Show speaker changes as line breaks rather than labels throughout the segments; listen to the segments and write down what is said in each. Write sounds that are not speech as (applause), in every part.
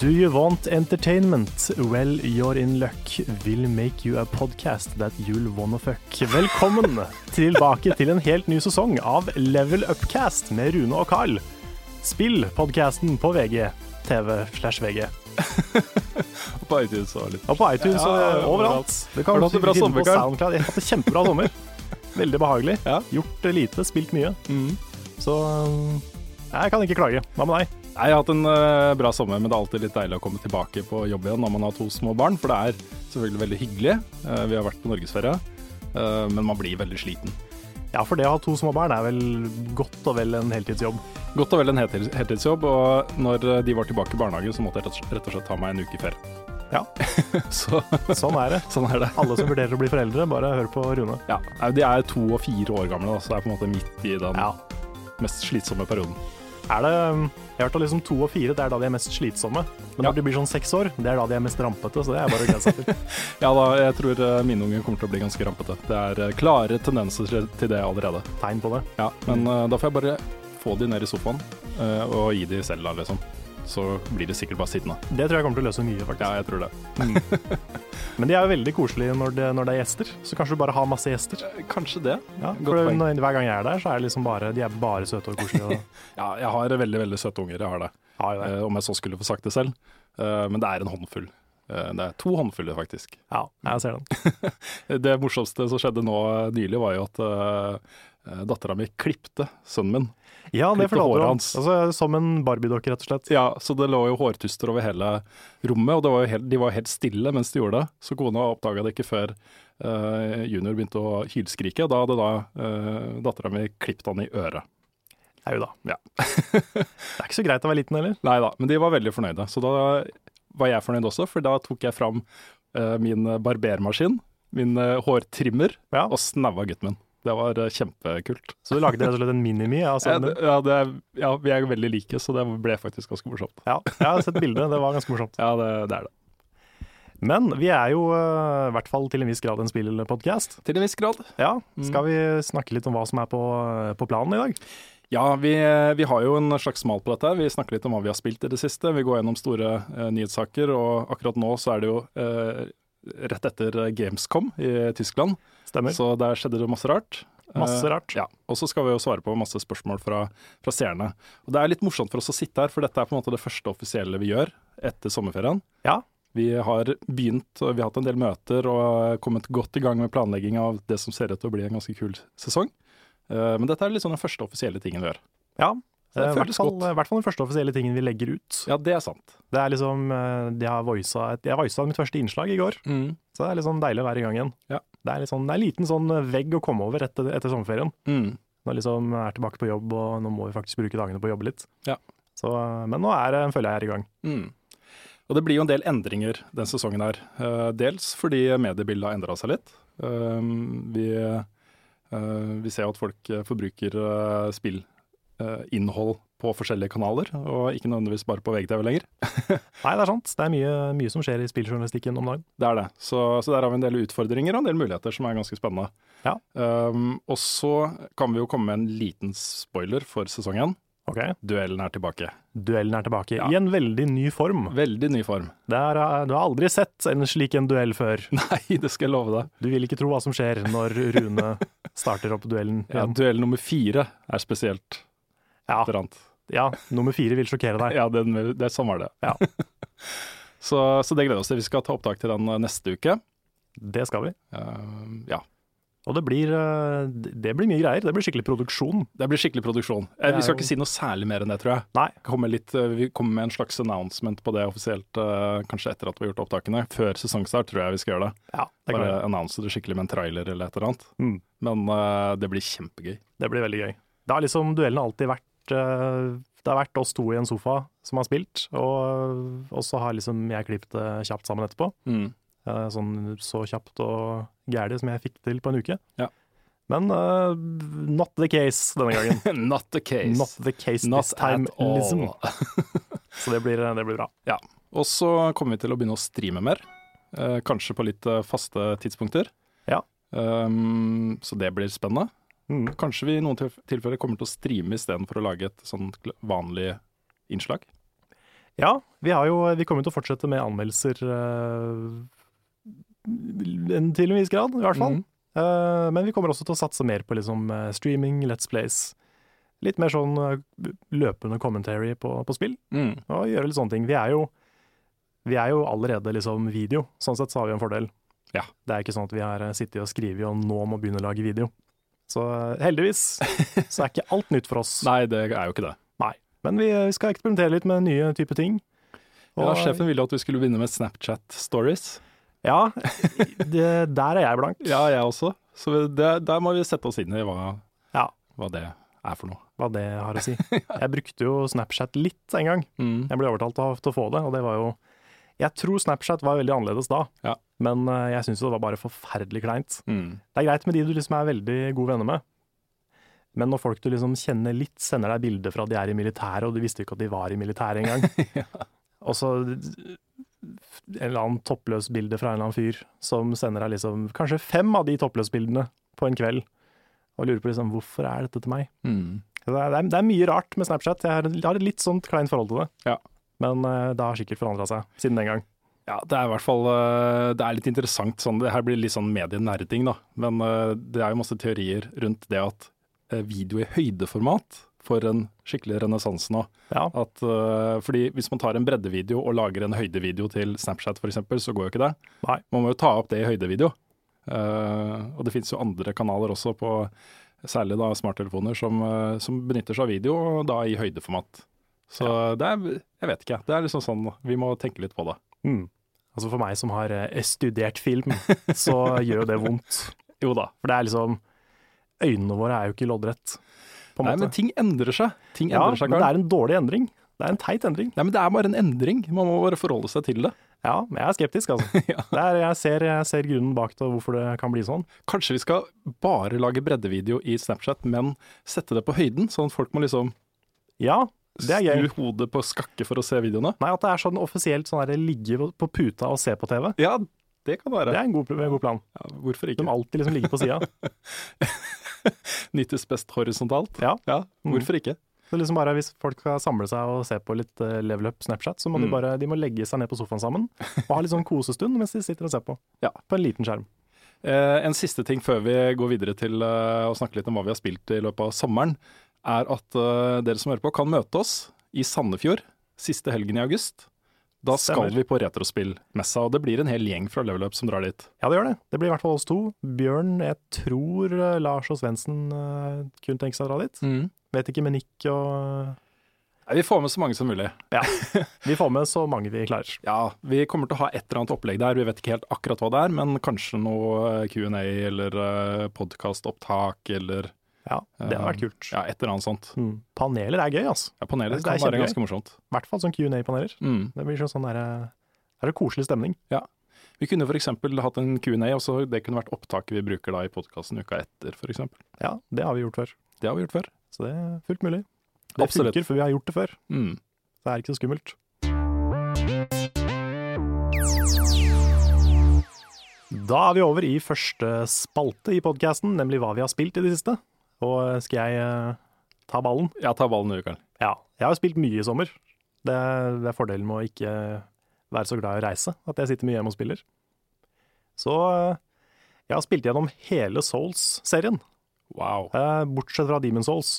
Do you want entertainment? Well, you're in luck. We'll make you a podcast that you'll wanna fuck. Velkommen
(laughs)
tilbake til en helt ny sesong av Level Upcast med Rune og Carl. Spill podcasten på VG, TV slash VG.
På iTunes og litt.
Og på iTunes
Ja,
og overalt.
Det kan
Har du
være
hatt
en bra
finne på
sommer, Carl.
SoundCloud? Jeg har hatt en kjempebra
(laughs)
sommer. Veldig behagelig.
Ja. Mm.
Gjort eh, lite, spilt mye. Så um, jeg kan ikke klage. Hva med deg?
Nei, Jeg har hatt en eh, bra sommer, men det er alltid litt deilig å komme tilbake på jobb igjen når man har to små barn, for det er selvfølgelig veldig hyggelig. Eh, vi har vært på norgesferie, eh, men man blir veldig sliten.
Ja, for det å ha to små barn er vel godt og vel en heltidsjobb.
Godt og vel en heltids- heltidsjobb, og når eh, de var tilbake i barnehagen, så måtte jeg rett og slett- rett og slett ta meg en uke i ferie. (laughs)
Ja.
så
Sånn er det.
sånn er det.
Alle som vurderer å bli foreldre, bare hør på Rune.
Ja, nei, De er to og fire år gamle, da, så det er på en måte midt i den
Ja.
mest slitsomme perioden.
Er det, jeg har hørt at liksom to og fire det er da de er mest slitsomme. Men
Ja.
når de blir sånn seks år, det er da de er mest rampete. Så det er bare å glede seg
(laughs)
til.
Ja da, jeg tror eh, mine unger kommer til å bli ganske rampete. Det er eh, klare tendenser til- til det allerede.
Tegn på det.
Ja, men eh, da får jeg bare få de ned i sofaen eh, og gi de selv, da, liksom. Så blir de sikkert bare sittende.
Det tror jeg kommer til å løse mye,
Ja,
faktisk.
jeg tror det.
Men de er jo veldig koselige når det, når det er gjester, så kanskje du bare har masse gjester.
Eh, Kanskje det.
Ja,
Godt
for
poeng.
når, hver gang jeg er der, så er det liksom bare, de er bare søte og koselige.
(laughs)
Og,
Ja, jeg har veldig, veldig søte unger, jeg har det.
Ja, ja.
Eh, om jeg så skulle få sagt det selv. Eh, men det er en håndfull. Eh, det er to håndfulle, faktisk. Eh,
ja, jeg ser
(laughs)
den.
Det morsomste som skjedde nå eh, nylig, var jo at uh, dattera mi klipte sønnen min.
Ja, det
Klipp til
forlater
håret
han.
hans.
Altså, som en barbiedokke, rett og slett.
Ja, så det lå jo hårtuster over hele rommet, og det var jo helt, de var jo helt stille mens de gjorde det. Så kona oppdaga det ikke før eh, junior begynte å hylskrike. Da hadde da uh, dattera mi klippet han i øret. (laughs)
Jau da.
Ja.
Det er ikke så greit å være liten heller.
Nei da, men de var veldig fornøyde. Så da var jeg fornøyd også, for da tok jeg fram eh, min barbermaskin, min eh, hårtrimmer,
Ja.
og snaua gutten min. Det var eh, kjempekult.
Så du lagde rett og slett en minimi av
Ja,
sønnen
det,
din.
sånn, ja, det, ja, vi er veldig like, så det ble faktisk ganske morsomt.
Ja, jeg har sett bildet. Det var ganske morsomt.
Ja, det, det er det.
Men vi er jo eh, i hvert fall til en viss grad en spillpodkast.
Til en viss grad.
Ja,
Mm.
skal vi snakke litt om hva som er på, eh, på planen i dag?
Ja, vi, vi har jo en slags mal på dette. her. Vi snakker litt om hva vi har spilt i det siste. Vi går gjennom store eh, nyhetssaker, og akkurat nå så er det jo eh, rett etter eh, Gamescom i Tyskland.
Stemmer.
Så der skjedde det masse rart.
Masse
Eh,
rart.
ja. Og så skal vi jo svare på masse spørsmål fra, fra seerne. Og det er litt morsomt for oss å sitte her, for dette er på en måte det første offisielle vi gjør etter sommerferien.
Ja.
Vi har begynt, og vi har hatt en del møter og kommet godt i gang med planlegging av det som ser ut til å bli en ganske kul sesong. Eh, Men dette er liksom den første offisielle tingen vi gjør.
Ja.
Så det
eh, I hvert
føles
fall,
godt.
i hvert fall den første offisielle tingen vi legger ut.
Ja, det er sant.
Det er liksom, eh, de har voisa, et- Jeg voisa mitt første innslag i går,
Mm,
så det er litt sånn deilig å være i gang igjen.
Ja.
Det er litt sånn, det er en liten sånn vegg å komme over etter, etter sommerferien.
Mm.
Når liksom jeg er tilbake på jobb, og nå må vi faktisk bruke dagene på å jobbe litt.
Ja.
Så, eh, men nå er, det- føler jeg er i gang.
Mm. Og det blir jo en del endringer den sesongen her. Eh, Dels fordi mediebildet har endra seg litt. Um, Vi, eh, vi ser jo at folk eh, forbruker eh, spillinnhold på forskjellige kanaler, og ikke nødvendigvis bare på VGTV lenger.
Nei, det er sant. Det er mye, mye som skjer i spilljournalistikken om dagen.
Det er det. Så, så der har vi en del utfordringer og en del muligheter som er ganske spennende.
Ja.
Um, og så kan vi jo komme med en liten spoiler for sesongen.
Ok.
Duellen er tilbake.
Duellen er tilbake,
Ja.
i en veldig ny form.
Veldig ny (laughs) form.
Det er, eh, du har aldri sett en slik en duell før.
Nei, det skal jeg love deg. (laughs)
Du vil ikke tro hva som skjer når Rune starter opp duellen.
Ja,
igjen.
duell nummer fire er spesielt.
Ja,
et eller annet.
ja, nummer fire vil sjokkere deg.
Ja, den, vil- det, sånn var det.
Ja.
(laughs) så, så det gleder vi oss til. Vi skal ta opptak til den eh, neste uke.
Det skal vi.
Eh, ja.
Og det blir, eh, det blir mye greier. Det blir skikkelig produksjon.
Det blir skikkelig produksjon. Eh, vi
jo-
skal ikke si noe særlig mer enn det, tror jeg.
Nei.
Kommer litt, eh, vi kommer med en slags announcement på det offisielt, eh, kanskje etter at vi har gjort opptakene. Før sesongstart tror jeg vi skal gjøre det.
Ja, det, kan vi
Bare
gjøre.
annonse det skikkelig med en trailer eller et eller annet.
Mm.
Men eh, det blir kjempegøy.
det blir veldig gøy. Det har liksom duellen alltid vært eh, Det har vært oss to i en sofa som har spilt, og, og så har liksom jeg klippet det kjapt sammen etterpå. Eh, Sånn så kjapt og gæli som jeg fikk til på en uke.
Ja.
Men eh, not the case denne
(laughs)
gangen.
(laughs) Not the case.
Not the case
Not
this time,
at all.
liksom. Så det blir, det blir bra.
Ja. Og så kommer vi til å begynne å streame mer. eh, kanskje på litt eh, faste tidspunkter.
Ja.
Um, så det blir spennende.
Mm.
Kanskje vi i noen tilf- tilfeller kommer til å streame istedenfor å lage et sånt kl- vanlig innslag.
Ja, vi, har jo, vi kommer til å fortsette med anmeldelser eh, en til en viss grad, i hvert fall.
Mhm.
Eh, men vi kommer også til å satse mer på liksom, eh, streaming, Let's Plays. Litt mer sånn eh, løpende commentary på, på spill,
Mhm. Mm.
og gjøre litt sånne ting. Vi er jo, vi er jo allerede liksom video, sånn sett så har vi en fordel.
Ja.
Det er ikke sånn at vi har eh, sittet og skrevet og nå må begynne å lage video. Så eh, heldigvis
(laughs)
så er ikke alt nytt for oss.
Nei, det er jo ikke det.
Nei. Men vi, vi skal eksperimentere litt med nye typer ting.
Ja, sjefen ville at vi skulle begynne med Snapchat stories.
Ja, det, der er jeg blank.
Ja, jeg også. Så vi- det, der må vi sette oss inn i hva,
Ja.
hva det er for noe.
Hva det har
(laughs)
å si. Jeg brukte jo Snapchat litt en gang.
Mhm.
Jeg ble overtalt til å- til å få det, og det var jo Jeg tror Snapchat var veldig annerledes da,
Ja.
men eh, jeg syns jo det var bare forferdelig kleint.
Mm.
Det er greit med de du liksom er veldig gode venner med, men når folk du liksom kjenner litt, sender deg bilder fra at de er i militæret, og du visste jo ikke at de var i militæret engang. Og så en eller annen toppløs bilde fra en eller annen fyr som sender deg liksom kanskje fem av de toppløsbildene på en kveld, og lurer på liksom hvorfor er dette til meg?
Mm.
Det er, det er- det er mye rart med Snapchat, jeg har, jeg har et litt sånt kleint forhold til det.
Ja.
Men eh, det har sikkert forandra seg siden den gang.
Ja, det er i hvert fall eh, Det er litt interessant. Sånn, det her blir litt sånn medienerding, da. Men eh, det er jo masse teorier rundt det at eh, video i høydeformat får en skikkelig renessanse nå.
Ja.
At, eh, fordi hvis man tar en breddevideo og lager en høydevideo til Snapchat f.eks., så går jo ikke det.
Nei.
Man må jo ta opp det i høydevideo. Eh, og det finnes jo andre kanaler også, på, særlig da smarttelefoner, som, eh, som benytter seg av video og da i høydeformat. Så det er, jeg vet ikke, det er liksom sånn, vi må tenke litt på det.
Mm. Altså For meg som har eh, studert
(laughs)
film, så gjør jo det vondt.
Jo da,
For det er liksom Øynene våre er jo ikke loddrett, på en
Nei,
måte.
men ting endrer seg. Ting
ja,
endrer seg,
men det
Karl.
er en dårlig endring. Det er en teit endring.
Nei, men det er bare en endring. Man må bare forholde seg til det.
Ja, men jeg er skeptisk, altså.
(laughs) Ja.
Det er, jeg, ser, jeg ser grunnen bak det, og hvorfor det kan bli sånn.
Kanskje vi skal bare lage breddevideo i Snapchat, men sette det på høyden, sånn at folk må liksom
Ja, det er
snu
gøy.
hodet på skakke for å se videoene.
Nei, At det er sånn offisielt sånn der, ligge på- på puta og se på TV,
Ja, det kan
det
være.
er en god, en god plan.
Ja, hvorfor
De
ikke?
må alltid liksom ligge på
(laughs)
sida.
Nyttes best horisontalt.
Ja.
Ja, hvorfor ikke?
Så liksom bare Hvis folk skal samle seg og se på litt eh, level up Snapchat, så må
Mm.
de bare de må legge seg ned på sofaen sammen og ha litt sånn kosestund mens de sitter og ser på.
(laughs) Ja.
På en liten skjerm.
Eh, en siste ting før vi går videre til eh, å snakke litt om hva vi har spilt i løpet av sommeren, er at eh, dere som hører på, kan møte oss i Sandefjord siste helgen i august. Da skal
Stemmer.
vi på Retrospillmessa, og det blir en hel gjeng fra Level Up som drar dit.
Ja, det gjør det. Det blir i hvert fall oss to. Bjørn, jeg tror eh, Lars og Svendsen eh, kunne tenke seg å dra dit. Vet ikke med Nick og
Nei, Vi får med så mange som mulig.
Ja. Vi får med så mange vi klarer.
Ja, Vi kommer til å ha et eller annet opplegg der, vi vet ikke helt akkurat hva det er, men kanskje noe eh, Q&A eller eh, podkastopptak eller
Ja, Det hadde vært
eh,
kult.
Ja, et eller annet sånt.
Mm. Paneler er gøy, altså.
Ja, panelet
Det er
kan være
kjempegøy.
ganske morsomt.
I hvert fall sånn Q&A-paneler.
Mm.
Det blir sånn sånn der, eh, det er en koselig stemning.
Ja. Vi kunne f.eks. hatt en Q&A, og så det kunne vært opptaket vi bruker da i podkasten uka etter, f.eks.
Ja, det har vi gjort før.
Det har vi gjort før.
Så det er fullt mulig. Det
Absolutt.
funker, for vi har gjort det før.
Mm.
Så det er ikke så skummelt. Da er vi over i første spalte i podkasten, nemlig hva vi har spilt i det siste. Og skal jeg eh, ta ballen?
Jeg tar ballen i ukeren.
Ja. Jeg har spilt mye i sommer. Det, det er fordelen med å ikke eh, være så glad i å reise, at jeg sitter mye hjemme og spiller. Så eh, jeg har spilt gjennom hele Souls-serien.
Wow. Eh, bortsett fra Demon Souls,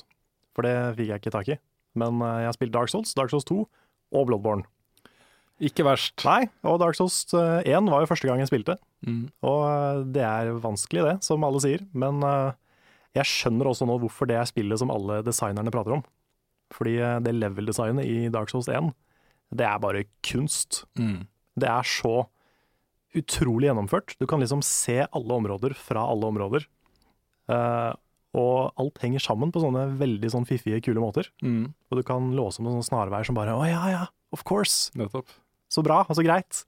for det fikk jeg ikke tak i. Men eh, jeg har spilt Dark Souls, Dark Souls 2 og Bloodborne. Ikke verst. Nei, og Dark Souls eh, 1 var jo første gang jeg spilte. Og eh, det er vanskelig det, som alle sier. Men eh, jeg skjønner også nå hvorfor det er spillet som alle designerne prater om. Fordi eh, det level-designet i Dark Souls 1, det er bare kunst. Det er så utrolig gjennomført. Du kan liksom se alle områder fra alle områder. Eh, og alt henger sammen på sånne veldig sånn fiffige, kule måter.
Mm.
Og du kan låse med sånne snarveier som bare Å ja, ja, of course! Så bra, og så
(laughs)
greit.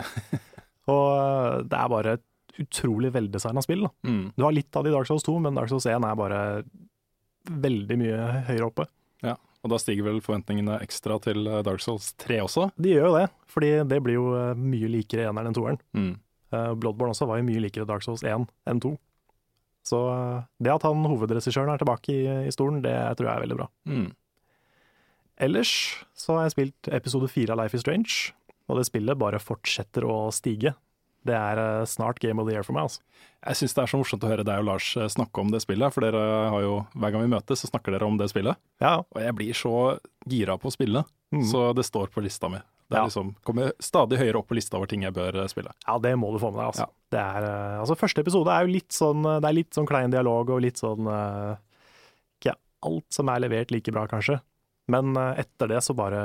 og eh, det er bare et utrolig veldesigna spill. Da.
Mm.
Du har litt av det i Dark Souls 2, men Dark Souls 1 er bare veldig mye høyere oppe.
Ja, og da stiger vel forventningene ekstra til eh, Dark Souls 3 også.
De gjør jo det, fordi det blir jo eh, mye likere eneren enn toeren.
Mm.
Eh, Bloodborne også var jo mye likere Dark Souls 1 enn 2. Så eh, det at han hovedregissøren er tilbake i, i stolen, det tror jeg er veldig bra.
Mm.
Ellers så har jeg spilt episode 4 av Life is Strange, og det spillet bare fortsetter å stige. Det er eh, snart Game of the Year for meg, altså.
Jeg syns det er så morsomt å høre deg og Lars eh, snakke om det spillet, for dere har jo, hver gang vi møtes, så snakker dere om det spillet.
Ja,
Og jeg blir så gira på å spille, så det står på lista mi. Det
Ja.
er liksom, kommer stadig høyere opp på lista over ting jeg bør eh, spille.
ja det må du få med deg, altså. Det er, eh, altså første episode er jo litt sånn, eh, det er litt sånn klein dialog og litt sånn eh, Ikke alt som er levert like bra, kanskje. Men eh, etter det så bare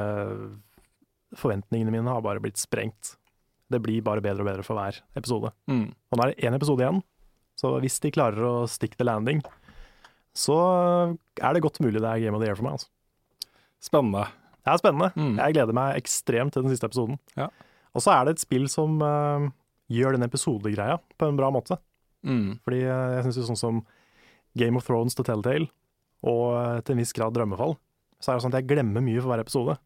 Forventningene mine har bare blitt sprengt. Det blir bare bedre og bedre for hver episode. Og nå er det én episode igjen, så hvis de klarer å stick the landing, så eh, er det godt mulig det er game of the year for meg. Altså.
Spennende.
Det er spennende.
Mm.
Jeg gleder meg ekstremt til den siste episoden.
Ja.
Og så er det et spill som eh, gjør den episodegreia på en bra måte.
Mm.
Fordi eh, jeg syns jo sånn som Game of Thrones til Telltale, og eh, til en viss grad Drømmefall, så er det sånn at jeg glemmer mye for hver episode.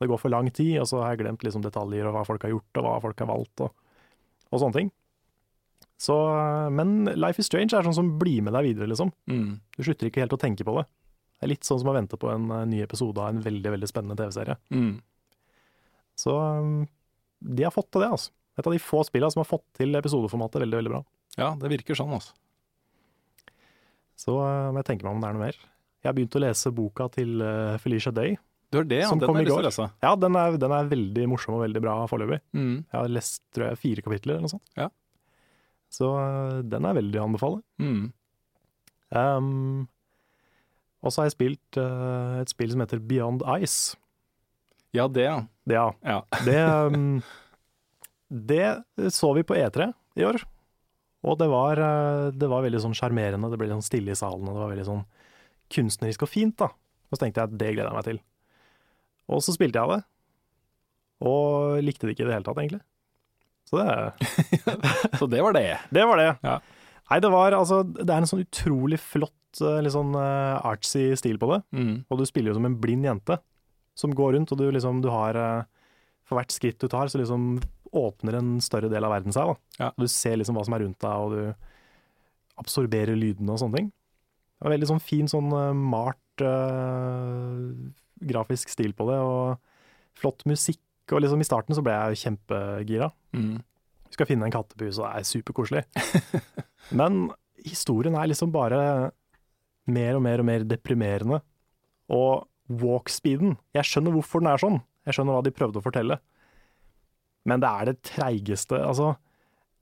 Det går for lang tid, og så har jeg glemt liksom detaljer og hva folk har gjort, og hva folk har valgt, og, og sånne ting. Så, eh, men Life is Strange er sånn som blir med deg videre, liksom.
Mm.
Du slutter ikke helt å tenke på det. Det er litt sånn som å vente på en eh, ny episode av en veldig, veldig spennende TV-serie.
Mm.
Så um, de har fått til det, altså. Et av de få spillene som har fått til episodeformatet veldig, veldig bra.
Ja, det virker sånn, altså.
Så uh, må jeg tenke meg om det er noe mer. Jeg har begynt å lese boka til uh, Felicia Day.
Du har det, ja. liksom-
Som
Den
kom i
har jeg lyst til
går. altså.
å lese.
Ja, den er, den er veldig morsom og veldig bra foreløpig.
Mm,
Jeg har lest tror jeg, fire kapitler eller noe sånt.
Ja.
Så uh, den er veldig å anbefale.
Mm.
Um, og så har jeg spilt uh, et spill som heter Beyond Ice.
Ja, det, ja.
Ja,
ja. (laughs)
Det, um, det så vi på E3 i år, og det var, eh, det var veldig sånn sjarmerende. Det ble litt sånn stille i salen, og det var veldig sånn kunstnerisk og fint. da. Og så tenkte jeg at det gleder jeg meg til. Og så spilte jeg det, og likte det ikke i det hele tatt, egentlig. Så det,
Så det var det.
det var det.
Ja.
Nei, det var altså Det er en sånn utrolig flott, eh, litt sånn eh, artsy stil på det.
Mm.
Og du spiller jo som en blind jente som går rundt, og du liksom, du har eh, For hvert skritt du tar, så liksom åpner en større del av verden seg. Da.
Ja.
Og Du ser liksom hva som er rundt deg, og du absorberer lydene og sånne ting. Det var veldig sånn fin, sånn eh, malt eh, grafisk stil på det, og flott musikk. Og liksom i starten så ble jeg jo kjempegira.
Mm.
Vi skal finne en kattepus, og det er superkoselig. Men historien er liksom bare mer og mer og mer deprimerende. Og walkspeeden Jeg skjønner hvorfor den er sånn. Jeg skjønner hva de prøvde å fortelle. Men det er det treigeste Altså,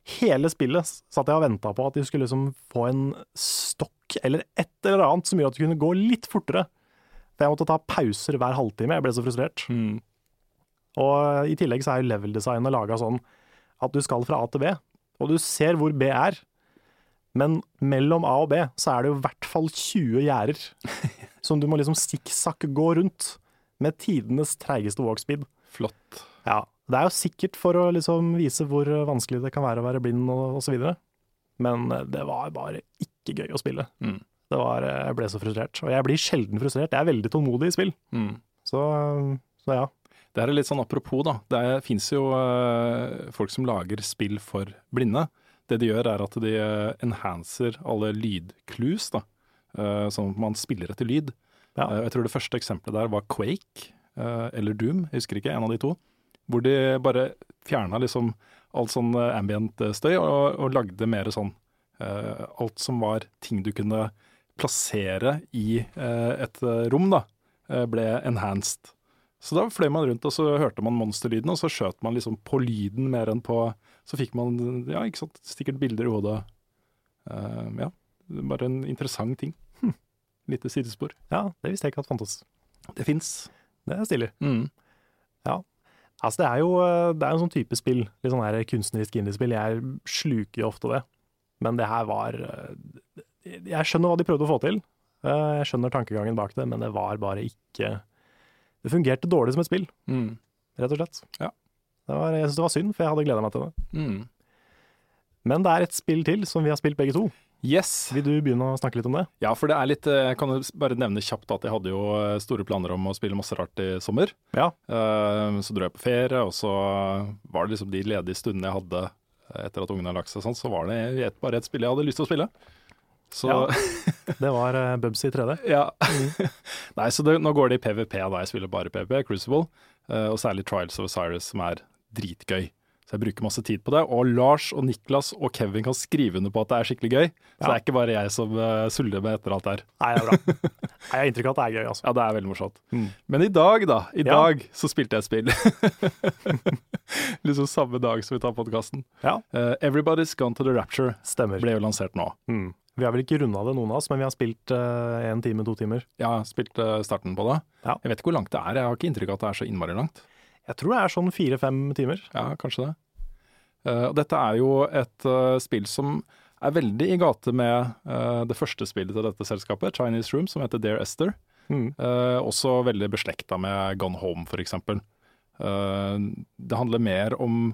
hele spillet s- satt jeg og venta på at de skulle liksom få en stokk eller et eller annet som gjorde at det kunne gå litt fortere. For jeg måtte ta pauser hver halvtime. Jeg ble så frustrert.
Mm.
Og eh, i tillegg så er jo level-designet laga sånn at du skal fra A til B, og du ser hvor B er. Men mellom A og B så er det jo i hvert fall 20 gjerder som du må liksom sikksakk gå rundt, med tidenes treigeste walkspeed.
Flott.
Ja, det er jo sikkert for å liksom vise hvor vanskelig det kan være å være blind og, og så videre, men eh, det var bare ikke gøy å spille.
Mm.
Det var, eh, jeg ble så frustrert, og jeg blir sjelden frustrert. Jeg er veldig tålmodig i spill,
Mm.
så, eh, så ja.
Det her er litt sånn apropos, da. Det fins jo eh, folk som lager spill for blinde. Det de gjør er at de eh, enhancer alle lydclues, da. Eh, sånn at man spiller etter lyd.
Ja.
Eh, jeg tror det første eksempelet der var Quake eh, eller Doom, jeg husker ikke, en av de to. Hvor de bare fjerna liksom alt sånn eh, ambient eh, støy og, og lagde mer sånn eh, alt som var ting du kunne plassere i eh, et rom, da, eh, ble enhanced. Så da fløy man rundt, og så hørte man monsterlydene, og så skjøt man liksom på lyden mer enn på Så fikk man, ja, ikke sant, sikkert bilder i hodet. Eh, ja. Bare en interessant ting. Hm. Lite sidespor.
Ja, det visste jeg ikke at fantes.
Det fins.
Det er stilig.
Mm.
Altså, det er jo eh, det er en sånn type spill, litt sånn her kunstnerisk indiespill. Jeg sluker jo ofte det. Men det her var eh, Jeg skjønner hva de prøvde å få til. Eh, Jeg skjønner tankegangen bak det, men det var bare ikke Det fungerte dårlig som et spill,
Mm.
rett og slett.
Ja.
Det var, jeg syns det var synd, for jeg hadde gleda meg til det.
Mm.
Men det er et spill til som vi har spilt begge to.
Yes.
Vil du begynne å snakke litt om det?
Ja, for det er litt eh, Jeg kan jo bare nevne kjapt at jeg hadde jo eh, store planer om å spille masse rart i sommer.
Ja.
Eh, Så dro jeg på ferie, og så var det liksom de ledige stundene jeg hadde eh, etter at ungene har lagt seg, sånn, så var det et, bare et spill jeg hadde lyst til å spille. Så
Ja.
ja.
(laughs) Det var eh, Bubsy 3D.
(laughs) Nei, så det, nå går det i PVP, da. Jeg spiller bare PVP, Crucible, eh, og særlig Trials of Cyrus, som er dritgøy. Så jeg bruker masse tid på det. Og Lars og Niklas og Kevin kan skrive under på at det er skikkelig gøy. Så det er ikke bare jeg som eh, suller med etter alt det her.
Nei, det er bra. Nei, jeg har inntrykk av at det er gøy, altså.
Ja, det er veldig morsomt.
Mm.
Men i dag, da. I
Ja.
dag så spilte jeg et spill. (laughs) liksom samme dag som vi tar podkasten.
Ja.
Eh, 'Everybody's Gone to the Rapture'
Stemmer.
ble jo lansert nå.
Mm. Vi har vel ikke runda det, noen av oss, men vi har spilt eh, en time, to timer.
Jeg har spilt eh, starten på det.
Ja.
Jeg vet ikke hvor langt det er, jeg har ikke inntrykk av at det er så innmari langt.
Jeg tror det er sånn fire-fem timer.
Ja, kanskje det. Eh, og dette er jo et eh, spill som er veldig i gate med eh, det første spillet til dette selskapet, Chinese Room, som heter Dear Esther.
Mm.
Eh, også veldig beslekta med Gone Home, f.eks. Eh, det handler mer om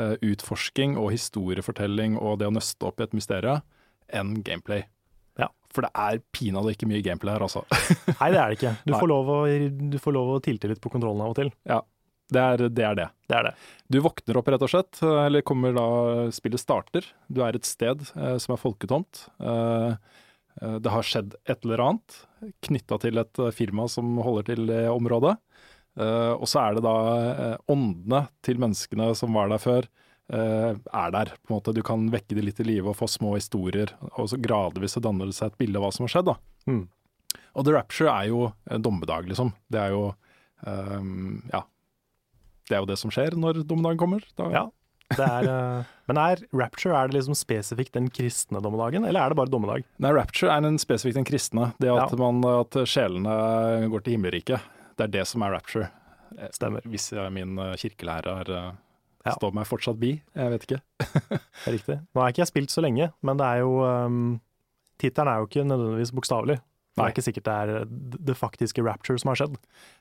eh, utforsking og historiefortelling og det å nøste opp i et mysterium enn gameplay.
Ja.
For det er pinadø ikke mye gameplay her,
(laughs)
altså.
Nei, det er det ikke. Du
Nei.
får, lov å, du får lov å tilte litt på kontrollen av og til.
Det er det. Er det.
Det er det.
Du våkner opp, rett og slett, eh, eller kommer da spillet starter. Du er et sted eh, som er folketomt. Eh, eh, det har skjedd et eller annet knytta til et eh, firma som holder til det området. Eh, og så er det da eh, åndene til menneskene som var der før, eh, er der. på en måte. Du kan vekke de litt i live og få små historier. Og så gradvis så danner det seg et bilde av hva som har skjedd. da.
Mm.
Og The Rapture er jo eh, dommedag, liksom. Det er jo eh, ja, det er jo det som skjer når dommedagen kommer. Da,
Ja. Det er, eh, men er Rapture er det liksom spesifikt den kristne dommedagen, eller er det bare dommedag?
Nei, Rapture er en spesifikt den kristne. Det at,
Ja.
man, at sjelene går til himmelriket. Det er det som er rapture.
Stemmer.
Hvis jeg, min eh, kirkelærer eh,
Ja.
står meg fortsatt bi, jeg vet ikke.
Det er riktig. Nå har ikke jeg spilt så lenge, men det er jo um, Tittelen er jo ikke nødvendigvis bokstavelig. Det
Nei.
er ikke sikkert det er eh, d- det faktiske rapture som har skjedd.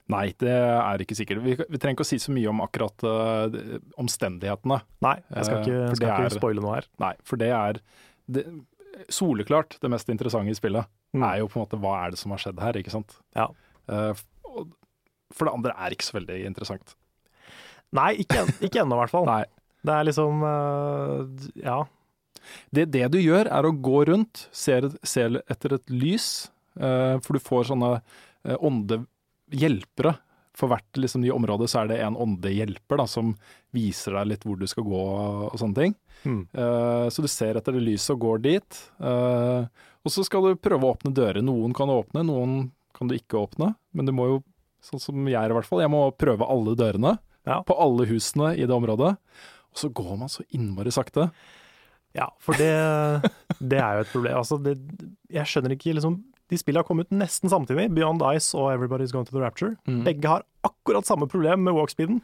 Nei, det er ikke sikkert. Vi, vi trenger ikke å si så mye om akkurat eh, de- omstendighetene.
Nei, jeg skal
Eh,
ikke,
for
skal
det
ikke
er-
spoile noe her.
Nei, for det er det, soleklart det mest interessante i spillet. Er jo på en måte hva er det som har skjedd her, ikke sant.
Mm. Ja.
Eh, f- og- for det andre er ikke så veldig interessant.
Nei, ikke, en- ikke ennå i hvert fall.
Nei.
Det er liksom eh, Ja.
Det, det du gjør, er å gå rundt, ser, ser etter et lys, eh, for du får sånne eh, åndehjelpere. For hvert liksom, nye område så er det en åndehjelper da, som viser deg litt hvor du skal gå og sånne ting.
Mm.
Eh, så du ser etter det lyset og går dit. eh, og så skal du prøve å åpne dører. Noen kan du åpne, noen kan du ikke åpne. Men du må jo, sånn som jeg er i hvert fall, jeg må prøve alle dørene
Ja.
på alle husene i det området. Og så går man så innmari sakte.
Ja, for det, det er jo et problem. Altså, det, jeg skjønner ikke liksom De spillene har kommet nesten samtidig, Beyond Ice og Everybody's Gone to the Rapture. Begge har akkurat samme problem med walkspeeden.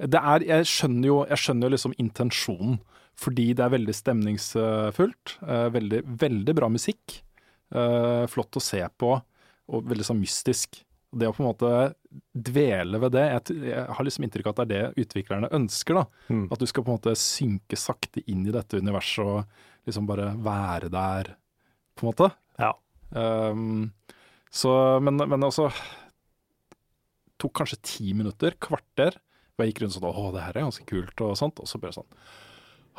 det er, jeg skjønner jo, jeg skjønner jo liksom intensjonen, fordi det er veldig stemningsfullt. eh, Veldig, veldig bra musikk. eh, Flott å se på, og veldig sånn mystisk. Det å på en måte dvele ved det, jeg, t- jeg har liksom inntrykk av at det er det utviklerne ønsker. da. At du skal på en måte synke sakte inn i dette universet og liksom bare være der, på en måte.
Ja.
Ehm, så, men, men altså Tok kanskje ti minutter, kvarter. Og jeg gikk rundt sånn Å, det her er ganske kult, og sånt. Og så bare sånn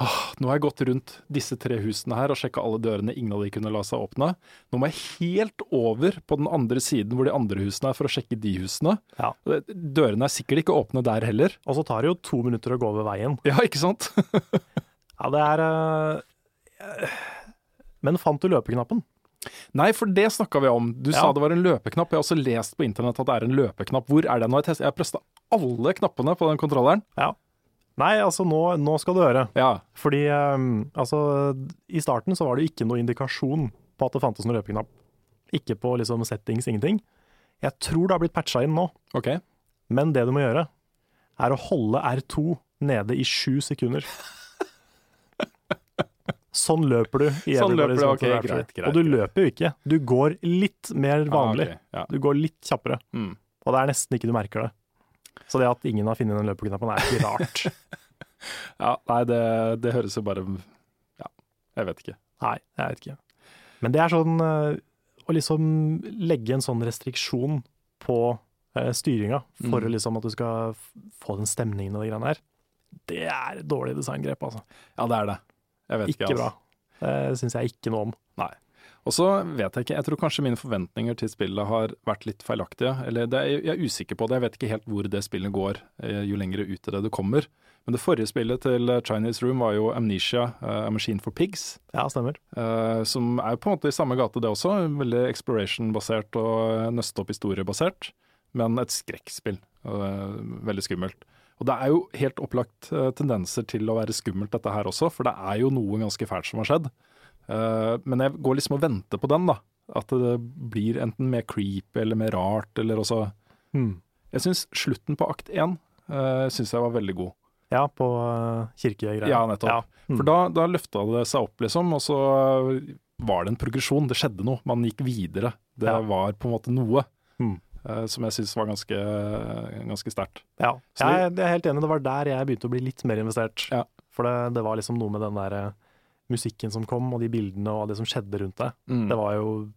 Åh, nå har jeg gått rundt disse tre husene her og sjekka alle dørene. Ingen av de kunne la seg åpne. Nå må jeg helt over på den andre siden hvor de andre husene er, for å sjekke de husene.
Ja.
Dørene er sikkert ikke åpne der heller.
Og så tar det jo to minutter å gå over veien.
Ja, ikke sant?
Ja, det er eh, Men fant du løpeknappen?
(laughs) Nei, for det snakka vi om. Du
Ja.
sa det var en løpeknapp. Jeg har også lest på internett at det er en løpeknapp. Hvor er den? Og jeg testet- Jeg presta alle knappene på den kontrolleren.
Ja. Nei, altså nå, nå skal du høre.
Ja,
Fordi eh, altså, i starten så var det jo ikke noe indikasjon på at det fantes noen løpeknapp. Ikke på liksom settings, ingenting. Jeg tror det har blitt patcha inn nå,
ok.
men det du må gjøre, er å holde R2 nede i sju sekunder. Sånn løper du. i
Sånn løper
Everybody's
du,
Gone
ok,
to the Rapture.
greit, greit,
Og du løper jo ikke. Du går litt mer vanlig.
Ah, ok, ja.
Du går litt kjappere.
Mm.
Og det er nesten ikke du merker det. Så det at ingen har funnet den løpeknappen, er ikke rart.
ja, nei, det, det høres jo bare Ja, jeg vet ikke.
Nei, jeg vet ikke. Men det er sånn eh, å liksom legge en sånn restriksjon på eh, styringa for
Mm.
å liksom at du skal f- få den stemningen og de greiene her, det er et dårlig designgrep, altså.
Ja, det er det. Jeg vet ikke.
Ikke
altså.
bra. Det syns jeg ikke noe om.
Og så vet jeg ikke, jeg tror kanskje mine forventninger til spillet har vært litt feilaktige. Eller det er, jeg er usikker på det, jeg vet ikke helt hvor det spillet går eh, jo lengre ut i det du kommer. Men det forrige spillet til Chinese Room var jo Amnesia, eh, A Machine for Pigs.
Ja, stemmer.
eh, som er på en måte i samme gate det også, veldig exploration-basert og eh, nøste opp historiebasert. Men et skrekkspill. eh, veldig skummelt. Og det er jo helt opplagt eh, tendenser til å være skummelt dette her også, for det er jo noe ganske fælt som har skjedd. Eh, men jeg går liksom og venter på den, da. At det blir enten mer creepy eller mer rart, eller også
Hmm.
Jeg syns slutten på akt én uh, synes jeg var veldig god.
Ja, på eh, kirkegreier.
Ja, nettopp.
Hmm.
For da, da løfta det seg opp, liksom, og så var det en progresjon. Det skjedde noe. Man gikk videre. Det
Ja.
var på en måte noe
Hmm.
eh, som jeg syns var ganske, ganske sterkt.
Ja,
Så det-
jeg, jeg er helt enig. Det var der jeg begynte å bli litt mer investert.
Ja.
For det, det var liksom noe med den der eh, musikken som kom, og de bildene og det som skjedde rundt deg.
Mm.
Det var jo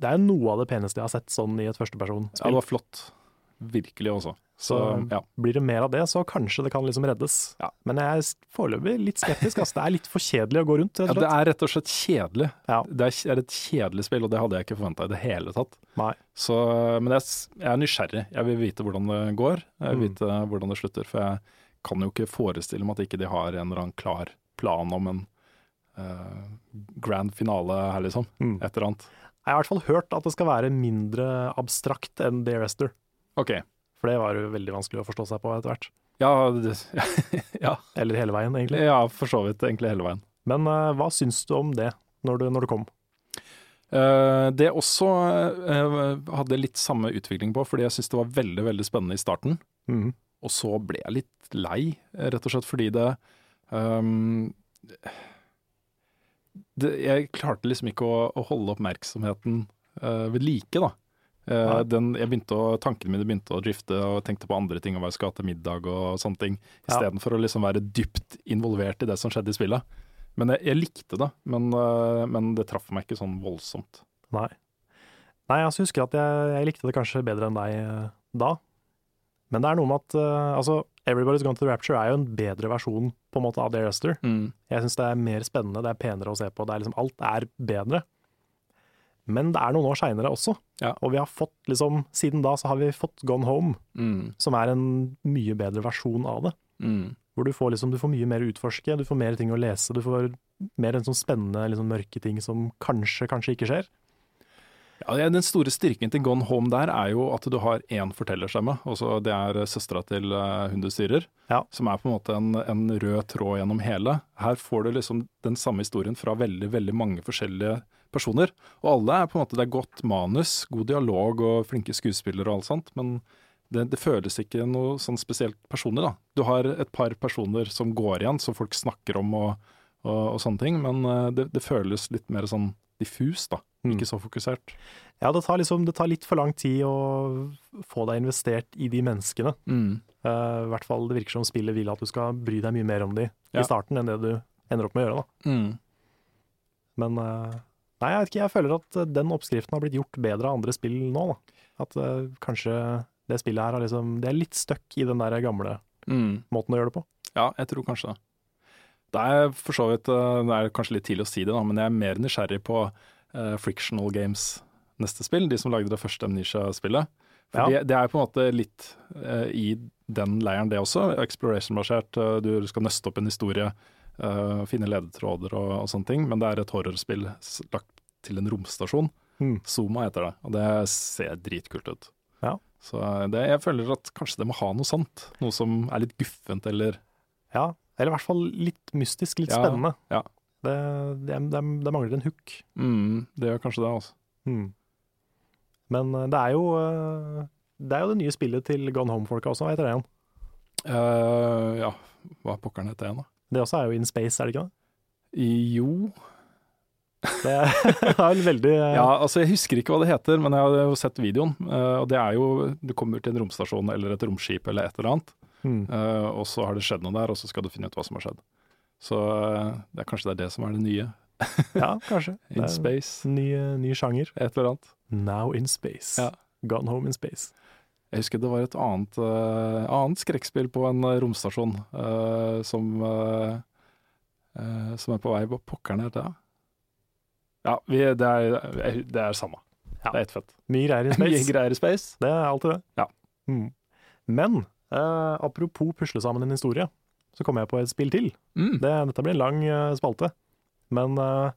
Det er jo noe av det peneste jeg har sett sånn i et
ja, det
førstepersonspill.
var flott. Virkelig, også. Så,
Så-
ja.
Blir det mer av det, så kanskje det kan liksom reddes.
Ja.
Men jeg er s- foreløpig litt skeptisk. Altså. Det er litt for kjedelig å gå rundt, rett
ja.
og
Det
slett.
er rett og slett kjedelig.
Ja.
Det er, det er et kjedelig spill, og det hadde jeg ikke forventa i det hele tatt.
Nei.
Så, men jeg, s- jeg er nysgjerrig. Jeg vil vite hvordan det går. Jeg vil
Mm.
vite hvordan det slutter. For jeg kan jo ikke forestille meg at ikke de har en eller annen klar plan om en eh, grand finale her, liksom.
Mm.
Et eller annet.
Jeg har i hvert fall hørt at det skal være mindre abstrakt enn The Arrester.
OK.
For det var jo veldig vanskelig å forstå seg på etter hvert.
Ja, det, (laughs) ja,
Eller hele veien, egentlig.
ja, for så vidt. Egentlig hele veien.
Men eh, hva syns du om det, når det, når det kom?
Eh, det også eh, hadde jeg litt samme utvikling på, fordi jeg syntes det var veldig, veldig spennende i starten.
Mhm.
Og så ble jeg litt lei, rett og slett fordi det, ehm, det Jeg klarte liksom ikke å, å holde oppmerksomheten eh, ved like, da. Eh,
Nei.
den, jeg begynte å, tankene mine begynte å drifte og jeg tenkte på andre ting og hva jeg skal ha til middag og sånne ting,
Ja.
istedenfor å liksom være dypt involvert i det som skjedde i spillet. Men jeg, jeg likte det, men, eh, men det traff meg ikke sånn voldsomt.
Nei. Nei, jeg altså husker at jeg, jeg likte det kanskje bedre enn deg eh, da. Men det er noe med at eh, altså, Everybody's Gone to the Rapture er jo en bedre versjon på en måte av The Arrester. Jeg syns det er mer spennende, det er penere å se på. Det er liksom, alt er bedre. Men det er noen år seinere også,
Ja.
og vi har fått liksom, siden da så har vi fått Gone Home,
Mm.
som er en mye bedre versjon av det.
Mm.
Hvor du får, liksom, du får mye mer å utforske, du får mer ting å lese, du får mer en sånn spennende liksom, mørke ting som kanskje, kanskje ikke skjer.
Ja, det- Den store styrken til Gone Home der er jo at du har én fortellerstemme. Også det er søstera til eh, hun du styrer,
Ja.
som er på en måte en, en rød tråd gjennom hele. Her får du liksom den samme historien fra veldig veldig mange forskjellige personer. Og alle er på en måte, det er godt manus, god dialog og flinke skuespillere og alt sånt, men det, det føles ikke noe sånn spesielt personlig, da. Du har et par personer som går igjen, som folk snakker om og, og, og sånne ting, men eh, det, det føles litt mer sånn diffus, da. Ikke så fokusert.
Ja, det tar, liksom, det tar litt for lang tid å få deg investert i de menneskene.
嗯
Eh, I hvert fall det virker som spillet vil at du skal bry deg mye mer om de
Ja.
i starten enn det du ender opp med å gjøre. Da.
Mm.
Men eh, nei, jeg vet ikke, jeg føler at eh, den oppskriften har blitt gjort bedre av andre spill nå. Da. At eh, kanskje det spillet her har liksom, det er litt støkk i den der gamle
嗯
måten å gjøre det på.
Ja, jeg tror kanskje det. Det er for så vidt eh, Det er kanskje litt tidlig å si det, da, men jeg er mer nysgjerrig på eh, Frictional Games neste spill, de som lagde det første Amnesia-spillet. For
Ja.
det, det er på en måte litt eh, i den leiren, det også. Exploration-basert. eh, du skal nøste opp en historie, eh, finne ledetråder og, og sånne ting. Men det er et horrorspill s- lagt til en romstasjon.
Mm.
Zuma heter det, og det ser dritkult ut.
Ja.
Så eh, det, jeg føler at kanskje det må ha noe sånt. Noe som er litt guffent, eller
Ja, eller i hvert fall litt mystisk, litt
Ja,
spennende.
ja.
Det, det, det, det mangler en hook.
mm, Det gjør kanskje det, altså.
Mm. Men eh, det er jo eh, det er jo det nye spillet til Gone Home-folka også, hva heter det igjen?
Eh, ja, hva pokkeren heter det igjen, da?
Det også er jo In Space, er det ikke det?
Jo
Det (laughs) er vel veldig eh,
Ja, altså jeg husker ikke hva det heter, men jeg har jo sett videoen. eh, Og det er jo Du kommer til en romstasjon eller et romskip eller et eller annet,
mm.
eh, og så har det skjedd noe der, og så skal du finne ut hva som har skjedd. Så eh, det er kanskje det er det som er det nye.
ja kanskje.
In
Det er
space,
en Ny, eh, ny sjanger.
et eller annet.
Now in space.
Ja.
Gone Home in space.
Jeg husker det var et annet, eh, annet skrekkspill på en eh, romstasjon eh, som eh, eh, Som er på vei Hva pokkeren heter det? Ja, vi, det, er, det er samme.
Ja.
Det er ett fett.
Mye greier in
(laughs) Mye
space.
greier i space.
Det er alltid det.
Ja.
Mm. Men eh, apropos pusle sammen en historie, så kommer jeg på et spill til.
Mm.
Det, dette blir en lang eh, spalte. Men eh,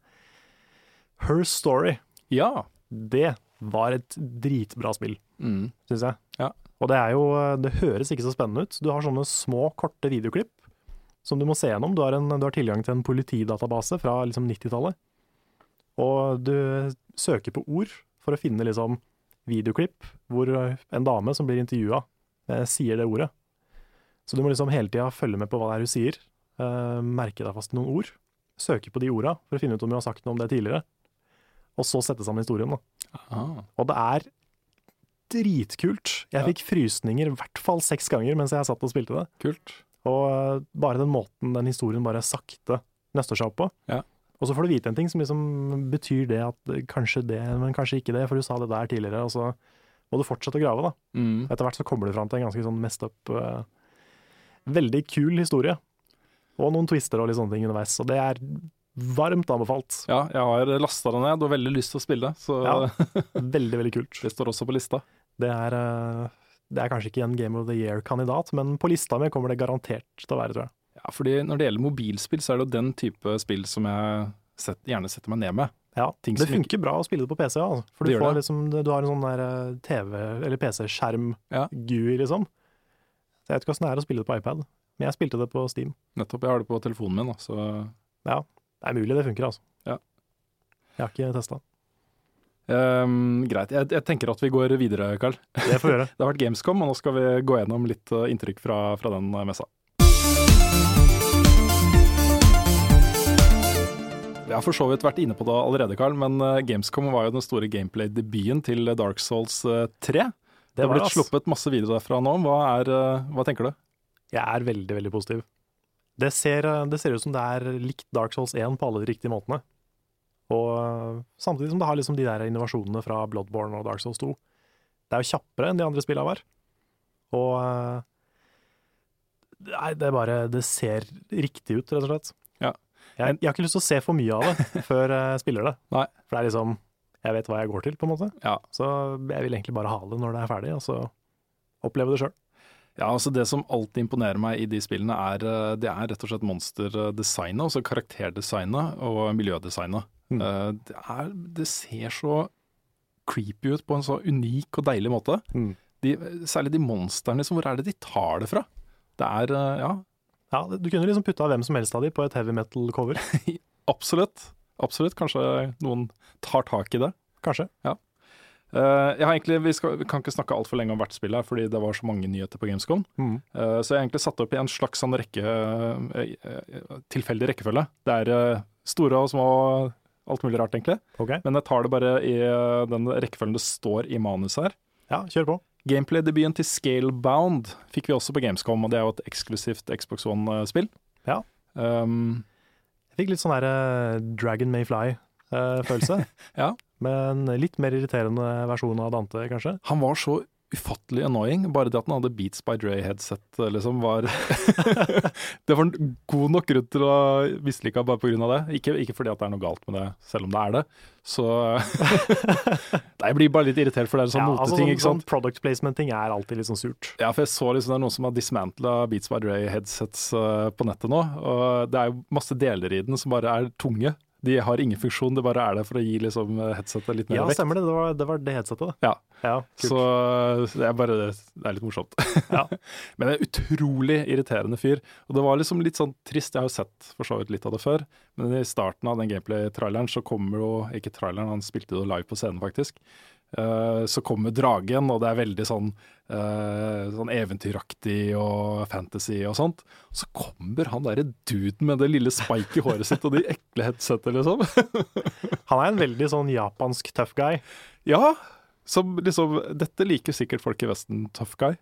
Her Story,
Ja.
det var et dritbra spill,
Mm.
syns jeg.
Ja.
Og det er jo eh, Det høres ikke så spennende ut. Du har sånne små, korte videoklipp som du må se gjennom. Du har, en, du har tilgang til en politidatabase fra liksom 90-tallet. Og du søker på ord for å finne liksom videoklipp hvor en dame som blir intervjua, eh, sier det ordet. Så du må liksom hele tida følge med på hva det er hun sier, eh, merke deg fast noen ord, søke på de orda for å finne ut om hun har sagt noe om det tidligere, og så sette sammen historien. da.
Ah.
Og det er dritkult. Jeg
Ja.
fikk frysninger i hvert fall seks ganger mens jeg satt og spilte det.
Kult.
Og eh, bare den måten den historien bare sakte nøster seg opp på.
Ja.
Og så får du vite en ting som liksom betyr det at eh, kanskje det, men kanskje ikke det, for du sa det der tidligere, og så må du fortsette å grave, da.
Mm.
Etter hvert så kommer du fram til en ganske sånn messed up eh, Veldig kul historie. Og noen twister og litt sånne ting underveis, og det er varmt anbefalt.
Ja, jeg har lasta det ned og veldig lyst til å spille, så
Ja. Veldig, veldig kult.
(laughs) det står også på lista.
Det er, eh, det er kanskje ikke en Game of the Year-kandidat, men på lista mi kommer det garantert til å være, tror jeg.
Ja, fordi når det gjelder mobilspill, så er det jo den type spill som jeg set, gjerne setter meg ned med.
Ja,
Ting
Det
som
funker bra å spille det på PC, ja, altså. for
Det
du,
gjør
får
det.
liksom, du har en sånn der eh, TV- eller
Ja.
PC-skjerm-gui, liksom. Så Jeg vet ikke åssen det er å spille det på iPad, men jeg spilte det på Steam.
Nettopp. Jeg har det på telefonen min, da, så
Det er mulig det funker, altså.
Ja.
Jeg har ikke testa.
ehm, greit. Jeg, jeg tenker at vi går videre, Karl.
Det får vi gjøre.
Det har vært Gamescom, og nå skal vi gå gjennom litt eh, inntrykk fra, fra den eh, messa. Vi har for så vidt vært inne på det allerede, Karl, men eh, Gamescom var jo den store gameplay-debuten til eh, Dark Souls eh, 3. Det, har
var det,
blitt
ass.
sluppet masse videoer derfra nå. Hva, er, eh, hva tenker du?
Jeg er veldig, veldig positiv. Det ser, det ser ut som det er likt Dark Souls 1 på alle de riktige måtene. Og øh, samtidig som det har liksom de der innovasjonene fra Bloodborne og Dark Souls 2. Det er jo kjappere enn de andre spillene var. Og øh, Nei, det er bare Det ser riktig ut, rett og slett.
Ja.
Jeg, jeg har ikke lyst til å se for mye av
(laughs)
det før jeg spiller det.
Nei.
For det er liksom Jeg vet hva jeg går til, på en måte.
Ja.
Så jeg vil egentlig bare ha det når det er ferdig, og så oppleve det sjøl.
Ja, altså Det som alltid imponerer meg i de spillene, er, eh, det er rett og slett monsterdesignet, altså karakterdesignet og miljødesignet.
Mm.
Eh, Det, er, det ser så creepy ut på en så unik og deilig måte.
Mm.
De, særlig de monstrene, liksom, hvor er det de tar det fra? Det er, eh, ja,
Ja, du kunne liksom putta hvem som helst av de på et heavy
(laughs)
metal-cover,
absolutt. Absolutt, kanskje noen tar tak i det.
kanskje.
Eh, Jeg har egentlig, vi, skal, vi kan ikke snakke altfor lenge om hvert spill her, fordi det var så mange nyheter på Gamescom. Eh, Så jeg har egentlig satt opp i en slags sånn rekke, eh, eh, tilfeldig rekkefølge. Det er eh, store og små, alt mulig rart egentlig.
Ok,
Men jeg tar det bare i eh, den rekkefølgen det står i manuset her.
ja, kjør på.
Gameplay-debuten til Scalebound fikk vi også på Gamescom, og det er jo et eksklusivt Xbox eh, One-spill.
Ja.
Um,
Jeg fikk litt sånn der eh, Dragon May Fly-følelse.
(laughs) Ja.
Men litt mer irriterende versjon av Dante, kanskje.
han var så ufattelig annoying, bare det at han hadde Beats by Dre-headset liksom
(laughs)
var Det var en god nok grunn til å mislike han bare på grunn av det. Ikke, ikke fordi at det er noe galt med det, selv om det er det.
(laughs)
Så Nei, jeg blir bare litt irritert, for det er en sånn moteting,
sånn,
ikke sant.
sånn product placement-ting er alltid litt sånn surt.
Ja, for jeg så liksom det er noen som har dismantla Beats by Dre-headsets eh, på nettet nå. Og det er jo masse deler i den som bare er tunge. De har ingen funksjon, det bare er der for å gi liksom, headsetet litt mer
Ja,
vekt.
stemmer det. Det var det, var det headsetet, da.
Ja,
Ja,
så
kult.
det er bare det er litt morsomt. (laughs) Men det er en utrolig irriterende fyr. Og det var liksom litt sånn trist, jeg har jo sett for så vidt litt av det før, men i starten av den gameplay-traileren så kommer jo Ikke traileren, han spilte det live på scenen, faktisk. Eh, så kommer dragen, og det er veldig sånn, eh, sånn eventyraktig og fantasy og sånt. Så kommer han derre duden med det lille spiket i håret sitt og de ekle headsetene, liksom. (laughs)
Han er en veldig sånn japansk tough guy.
Ja, som liksom Dette liker sikkert folk i Vesten, tough guy.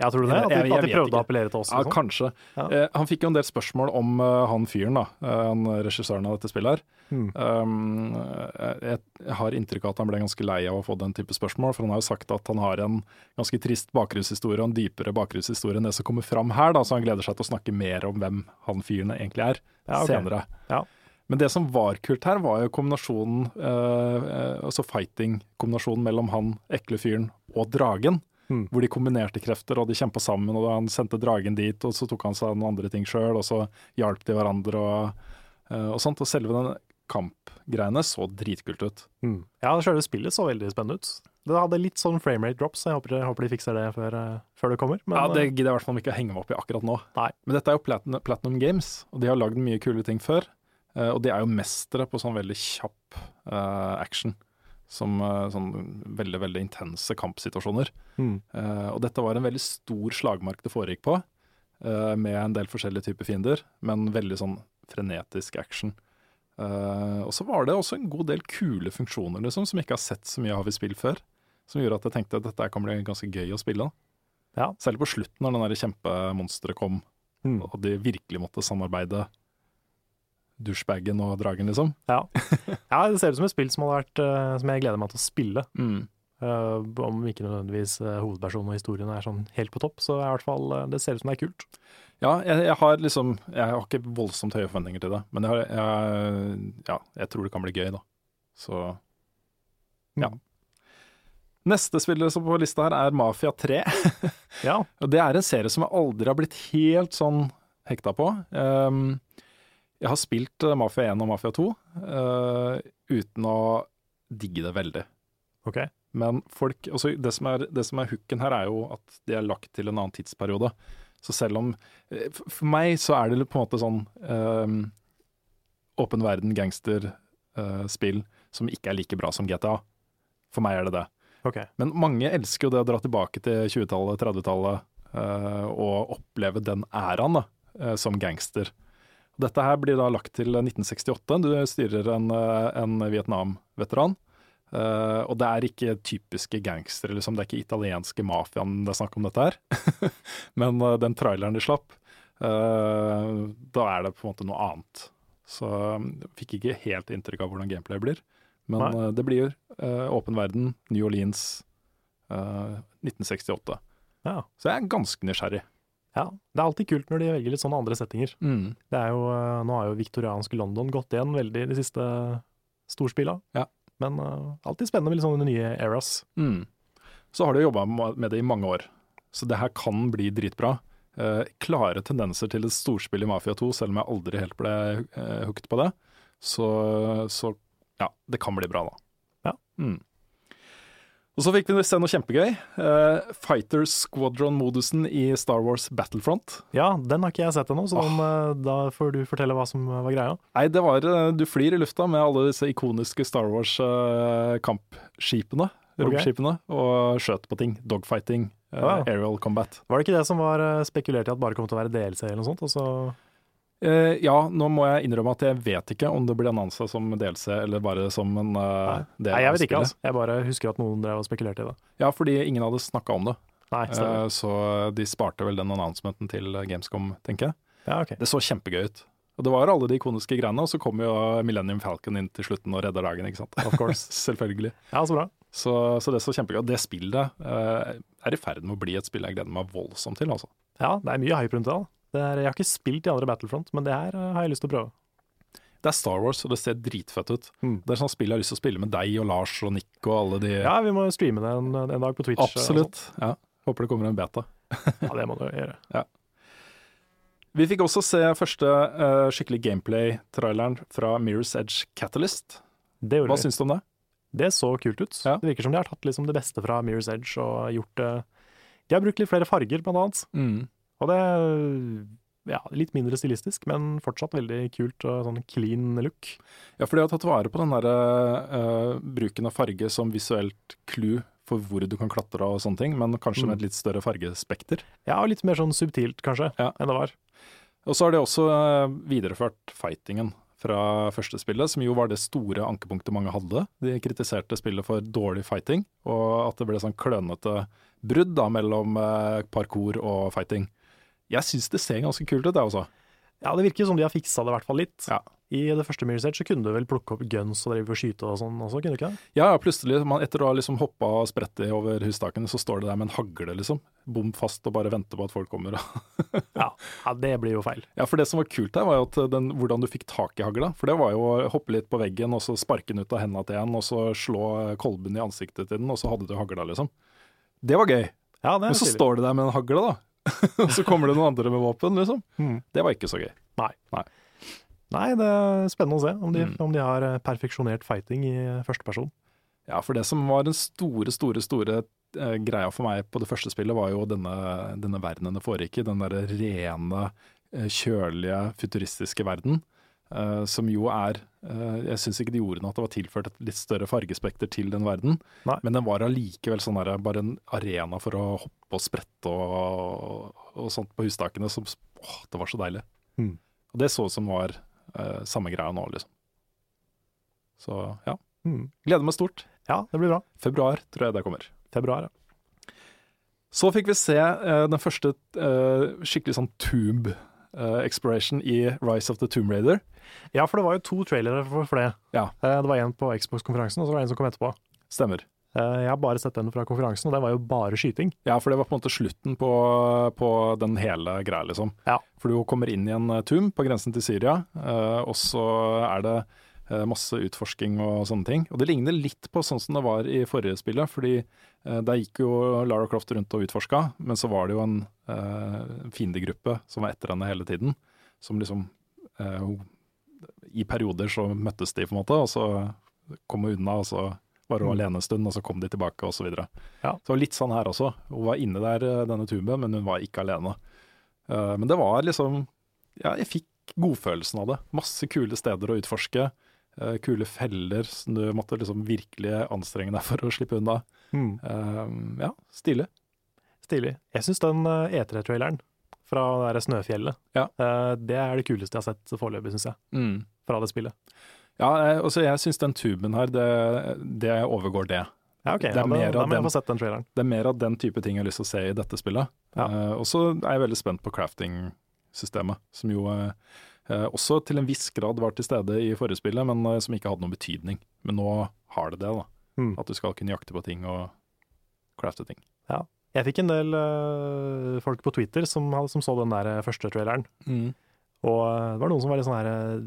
Ja, tror du det?
Jeg-
At de,
jeg- jeg
at de
vet
prøvde å
ikke.
appellere til oss?
Ja,
og sånn?
kanskje.
Ja.
Eh, han fikk jo en del spørsmål om eh, han fyren, da. eh, han regissøren av dette spillet her.
Mm.
Um, eh, jeg, jeg har inntrykk av at han ble ganske lei av å få den type spørsmål, for han har jo sagt at han har en ganske trist bakgrunnshistorie og en dypere bakgrunnshistorie enn det som kommer fram her, da, så han gleder seg til å snakke mer om hvem han fyren egentlig er,
Ja, ok.
senere.
Ja.
Men det som var kult her, var jo kombinasjonen, eh, eh, altså fighting-kombinasjonen mellom han ekle fyren og dragen.
Mm.
Hvor de kombinerte krefter og de kjempa sammen. og Han sendte dragen dit, og så tok han seg av noen andre ting sjøl, og så hjalp de hverandre og, eh, og sånt. Og selve den kampgreiene så dritkult ut.
Mm. Ja, selve spillet så veldig spennende ut. Det hadde litt sånn framerate drops, så jeg håper, håper de fikser det før, eh, før det kommer. Men
Ja, Det
eh,
gidder jeg i hvert fall ikke å henge meg opp i akkurat nå.
Nei.
Men dette er jo Platinum, Platinum Games, og de har lagd mye kule ting før. eh, Og de er jo mestere på sånn veldig kjapp eh, action. Som eh, sånn veldig, veldig intense kampsituasjoner.
Mm.
Eh, og dette var en veldig stor slagmark det foregikk på, eh, med en del forskjellige typer fiender, men veldig sånn frenetisk action. Eh, og så var det også en god del kule funksjoner, liksom, som jeg ikke har sett så mye av i spill før. Som gjorde at jeg tenkte at dette her kan bli ganske gøy å spille. da.
Ja.
Særlig på slutten, når den der kjempemonsteret kom,
Mm.
og de virkelig måtte samarbeide. Douchebagen og dragen, liksom.
ja. ja, det ser ut som et spill som, hadde vært, eh, som jeg gleder meg til å spille. Eh, om ikke nødvendigvis eh, hovedpersonen og historien er sånn helt på topp, så er i hvert fall, eh, det ser ut som det er kult.
Ja, jeg, jeg har liksom Jeg har ikke voldsomt høye forventninger til det, men jeg, har, jeg, ja, jeg tror det kan bli gøy, da. Så ja. Neste spiller som på lista her er Mafia 3.
Ja,
Og det er en serie som jeg aldri har blitt helt sånn hekta på. Ehm, jeg har spilt eh, Mafia 1 og Mafia 2 eh, uten å digge det veldig.
ok.
Men folk, altså det, som er, det som er hooken her, er jo at de er lagt til en annen tidsperiode. Så selv om eh, f- For meg så er det litt på en måte sånn ehm, åpen verden, gangster, eh, spill som ikke er like bra som GTA. For meg er det det.
ok.
Men mange elsker jo det å dra tilbake til 20-tallet, 30-tallet eh, og oppleve den æraen da, eh, som gangster. Dette her blir da lagt til 1968. Du styrer en, eh, en Vietnam-veteran. eh, og det er ikke typiske gangstere, liksom. det er ikke italienske mafiaen det er snakk om dette her. (laughs) Men eh, den traileren de slapp, eh, da er det på en måte noe annet. Så um, jeg fikk ikke helt inntrykk av hvordan gameplay blir. Men
Nei.
eh, det blir eh, åpen verden, New Orleans, eh, 1968.
Ja.
Så jeg er ganske nysgjerrig.
Ja, Det er alltid kult når de velger litt sånne andre settinger. Det er jo, eh, Nå har jo viktorianske London gått igjen veldig de siste storspilla.
Ja.
Men eh, alltid spennende med litt sånne nye eras.
Mm. Så har du jobba med det i mange år, så det her kan bli dritbra. Eh, klare tendenser til et storspill i Mafia 2, selv om jeg aldri helt ble eh, hooked på det. Så, så ja, det kan bli bra, da.
Ja.
Mm. Og så fikk vi se noe kjempegøy. Eh, Fighter Squadron-modusen i Star Wars Battlefront.
Ja, den har ikke jeg sett ennå, så den, eh, da får du fortelle hva som eh, var greia.
Nei, det var eh, Du flyr i lufta med alle disse ikoniske Star Wars-kampskipene. romskipene. Og skjøt på ting. Dogfighting. eh,
Wow.
Aerial combat.
Var det ikke det som var eh, spekulert i at bare kom til å være DLC eller noe sånt? Og så,
Eh, ja, nå må jeg innrømme at jeg vet ikke om det blir annonsa som DLC eller bare som en uh, del
nei, jeg
av
vet ikke,
spillet.
altså. Jeg bare husker at noen drev og spekulerte i det.
Ja, fordi ingen hadde snakka om det.
Nei, stemmer.
Eh, så de sparte vel den announcementen til Gamescom, tenker jeg.
ja, ok.
(laughs) Det så kjempegøy ut. Og det var alle de ikoniske greiene, og så kom jo Millennium Falcon inn til slutten og redda
(laughs)
dagen, ikke sant. Of course. Selvfølgelig.
Ja, så bra.
Så, så det er så kjempegøy. Og Det spillet eh, er i ferd med å bli et spill jeg gleder meg voldsomt til. Altså.
Ja, det er mye hype rundt det. da. Det er, jeg har ikke spilt de andre Battlefront, men det her eh, har jeg lyst til å prøve.
Det er Star Wars, og det ser dritfett ut.
Mm.
Det er sånn spill jeg har lyst til å spille med deg og Lars og Nick og alle de
Ja, vi må jo streame det en, en dag på Twitch. eh, og
Absolutt. Ja. Håper det kommer en beta.
sånt. Ja, det må du gjøre.
Vi fikk også se første eh, skikkelig gameplay-traileren fra Mirror's Edge Catalyst.
Det
Hva
gjorde vi.
syns du om det?
Det så kult ut.
Ja.
Det virker som de har tatt liksom det beste fra Mirror's Edge og gjort det De har brukt litt flere farger, blant annet.
Mm.
Og det er ja, litt mindre stilistisk, men fortsatt veldig kult og sånn clean look.
Ja, for de har tatt vare på den der, eh, bruken av farge som visuelt clou for hvor du kan klatre og sånne ting, men kanskje med et litt større fargespekter.
Ja, og litt mer sånn subtilt, kanskje,
Ja.
enn det var.
Og så har de også eh, videreført fightingen fra første spillet, som jo var det store ankepunktet mange hadde. De kritiserte spillet for dårlig fighting, og at det ble sånn klønete brudd da, mellom eh, parkour og fighting. Jeg syns det ser ganske kult ut, jeg altså. også.
Ja, det virker som de har fiksa det i hvert fall litt.
Ja.
I det første Mirror's Edge så kunne du vel plukke opp guns og drive og skyte og sånn også, kunne du ikke det?
Ja, ja, plutselig, man, etter å ha liksom hoppa og spredt det over hustakene, så står det der med en hagle, liksom. Bom fast og bare venter på at folk kommer. (laughs)
Ja, ja det blir jo feil.
ja, for det som var kult her, var jo at eh, den, hvordan du fikk tak i hagla. For det var jo å hoppe litt på veggen, og så sparke den ut av henda til en, og så slå eh, kolben i ansiktet til den, og så hadde du hagla, liksom. Det var gøy.
Ja, det er
Men så
stilig.
står du der med en hagle, da. (laughs) Og så kommer det noen andre med våpen, liksom.
Mm.
Det var ikke så gøy.
Nei.
Nei.
Nei, det er spennende å se om de,
Mm.
om de har eh, perfeksjonert fighting i eh, første person.
Ja, for det som var den store, store, store eh, greia for meg på det første spillet, var jo denne, denne verdenen det foregikk i. Den derre rene, eh, kjølige, futuristiske verden. eh, som jo er eh, Jeg syns ikke de gjorde noe at det var tilført et litt større fargespekter til den verden,
Nei.
men den var allikevel sånn derre bare en arena for å hoppe og sprette og, og sånt på hustakene. Som, åh, det var så deilig.
Mm.
Og det så ut som var eh, samme greia nå, liksom. Så ja.
Mm.
Gleder meg stort.
Ja, det blir bra.
Februar tror jeg det kommer.
Februar, ja.
Så fikk vi se eh, den første eh, skikkelig sånn tube eh, exploration i Rise of the Tomb Raider.
Ja, for det var jo to trailere for, for det.
Ja.
Eh, Det var en på Xbox-konferansen, og så var det en som kom etterpå.
Stemmer.
Eh, Jeg har bare sett den fra konferansen, og den var jo bare skyting.
Ja, for det var på en måte slutten på, på den hele greia, liksom.
Ja.
For du kommer inn i en eh, tomb på grensen til Syria, eh, og så er det eh, masse utforsking og sånne ting. Og det ligner litt på sånn som det var i forrige spillet, fordi eh, der gikk jo Lara Croft rundt og utforska, men så var det jo en eh, fiendegruppe som var etter henne hele tiden, som liksom eh, hun- I perioder så møttes de, på en måte, og så kom hun unna, og så var hun alene en stund, og så kom de tilbake, og så videre.
Ja.
Så det var litt sånn her også. Hun var inne der, eh, denne tuben, men hun var ikke alene. Eh, Men det var liksom Ja, jeg fikk godfølelsen av det. Masse kule steder å utforske. eh, Kule feller som du måtte liksom virkelig anstrenge deg for å slippe unna. Eh, Ja, stilig.
Mm. Stilig. Jeg syns den eh, E3-traileren fra det der Snøfjellet,
Ja.
eh, det er det kuleste jeg har sett foreløpig, syns jeg, fra det spillet.
Ja, eh, altså jeg syns den tuben her, det, det overgår det.
Ja, ok.
Det er
ja, da-
mer av
da må
den-
jeg få sett den traileren.
Det er mer av den type ting jeg har lyst til å se i dette spillet.
Ja.
Eh, og så er jeg veldig spent på crafting-systemet, som jo eh, eh, også til en viss grad var til stede i forrige spillet, men eh, som ikke hadde noen betydning. Men nå har det det, da.
Mm.
At du skal kunne jakte på ting og crafte ting.
Jeg fikk en del eh, folk på Twitter som, hadde- som så den der eh, første traileren. Og eh, det var noen som var litt sånn her eh,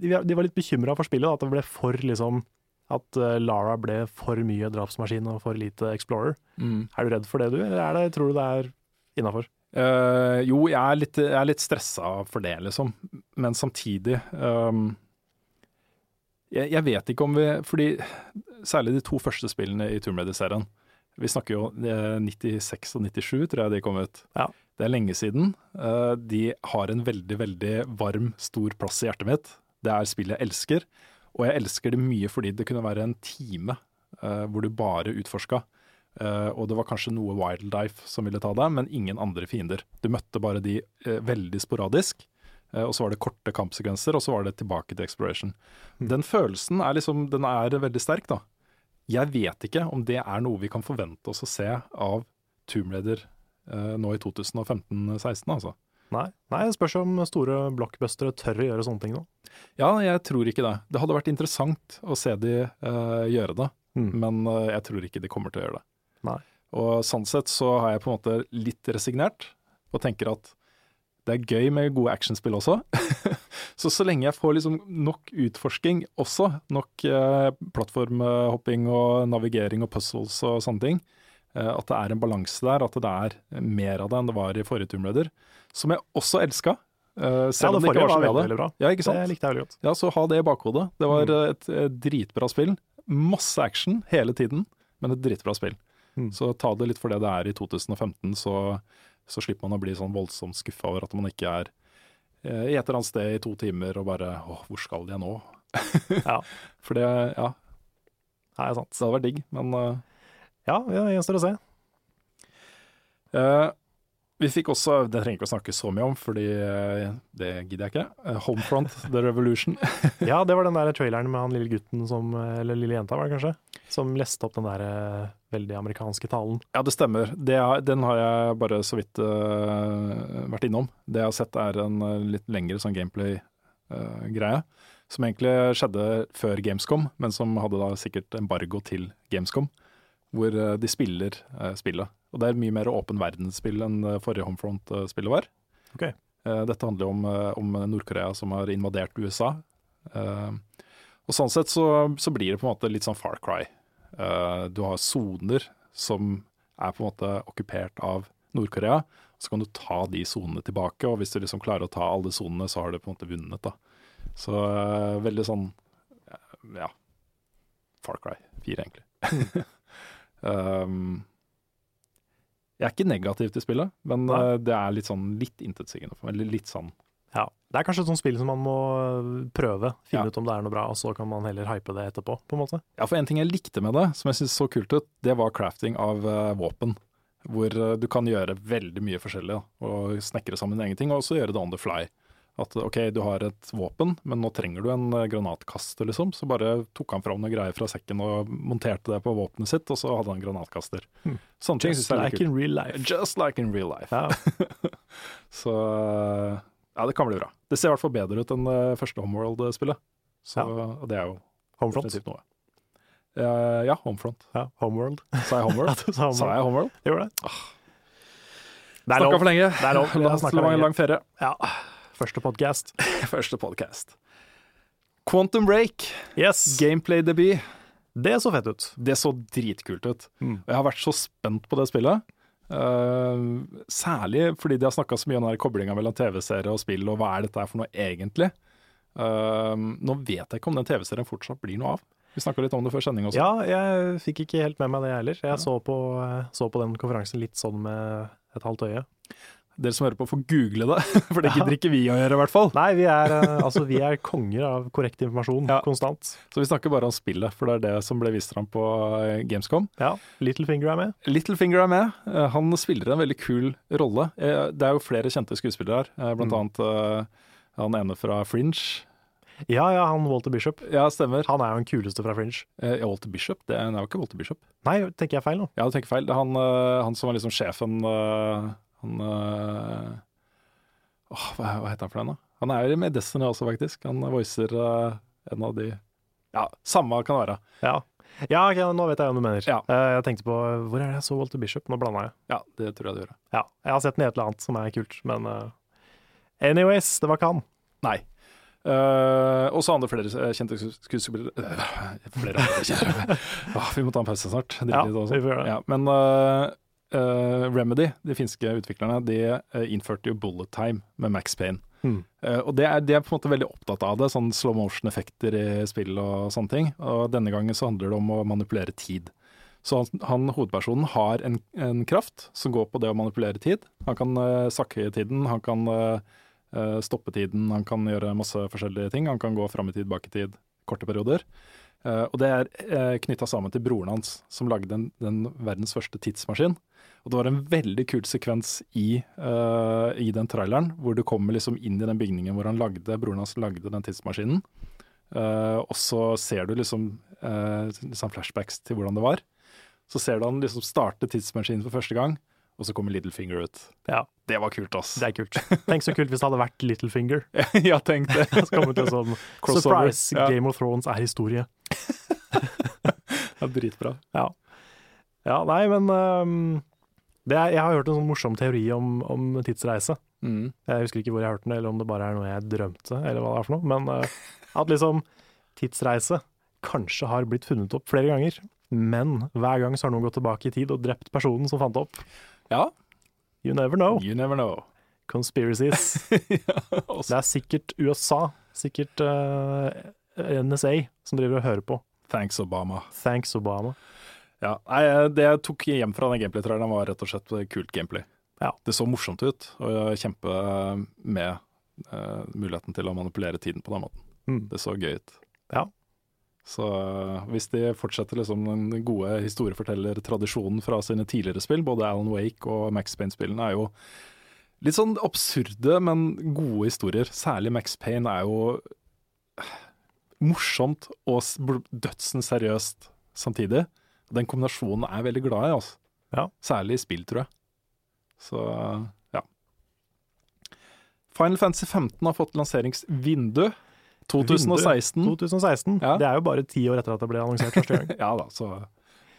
De var- de var litt bekymra for spillet, da, at det ble for liksom At eh, Lara ble for mye drapsmaskin og for lite Explorer. Er du redd for det, du, eller er det, tror du det er innafor?
Eh, jo, jeg er, litt, jeg er litt stressa for det, liksom. Men samtidig ehm, jeg, jeg vet ikke om vi Fordi særlig de to første spillene i Tomb Raider-serien Vi snakker jo eh, 96 og 97, tror jeg de kom ut.
Ja.
Det er lenge siden. Eh, de har en veldig, veldig varm, stor plass i hjertet mitt. Det er spill jeg elsker. Og jeg elsker det mye fordi det kunne være en time eh, hvor du bare utforska. Eh, og det var kanskje noe wildlife som ville ta deg, men ingen andre fiender. Du møtte bare de eh, veldig sporadisk, eh, og så var det korte kampsekvenser, og så var det tilbake til exploration. Den følelsen er liksom, den er veldig sterk, da. Jeg vet ikke om det er noe vi kan forvente oss å se av Tomb Raider eh, nå i 2015-16, altså.
Nei. Nei, det spørs om store blockbustere tør å gjøre sånne ting nå.
Ja, jeg tror ikke det. Det hadde vært interessant å se de eh, gjøre det,
Mm.
men eh, jeg tror ikke de kommer til å gjøre det.
Nei.
Og sånn sett så har jeg på en måte litt resignert, og tenker at det er gøy med gode actionspill også. (laughs) så så lenge jeg får liksom nok utforsking også, nok eh, plattformhopping og navigering og puzzles og sånne ting, eh, at det er en balanse der, at det er mer av det enn det var i forrige Tomb Raider, som jeg også elska, Eh,
Ja,
selv om
det
det ikke
forrige
var så
var
bra.
veldig, veldig bra.
Ja, ikke sant?
Det likte jeg veldig godt.
Ja, så ha det i bakhodet. Det
Mm.
var eh, et, eh, dritbra spill. Masse action hele tiden, men et dritbra spill.
Mm.
Så ta det litt for det det er i 2015, så, så slipper man å bli sånn voldsomt skuffa over at man ikke er eh, i et eller annet sted i to timer og bare åh, hvor skal jeg nå? (laughs)
Ja.
For det, ja,
Nei, det er sant.
det hadde vært digg, men eh,
Ja, det gjenstår å se.
Eh, vi fikk også, det trenger ikke å snakke så mye om, fordi eh, det gidder jeg ikke, eh, Homefront The Revolution.
Ja, det var den der traileren med han lille gutten som Eller lille jenta, var det kanskje? Som leste opp den der eh, veldig amerikanske talen.
Ja, det stemmer. Det er, den har jeg bare så vidt eh, vært innom. Det jeg har sett er en eh, litt lengre sånn gameplay-greie, som egentlig skjedde før Gamescom, men som hadde da sikkert embargo til Gamescom, hvor eh, de spiller eh, spillet. Og det er mye mer åpen verdensspill enn det forrige Homefront-spillet var.
Ok.
Eh, Dette handler om, eh, om Nord-Korea som har invadert USA. Eh, Og sånn sett så, så blir det på en måte litt sånn Far Cry. Eh, Du har soner som er på en måte okkupert av Nord-Korea. Så kan du ta de sonene tilbake, og hvis du liksom klarer å ta alle sonene, så har du på en måte vunnet. da. Så eh, veldig sånn eh, ja Far Cry 4, egentlig. (laughs) um, jeg er ikke negativ til spillet, men
Nei.
eh, det er litt sånn litt intetsigende for meg. Eller litt sånn
Ja. Det er kanskje et sånt spill som man må eh, prøve, finne
Ja.
ut om det er noe bra, og så kan man heller hype det etterpå, på en måte.
Ja, for en ting jeg likte med det, som jeg syntes så kult ut, det var crafting av eh, våpen. Hvor eh, du kan gjøre veldig mye forskjellig, da, og snekre sammen egne ting, og også gjøre det on the fly. At ok, du har et våpen, men nå trenger du en eh, granatkaster, liksom. Så bare tok han fram noen greier fra sekken og monterte det på våpenet sitt, og så hadde han granatkaster. Sånne ting syns Hmm. jeg er litt
like
kult.
in real life.
Just like in real life.
Ja.
Så eh, ja, det kan bli bra. Det ser i hvert fall bedre ut enn det første Homeworld-spillet. Så og det er jo
Homefront.
definitivt noe. Eh, ja, Homefront.
Ja, Homeworld. (laughs)
Sa jeg (laughs) Homeworld?
Ja, du sa Homeworld.
Sa jeg Homeworld?
Det gjorde det. Det
Snakka Ah. for lenge.
er lov. Vi har
(laughs) La oss
snakket
la meg
lenge.
lang ferie.
Ja. Første podkast.
(laughs) Første podcast. Quantum Break,
Yes!
gameplay-debut.
Det så fett ut.
Det så dritkult ut. Og Jeg har vært så spent på det spillet. Eh, særlig fordi de har snakka så mye om koblinga mellom TV-serie og spill, og hva er dette her for noe egentlig? Eh, nå vet jeg ikke om den TV-serien fortsatt blir noe av. Vi snakka litt om det før sending også.
Ja, jeg fikk ikke helt med meg det, jeg heller. Jeg så, på, eh, så på den konferansen litt sånn med et halvt øye.
Dere som hører på, får google det, (laughs) for det gidder ikke vi å gjøre, i hvert fall.
Nei, vi er, eh, altså, vi er konger av korrekt informasjon
Ja.
konstant.
Så vi snakker bare om spillet, for det er det som ble vist fram på eh, Gamescom.
Ja, Littlefinger er med.
Littlefinger er med. Eh, Han spiller en veldig kul rolle. Eh, Det er jo flere kjente skuespillere her, eh, blant annet eh, han ene fra Fringe.
Ja, ja, han Walter Bishop.
Ja, stemmer.
Han er jo den kuleste fra Fringe.
Eh, Walter Bishop? Det er, nei, det var ikke Walter Bishop.
Nei, tenker jeg feil nå?
Ja, du tenker feil. Det er han, eh, han som var liksom sjefen eh, Han eh, åh, hva, hva heter han for den, da? Han er jo med i Destiny også, faktisk. Han voicer eh, en av de Ja, samme kan det være.
Ja, ja ok, nå vet jeg hva du mener.
Ja.
Eh, Jeg tenkte på hvor er det jeg så Walter Bishop? Nå blanda jeg.
Ja, det tror jeg du gjør.
Ja, jeg har sett den i et eller annet som er kult, men eh, Anyways, det var ikke han.
Nei. Eh, og så andre flere eh, kjente skues- skuespillere Eh, Flere andre kjente (laughs) Åh, Vi må ta en pause snart. Drikke
Ja,
litt også.
vi får gjøre det.
Ja, men eh, eh, Remedy, de finske utviklerne, de eh, innførte jo bullet time med Max Payne.
Mm.
Eh, og det er, de er på en måte veldig opptatt av det, sånn slow motion-effekter i spill og sånne ting. Og denne gangen så handler det om å manipulere tid. Så han, han hovedpersonen har en, en kraft som går på det å manipulere tid. Han kan eh, sakke tiden, han kan eh, eh, stoppe tiden, han kan gjøre masse forskjellige ting. Han kan gå fram i tid, bak i tid, korte perioder. Eh, og det er uh, knytta sammen til broren hans, som lagde den, den verdens første tidsmaskin. Og det var en veldig kul sekvens i, eh, i den traileren, hvor du kommer liksom inn i den bygningen hvor han lagde, broren hans lagde den tidsmaskinen. Eh, og så ser du liksom, eh, liksom flashbacks til hvordan det var. Så ser du han liksom starte tidsmaskinen for første gang, og så kommer Littlefinger ut.
Ja,
Det var kult, ass. (laughs)
det er kult. Tenk så kult hvis det hadde vært Littlefinger.
ja, tenk det.
Så kommer det som
Crossover,
sånn Surprise!
ja.
Game of Thrones er historie.
Ja, dritbra.
Ja. ja nei, men ehm, det er, Jeg har hørt en sånn morsom teori om, om tidsreise.
Mm.
Jeg husker ikke hvor jeg hørte den, eller om det bare er noe jeg drømte, eller hva det er for noe. Men eh, at liksom tidsreise kanskje har blitt funnet opp flere ganger. Men hver gang så har noen gått tilbake i tid og drept personen som fant det opp.
Ja,
Oh. You
altså.
never know.
you never know.
Conspiracies.
(laughs)
Det er sikkert USA, sikkert eh, NSA, som driver og hører på.
Thanks, Obama.
Thanks, Obama.
Ja, nei, eh, det jeg tok hjem fra den gameplay-traileren var rett og slett kult gameplay.
Ja.
Det så morsomt ut, og kjempe med eh, muligheten til å manipulere tiden på den måten.
Mm.
Det så gøy ut.
Ja.
Så eh, hvis de fortsetter liksom den gode historiefortellertradisjonen fra sine tidligere spill, både Alan Wake og Max Payne-spillene er jo litt sånn absurde, men gode historier. Særlig Max Payne er jo eh, morsomt og s- bl- dødsen seriøst samtidig. Den kombinasjonen er jeg veldig glad i, altså.
Ja.
Særlig i spill, tror jeg. Så ja. Final Fantasy 15 har fått lanseringsvindu 2016.
2016.
Ja.
Det er jo bare ti år etter at det ble annonsert første gang.
(laughs) Ja da, så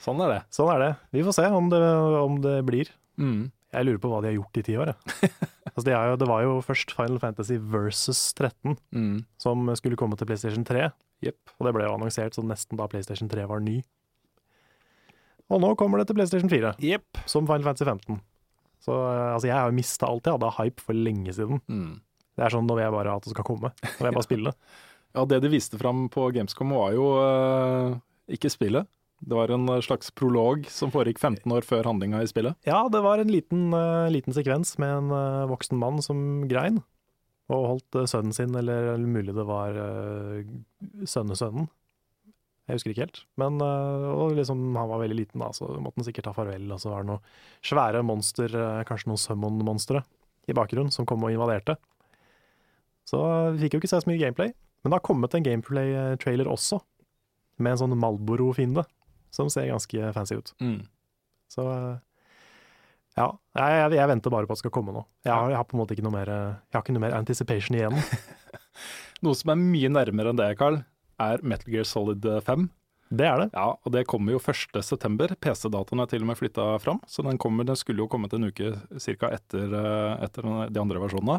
sånn er det.
Sånn er det. Vi får se om det, om det blir.
Mm.
Jeg lurer på hva de har gjort i ti år. Jeg. Altså, det, er jo, det var jo først Final Fantasy versus 13
Mm.
som skulle komme til PlayStation 3,
Jepp.
og det ble jo annonsert sånn nesten da PlayStation 3 var ny. Og nå kommer det til PlayStation 4,
Jepp.
som Final Fantasy 15. Så eh, altså, jeg har jo mista alt jeg hadde av hype for lenge siden.
Mm.
Det er sånn nå vil jeg bare at det skal komme, nå vil jeg bare spille.
Ja, det de viste fram på Gamescom var jo eh, ikke spillet. Det var en eh, slags prolog som foregikk 15 år før handlinga i spillet.
Ja, det var en liten, eh, liten sekvens med en eh, voksen mann som grein. Og holdt eh, sønnen sin, eller, eller mulig det var uh, sønnesønnen. Jeg husker ikke helt. Men eh, og liksom, han var veldig liten, da, så måtte han sikkert ta farvel. Og så var det noen svære monster, eh, kanskje noen summon-monstre, i bakgrunnen, som kom og invaderte. Så eh, vi fikk jo ikke se så mye gameplay. Men det har kommet en gameplay-trailer også, med en sånn Malboro-fiende, som ser ganske fancy ut.
Mm.
Så eh, ja, jeg, jeg, jeg venter bare på at det skal komme nå. Jeg har, jeg har på en måte ikke noe mer eh, Jeg har ikke noe mer anticipation
(laughs)
igjen.
Noe som er mye nærmere enn det, Carl, er Metal Gear Solid eh, 5.
Det er det.
Ja, og det kommer jo 1.9. PC-dataen er til og med flytta fram, så den, kommer, den skulle jo kommet en uke cirka etter, eh, etter den- de andre versjonene.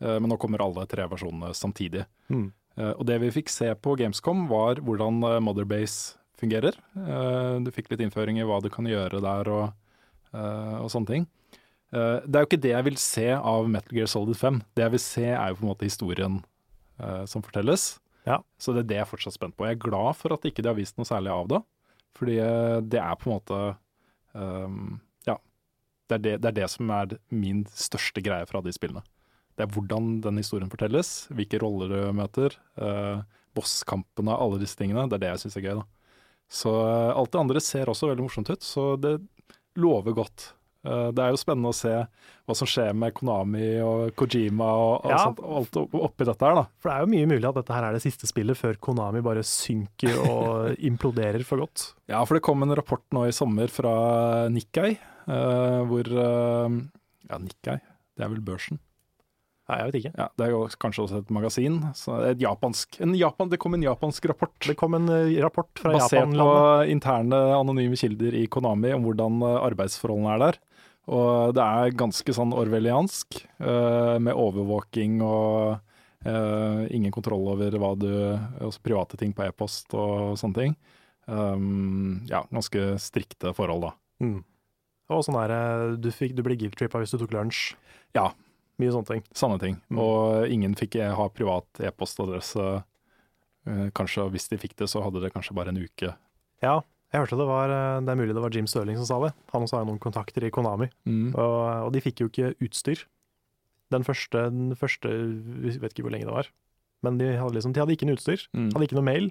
Eh, Men nå kommer alle tre versjonene samtidig.
Mm.
Eh, Og det vi fikk se på Gamescom var hvordan eh, Motherbase fungerer. Eh, Du fikk litt innføring i hva du kan gjøre der og, eh, og sånne ting. Eh, Det er jo ikke det jeg vil se av Metal Gear Solid 5. Det jeg vil se er jo på en måte historien eh, som fortelles.
Ja.
Så det er det jeg er fortsatt spent på. Jeg er glad for at ikke de har vist noe særlig av det. Fordi eh, det er på en måte ehm, Ja. Det er det, det er det som er min største greie fra de spillene. Det er hvordan den historien fortelles, hvilke roller du møter, eh, bosskampene, alle disse tingene. Det er det jeg syns er gøy. da. Så eh, alt det andre ser også veldig morsomt ut, så det lover godt. Eh, det er jo spennende å se hva som skjer med Konami og Kojima og, og,
Ja.
sånt, og alt opp- oppi dette her, da.
For det er jo mye mulig at dette her er det siste spillet før Konami bare synker
(laughs)
og imploderer for godt.
Ja, for det kom en rapport nå i sommer fra Nikkei, eh, hvor eh, Ja, Nikkei, det er vel børsen?
Nei, jeg vet ikke.
Ja, Det er jo kanskje også et magasin. Så et japansk, en Japan, det kom en japansk rapport.
Det kom en eh, rapport fra
Basert på
Japanlandet.
interne anonyme kilder i Konami om hvordan eh, arbeidsforholdene er der. Og det er ganske sånn orwelliansk, eh, med overvåking og eh, ingen kontroll over hva du også Private ting på e-post og sånne ting. Um, ja, ganske strikte forhold, da.
Mm. Og sånn er det, du, fikk- du ble guilt-trippa hvis du tok lunsj.
Ja,
Mye sånne ting.
Samme ting.
Mm.
Og ingen fikk eh, ha privat e-postadresse. Eh, Kanskje Hvis de fikk det, så hadde det kanskje bare en uke.
Ja, jeg hørte det var eh, Det er mulig det var Jim Stirling som sa det. Han også har jo noen kontakter i Konami. Og, og de fikk jo ikke utstyr. Den første, den første vi Vet ikke hvor lenge det var. Men de hadde, liksom, de hadde ikke noe utstyr.
Mm.
Hadde ikke noe mail.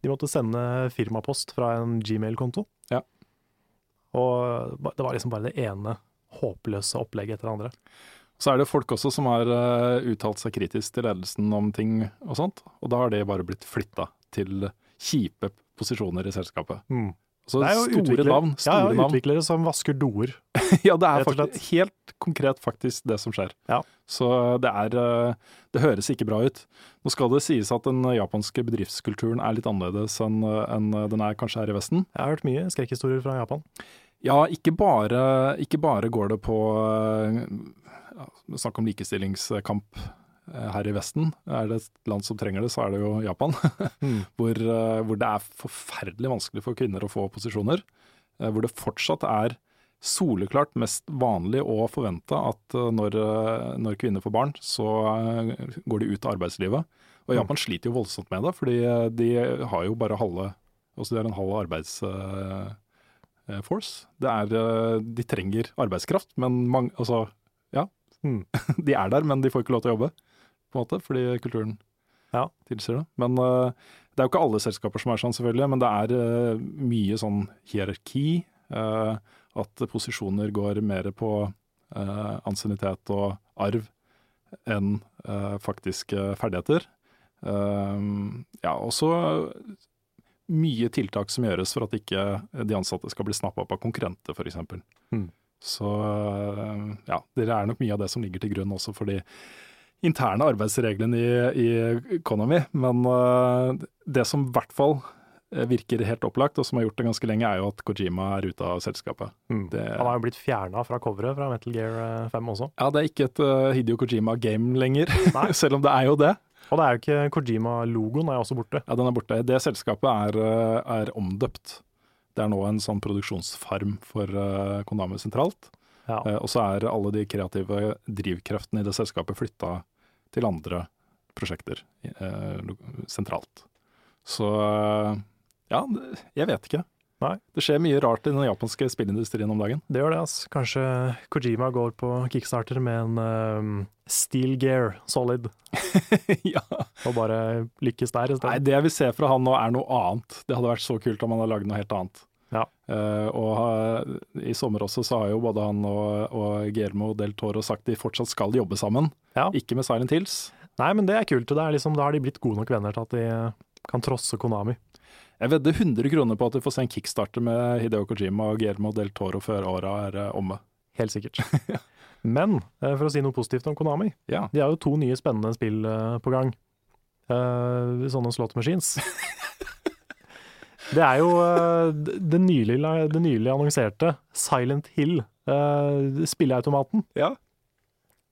De måtte sende firmapost fra en Gmail-konto.
Ja.
Og ba- det var liksom bare det ene håpløse opplegget etter det andre.
Så er det folk også som har eh, uttalt seg kritisk til ledelsen om ting og sånt, og da har det bare blitt flytta til kjipe posisjoner i selskapet.
Mm.
Så store
utvikler-
navn. Store
ja, ja,
navn.
utviklere som vasker doer.
(laughs) Ja, det er
Rett og slett.
faktisk, helt konkret faktisk det som skjer.
Ja.
Så det er eh, Det høres ikke bra ut. Nå skal det sies at den japanske bedriftskulturen er litt annerledes enn enn den er kanskje her i Vesten.
Jeg har hørt mye skrekkhistorier fra Japan.
Ja, ikke bare, ikke bare går det på eh, ja, Snakk om likestillingskamp eh, her i Vesten. Er det et land som trenger det, så er det jo Japan. (laughs) hvor, eh, hvor det er forferdelig vanskelig for kvinner å få posisjoner. eh, Hvor det fortsatt er soleklart mest vanlig og forventa at eh, når, eh, når kvinner får barn, så eh, går de ut av arbeidslivet. Og Japan sliter jo voldsomt med det, fordi eh, de har jo bare halve Altså de har en halv eh, arbeidsforce. Det er eh, De trenger arbeidskraft, men mange Altså, ja. hmm.
Mm.
(laughs) De er der, men de får ikke lov til å jobbe, på en måte, fordi kulturen
Ja.
tilsier det. Men eh, det er jo ikke alle selskaper som er sånn, selvfølgelig, men det er eh, mye sånn hierarki. eh, at posisjoner går mer på eh, ansiennitet og arv enn eh, faktiske ferdigheter. Ehm, ja, også mye tiltak som gjøres for at ikke de ansatte skal bli snappa opp av konkurrenter, f.eks.
Mm.
Så eh, ja, det er nok mye av det som ligger til grunn også for de interne arbeidsreglene i, i Economy. Men eh, det som i hvert fall eh, virker helt opplagt, og som har gjort det ganske lenge, er jo at Kojima er ute av selskapet.
Mm.
Det-
Han har jo blitt fjerna fra coveret fra Metal Gear eh, 5 også.
Ja, det er ikke et eh, Hideo Kojima-game lenger,
Nei.
(laughs) selv om det er jo det.
Og det er jo ikke Kojima-logoen er jo også borte.
Ja, den er borte. Det selskapet er, eh, er omdøpt. Det er nå en sånn produksjonsfarm for eh, Konami sentralt.
Ja.
Eh, Og så er alle de kreative drivkreftene i det selskapet flytta til andre prosjekter eh, lo- sentralt. Så eh, ja, det- jeg vet ikke.
Nei.
Det skjer mye rart i den japanske spillindustrien om
(laughs)
dagen.
Det gjør det, altså. Kanskje Kojima går på kickstarter med en eh, Steel Gear Solid,
ja.
og bare lykkes der i
Nei,
stedet.
det jeg vil se fra han nå er noe annet. Det hadde vært så kult om han hadde lagd noe helt annet.
Ja.
Eh, og eh, i sommer også så har jo både han og, og Guillermo del Toro sagt de fortsatt skal jobbe sammen.
Ja.
Ikke med Silent Hills.
Nei, men det er kult. Det er liksom, da har de blitt gode nok venner til at de eh, kan trosse Konami.
Jeg vedder 100 kroner på at du får se en kickstarter med Hideo Kojima og Guillermo del Toro før åra er eh, omme.
Helt sikkert. Men eh, for å si noe positivt om Konami,
Ja.
de har jo to nye spennende spill eh, på gang. Eh, sånne slot machines. det er jo eh, d- det nylig, la- det nylig annonserte Silent Hill, eh, spilleautomaten,
Ja.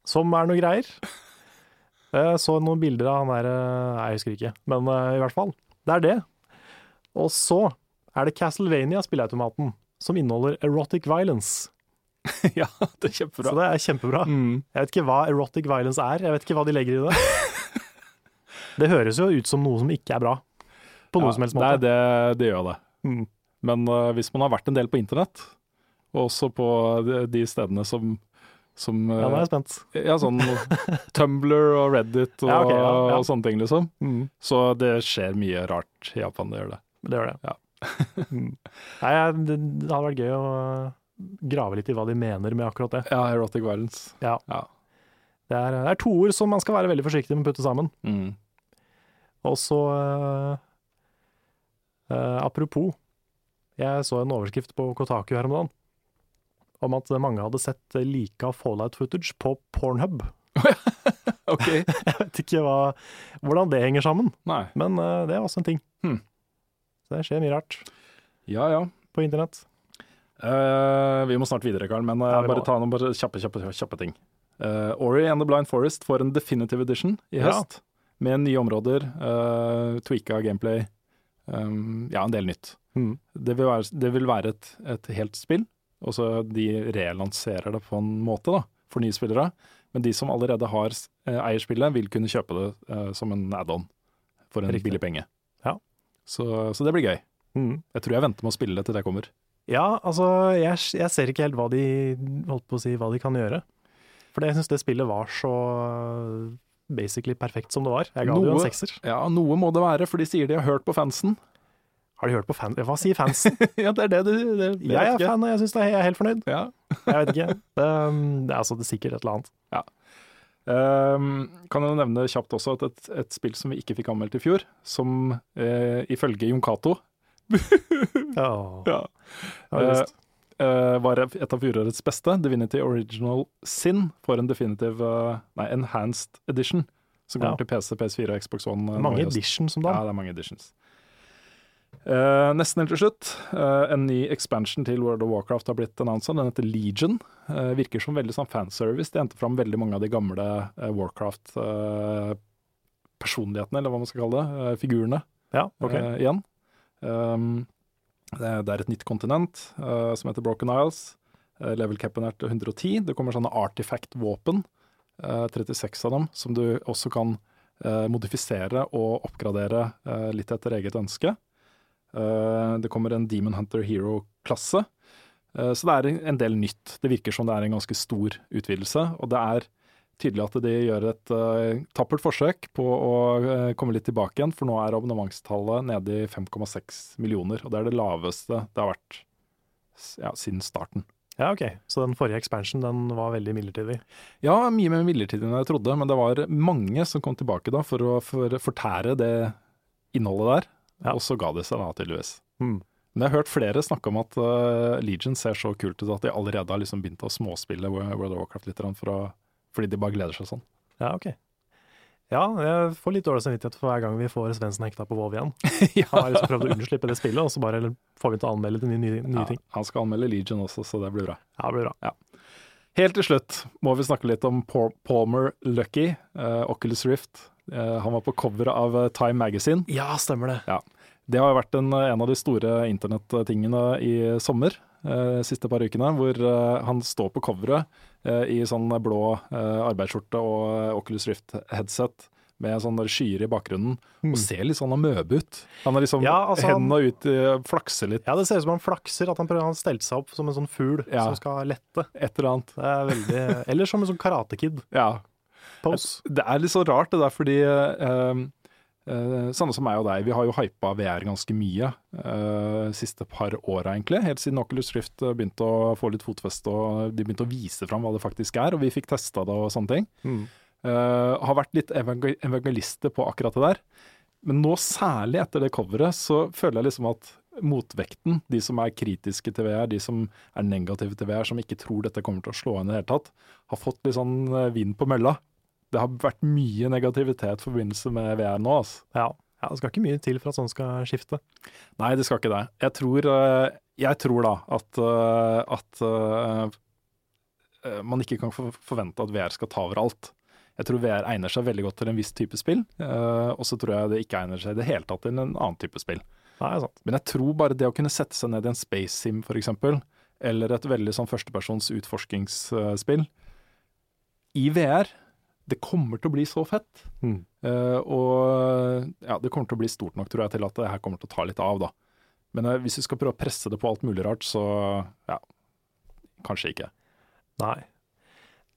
som er noe greier. Jeg så noen bilder av han der eh, Nei, jeg husker ikke, men eh, i hvert fall. Det er det. Og så er det Castlevania-spilleautomaten, som inneholder erotic violence.
(laughs) ja, det er kjempebra.
Så det er kjempebra.
Mm.
Jeg vet ikke hva erotic violence er. Jeg vet ikke hva de legger
(laughs)
i det. Det høres jo ut som noe som ikke er bra. På noen
Ja,
som helst
Nei,
måte. Mm.
det, det gjør det. Men eh, hvis man har vært en del på internett, og også på de, de stedene som, som eh,
Ja, nå er jeg spent.
Ja,
(laughs)
sånn Tumblr og Reddit og,
Ja, ok, ja, ja.
og sånne ting, liksom.
Mm.
Så det skjer mye rart i Japan, det gjør det.
Det gjør det. (laughs) Mm.
Ja.
Nei, jeg- det det hadde vært gøy å eh, grave litt i hva de mener med akkurat det.
Ja, erotic violence.
Ja.
Ja.
Det er, det er to ord som man skal være veldig forsiktig med å putte sammen.
Mm.
Og så eh, eh, Apropos, jeg så en overskrift på Kotaku her om dagen om at mange hadde sett lika fallout footage på Pornhub. (laughs)
OK.
vet ikke hva, hvordan det henger sammen,
(laughs) Nei.
men eh, det er også en ting.
Hmm.
Så det skjer mye rart
Ja, ja.
på internett.
Eh, vi må snart videre, Karl, men eh,
Ja, vi må det.
bare ta noen bare kjappe, kjappe, kjappe ting. Eh, Ori and the Blind Forest får en definitive edition i
Ja.
høst, med nye områder, uh, tweaka gameplay, um, ja, en del nytt.
Mm.
Det vil være, det vil være et, et helt spill, og så de relanserer det på en måte da, for nye spillere. Men de som allerede har eh, eier spillet, vil kunne kjøpe det eh, som en add-on for en
Riktig.
billig penge.
Ja.
Så, så det blir gøy.
Mm.
Jeg tror jeg venter med å spille det til det kommer.
Ja, altså, jeg, jeg ser ikke helt hva de, holdt på å si, hva de kan gjøre. For jeg synes det spillet var så basically perfekt som det var. Jeg ga det jo
Noe-
en sekser.
Ja, noe må det være, for de sier de har hørt på fansen.
Har de hørt på fan... Hva sier fansen?
(laughs) ja, det er det du det, det
jeg er
vet ikke.
fan, og jeg synes det er, jeg er helt fornøyd.
Ja.
Jeg vet
(laughs)
ikke. Det, det er altså det er sikkert et eller annet.
Ehm, kan jeg nevne kjapt også at et, et spill som vi ikke fikk anmeldt i fjor, som eh, ifølge Jon Cato
Åh,
ja.
det var lyst.
eh, var et av fjorårets beste. Divinity Original Sin får en definitiv eh, Nei, enhanced edition, som
Ja.
kommer til PC, PS4 og Xbox One. eh, nå
Mange
i høst.
edition som
Ja,
da.
det er mange editions. Eh, nesten helt til slutt. eh, en ny expansion til World of Warcraft har blitt annonsa. Den heter Legion. Eh, virker som veldig sånn fanservice. De henter fram veldig mange av de gamle eh, Warcraft-personlighetene, eller hva man skal kalle det. eh, figurene
Ja, ok.
eh, igjen. Ehm, Um, det, er- det er et nytt kontinent eh, som heter Broken Isles. Eh, Level capen er til 110. Det kommer sånne artifact-våpen, eh, 36 av dem, som du også kan eh, modifisere og oppgradere eh, litt etter eget ønske. Eh, Det kommer en Demon Hunter Hero-klasse. Eh, Så det er en del nytt. Det virker som det er en ganske stor utvidelse. Og det er tydelig at de gjør et eh, tappert forsøk på å eh, komme litt tilbake igjen, for nå er abonnementstallet nede i 5,6 millioner. Og det er det laveste det har vært s- ja, siden starten.
Ja, ok. Så den forrige expansion den var veldig midlertidig.
Ja, mye mer midlertidig enn jeg trodde, men det var mange som kom tilbake da for å for fortære det innholdet der. Og så ga det seg da, tydeligvis.
Mm.
Men jeg har hørt flere snakke om at eh, Legion ser så kult ut at de allerede har liksom begynt å småspille World of Warcraft litt, grann for å, fordi de bare gleder seg sånn.
Ja, ok. Ja, jeg får litt dårlig samvittighet for hver gang vi får Svendsen hekta på Vov igjen.
(laughs) ja.
Han har liksom prøvd å unnslippe det spillet, og så bare får vi til å anmelde til nye, nye, nye ting.
han skal anmelde Legion også, så det blir bra.
Ja, det blir bra.
Helt til slutt må vi snakke litt om Paul- Palmer Lucky, eh, Oculus Rift. Eh, han var på coveret av eh, Time Magazine.
Ja, stemmer det.
Det har jo vært en, eh, en av de store internettingene i sommer, eh, siste par ukene, hvor eh, han står på coveret eh, i sånn blå eh, arbeidsskjorte og eh, Oculus Rift headset med sånne skyer i bakgrunnen, og ser litt sånn amøbe ut. Han har liksom
Mm. Ja, altså, han-
hendene ut, eh, flakser litt,
Ja, det ser ut som han flakser, at han prøver han stelte seg opp som en sånn fugl
Ja.
som skal lette.
et eller annet.
Det er veldig, Eller som en sånn karatekid-pose.
Ja. Det er litt så rart det der, fordi eh, eh, sånne som meg og deg, vi har jo hypa VR ganske mye eh, siste par åra, egentlig. Helt siden Oculus Rift eh, begynte å få litt fotfeste og de begynte å vise fram hva det faktisk er, og vi fikk testa det og sånne ting. Eh, har vært litt evangel evangelister på akkurat det der. Men nå særlig etter det coveret, så føler jeg liksom at motvekten, de som er kritiske til VR, de som er negative til VR, som ikke tror dette kommer til å slå an i det hele tatt, har fått litt sånn eh, vind på mølla. Det har vært mye negativitet i forbindelse med VR nå. Altså.
Ja. ja, det skal ikke mye til for at sånn skal skifte.
Nei, det skal ikke det. Jeg tror, eh, jeg tror da at, eh, at eh, eh, man ikke kan for- forvente at VR skal ta over alt. Jeg tror VR egner seg veldig godt til en viss type spill, eh, og så tror jeg det ikke egner seg i det hele tatt til en annen type spill.
(laughs) Nei, sant.
Men jeg tror bare det å kunne sette seg ned i en space sim f.eks., eller et veldig sånn førstepersons utforskingsspill i VR, det kommer til å bli så fett.
Mm.
Eh, og ja, det kommer til å bli stort nok, tror jeg, til at det her kommer til å ta litt av, da. Men eh, hvis du skal prøve å presse det på alt mulig rart, så ja, kanskje ikke.
Nei.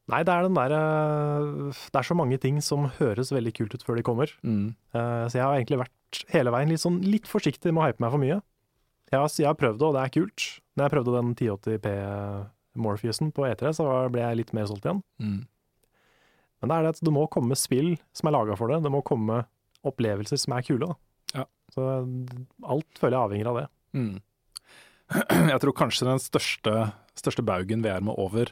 Nei, det er den der eh, Det er så mange ting som høres veldig kult ut før de kommer.
Mm,
Eh, Så jeg har egentlig vært hele veien litt, sånn, litt forsiktig med å hype meg for mye. Jeg har, jeg har prøvd det, og det er kult. Når jeg prøvde den 1080P Morpheusen på E3, så var- ble jeg litt mer solgt igjen.
Mm.
Men det er det at det må komme spill som er laga for det. Det må komme opplevelser som er kule. Da.
Ja.
Så eh, alt føler jeg avhenger av det.
mm. (clears throat) Jeg tror kanskje den største, største baugen VR må over,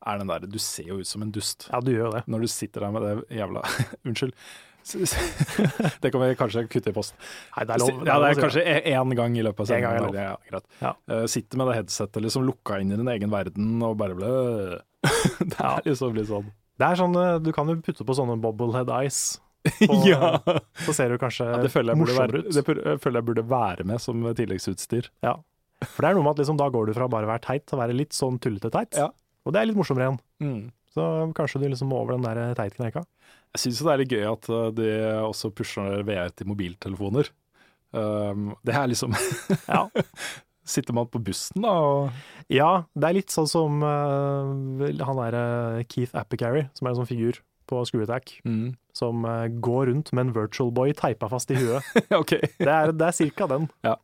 er den der du ser jo ut som en dust.
Ja, du gjør jo det.
Når du sitter der med det jævla (laughs) Unnskyld. S- s- Det kan vi kanskje kutte i posten.
Nei, det er lov.
ja, det er
lov å si
kanskje én gang i løpet av
En gang er
sendingen.
lov.
Ja, greit.
Ja.
Eh, sitter med det headsetet liksom lukka inn i din egen verden og bare ble (laughs) Det er liksom litt
(laughs)
sånn.
Det er sånn, eh, Du kan jo putte på sånne bobblehead eyes, på- så ser du kanskje
(laughs) Ja, det føler, jeg burde
morsommere
være,
ut.
det pur- jeg føler jeg burde være med som tilleggsutstyr.
Ja. For det er noe med at liksom, da går du fra bare å være teit til å være litt sånn tullete teit.
Ja.
Og det er litt morsommere igjen. Så kanskje du liksom må over den der teitkneika.
Jeg syns det er litt gøy at eh, de også pusher VR til mobiltelefoner. Um, det er liksom (laughs)
Ja.
Sitter man på bussen da og
(laughs) ja, det er litt sånn som eh, vel, han der eh, Keith Appicarry, som er en sånn figur på Screw Attack, som eh, går rundt med en virtual boy teipa fast i huet.
(laughs) OK.
Det er, det er cirka den.
Nei,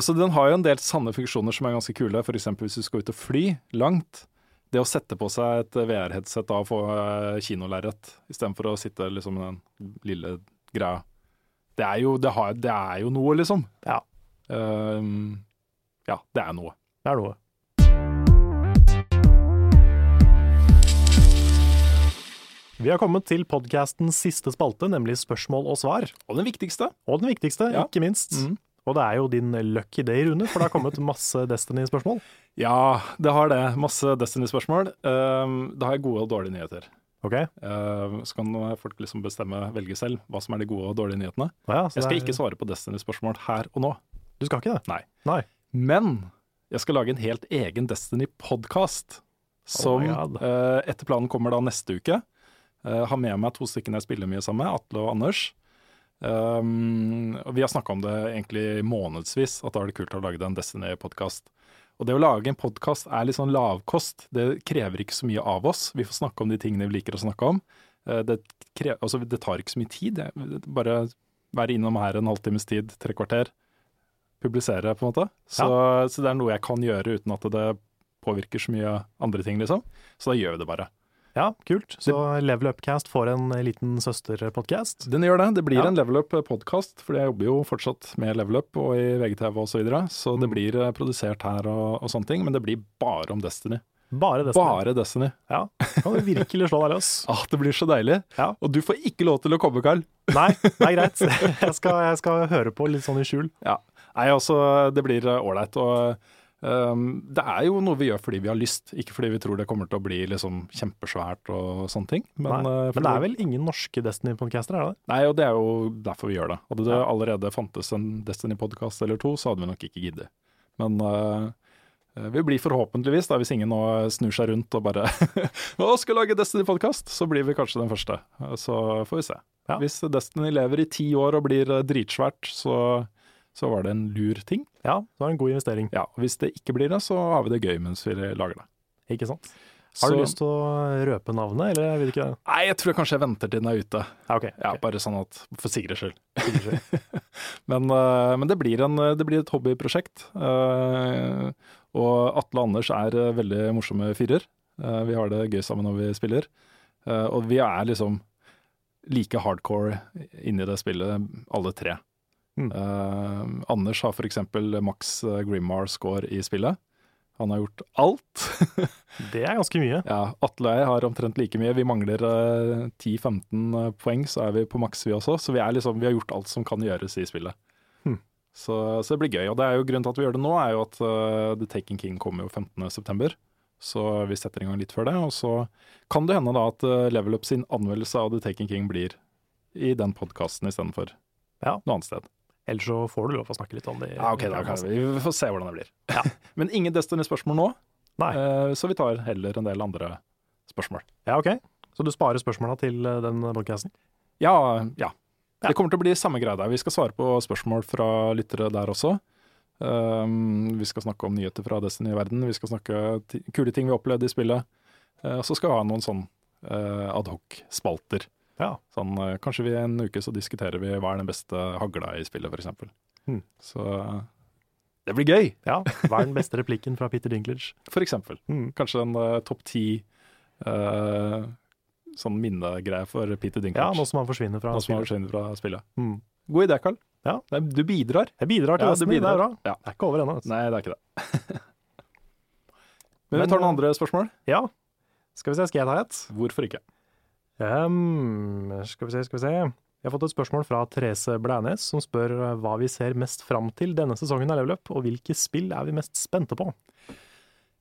altså Den har jo en del sanne funksjoner som er ganske kule. F.eks. hvis du skal ut og fly langt. Det å sette på seg et VR-headset da og få eh, kinolerret istedenfor å sitte liksom med den lille greia. Det er jo, det har, det er jo noe, liksom.
Ja.
Ehm, ja, det er noe.
Det er noe. Vi har kommet til podkastens siste spalte, nemlig spørsmål og svar.
Og den viktigste.
Og den viktigste,
Ja.
ikke minst.
Mhm.
Og det er jo din lucky day, Rune, for det har kommet masse Destiny-spørsmål.
Ja, det har det. Masse Destiny-spørsmål. Ehm, da har jeg gode og dårlige nyheter.
Ok?
Ehm, så kan folk liksom bestemme, velge selv, hva som er de gode og dårlige nyhetene.
Å ja, så
Jeg skal
det er-
ikke svare på Destiny-spørsmål her og nå.
Du skal ikke det?
Nei.
Nei.
Men Jeg skal lage en helt egen Destiny-podkast,
Oh
som
my God.
eh, etter planen kommer da neste uke. Eh, har med meg to stykker jeg spiller mye sammen med, Atle og Anders. Um, og vi har snakka om det egentlig månedsvis, at da er det kult å lage en Destiny-podkast. Og det å lage en podkast er litt sånn lavkost. Det krever ikke så mye av oss. Vi får snakke om de tingene vi liker å snakke om. Eh, Det, kre- altså, det tar ikke så mye tid. Det- Bare være innom her en halvtimes tid, tre kvarter. Publisere, på en måte. Så, så det er noe jeg kan gjøre uten at det påvirker så mye andre ting, liksom. Så da gjør vi det bare.
Ja, kult. Så Level Upcast får en liten søsterpodkast.
Den gjør det. Det blir
Ja.
en Level Up-podkast, for jeg jobber jo fortsatt med Level Up og i VGTV osv. Så, videre. så det blir eh, produsert her og, og sånne ting, men det blir bare om Destiny.
Bare det.
Bare Destiny.
Ja. Kan du virkelig slå deg løs?
Ah, det blir så deilig.
Ja.
Og du får ikke lov til å komme, Carl.
Nei, det er greit. Jeg skal, jeg skal høre på litt sånn i skjul.
Ja. Nei, altså, det blir eh, ålreit. Og ehm, det er jo noe vi gjør fordi vi har lyst, ikke fordi vi tror det kommer til å bli liksom kjempesvært og sånne ting.
Nei.
Men, eh, fordi-
Men det er vel ingen norske Destiny-podcaster, er det det?
Nei, og det er jo derfor vi gjør det. Hadde det allerede fantes en Destiny-podkast eller to, så hadde vi nok ikke giddet. Men øh, vi blir forhåpentligvis, da, hvis ingen nå snur seg rundt og bare (laughs) Å, skal lage Destiny-podkast! Så blir vi kanskje den første. Så får vi se.
Ja.
Hvis Destiny lever i ti år og blir eh, dritsvært, så, så var det en lur ting.
Ja, det var en god investering.
Ja, og Hvis det ikke blir det, så har vi det gøy mens vi lager det.
Ikke sant? Har du
Så-
lyst til å røpe navnet, eller vil du ikke det?
Nei, jeg tror kanskje jeg venter til den er ute.
Ja, ok.
Ja,
ok.
bare sånn at For sikkerhets skyld. men eh, men det, blir en, det blir et hobbyprosjekt. eh, og Atle og Anders er eh, veldig morsomme fyrer. Eh, vi har det gøy sammen når vi spiller. Eh, og vi er liksom like hardcore inni det spillet, alle tre.
Mm.
Eh, Anders har for eksempel Max Grimmar-score i spillet. Han har gjort alt.
(laughs)
(laughs)
Det er ganske mye.
Ja, Atle og jeg har omtrent like mye. Vi mangler eh, 10-15 poeng, så er vi på maks vi også. Så vi, er liksom, vi har gjort alt som kan gjøres i spillet. Hm.
Hmm.
Så, så det blir gøy. Og det er jo grunnen til at vi gjør det nå, er jo at eh, The Taken King kommer jo 15.9. Så vi setter i gang litt før det. Og så kan det hende da at eh, Level Up sin anmeldelse av The Taken King blir i den podkasten istedenfor
Ja.
noe annet sted.
Ellers så får du lov å snakke litt om det. i-
Ja, ok, da kan vi, vi får se hvordan det blir. (laughs) Men ingen Destiny-spørsmål nå,
Nei.
eh, så vi tar heller en del andre spørsmål.
Ja, ok. Så du sparer spørsmåla til eh, den podcasten?
Ja, ja. Det kommer til å bli samme greia der. Vi skal svare på spørsmål fra lyttere der også. Um, vi skal snakke om nyheter fra Destiny-verden. Vi skal snakke ti kule ting vi opplevde i spillet. Eh, Og så skal vi ha noen sånn eh, ad adhoc-spalter.
Ja.
Sånn, eh, kanskje vi en uke så diskuterer vi hva er den beste hagla i spillet, f.eks.
Hmm.
Så det blir gøy!
Ja. Hva er den beste replikken fra Peter Dinklage?
For eksempel.
Mm.
Kanskje en eh, topp ti eh, sånn minnegreie for Peter
Ja,
Dinklage.
nå som han forsvinner fra
Nå som har
spillet.
forsvunnet fra spillet.
Mm.
God idé, Karl.
Ja.
Nei, Du bidrar.
Jeg bidrar til
Ja, du
Destiny, det er bra.
bidrar. Ja.
Det er ikke over ennå. altså.
Nei, det er ikke det. (laughs) Men vi tar noen andre spørsmål.
Ja. Skal vi se, skal jeg ta et?
Hvorfor ikke?
Ehm, skal vi se, skal vi se. Jeg har fått et spørsmål fra Therese Blænes, som spør eh, hva vi ser mest fram til denne sesongen av Level Up, og hvilke spill er vi mest spente på?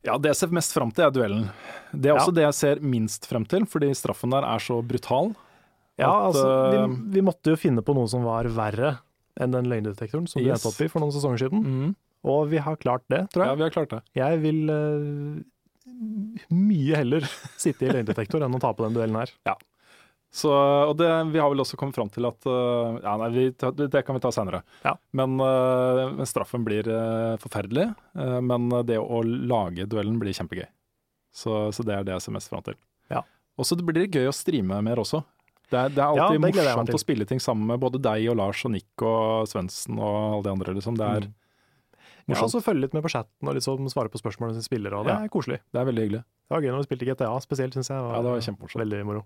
Ja, Det jeg ser mest frem til, er duellen. Det er
Ja.
også det jeg ser minst frem til, fordi straffen der er så brutal.
Ja,
At,
altså, vi, vi
eh,
måtte jo finne på noe som var verre enn den løgndetektoren som du
Yes.
endte opp i for noen sesonger siden, og vi har klart det, tror
Mm. Ja,
jeg.
vi har klart det.
Jeg vil eh, mye heller (laughs) sitte i løgndetektor enn å tape den duellen her.
Så, og det, vi har vel også kommet fram til at øh, ja, nei, vi, ta- Det kan vi ta senere.
Ja.
Men øh, men straffen blir øh, forferdelig. øh, men det å lage duellen blir kjempegøy. Så, så det er det jeg ser mest fram til.
Ja.
Og så blir det gøy å streame mer også. Det er, det er
Ja,
alltid
det gleder jeg meg
morsomt
til.
å spille ting sammen med både deg og Lars og Nick og Svendsen og alle de andre. Liksom. Det, er,
Mm. Ja,
Morsomt.
og så følge litt med på chatten og liksom svare på spørsmål til spillere, og det
Ja.
er koselig.
det er veldig hyggelig.
Det var gøy når vi spilte GTA spesielt, synes jeg.
Ja, det var kjempemorsomt.
Veldig moro.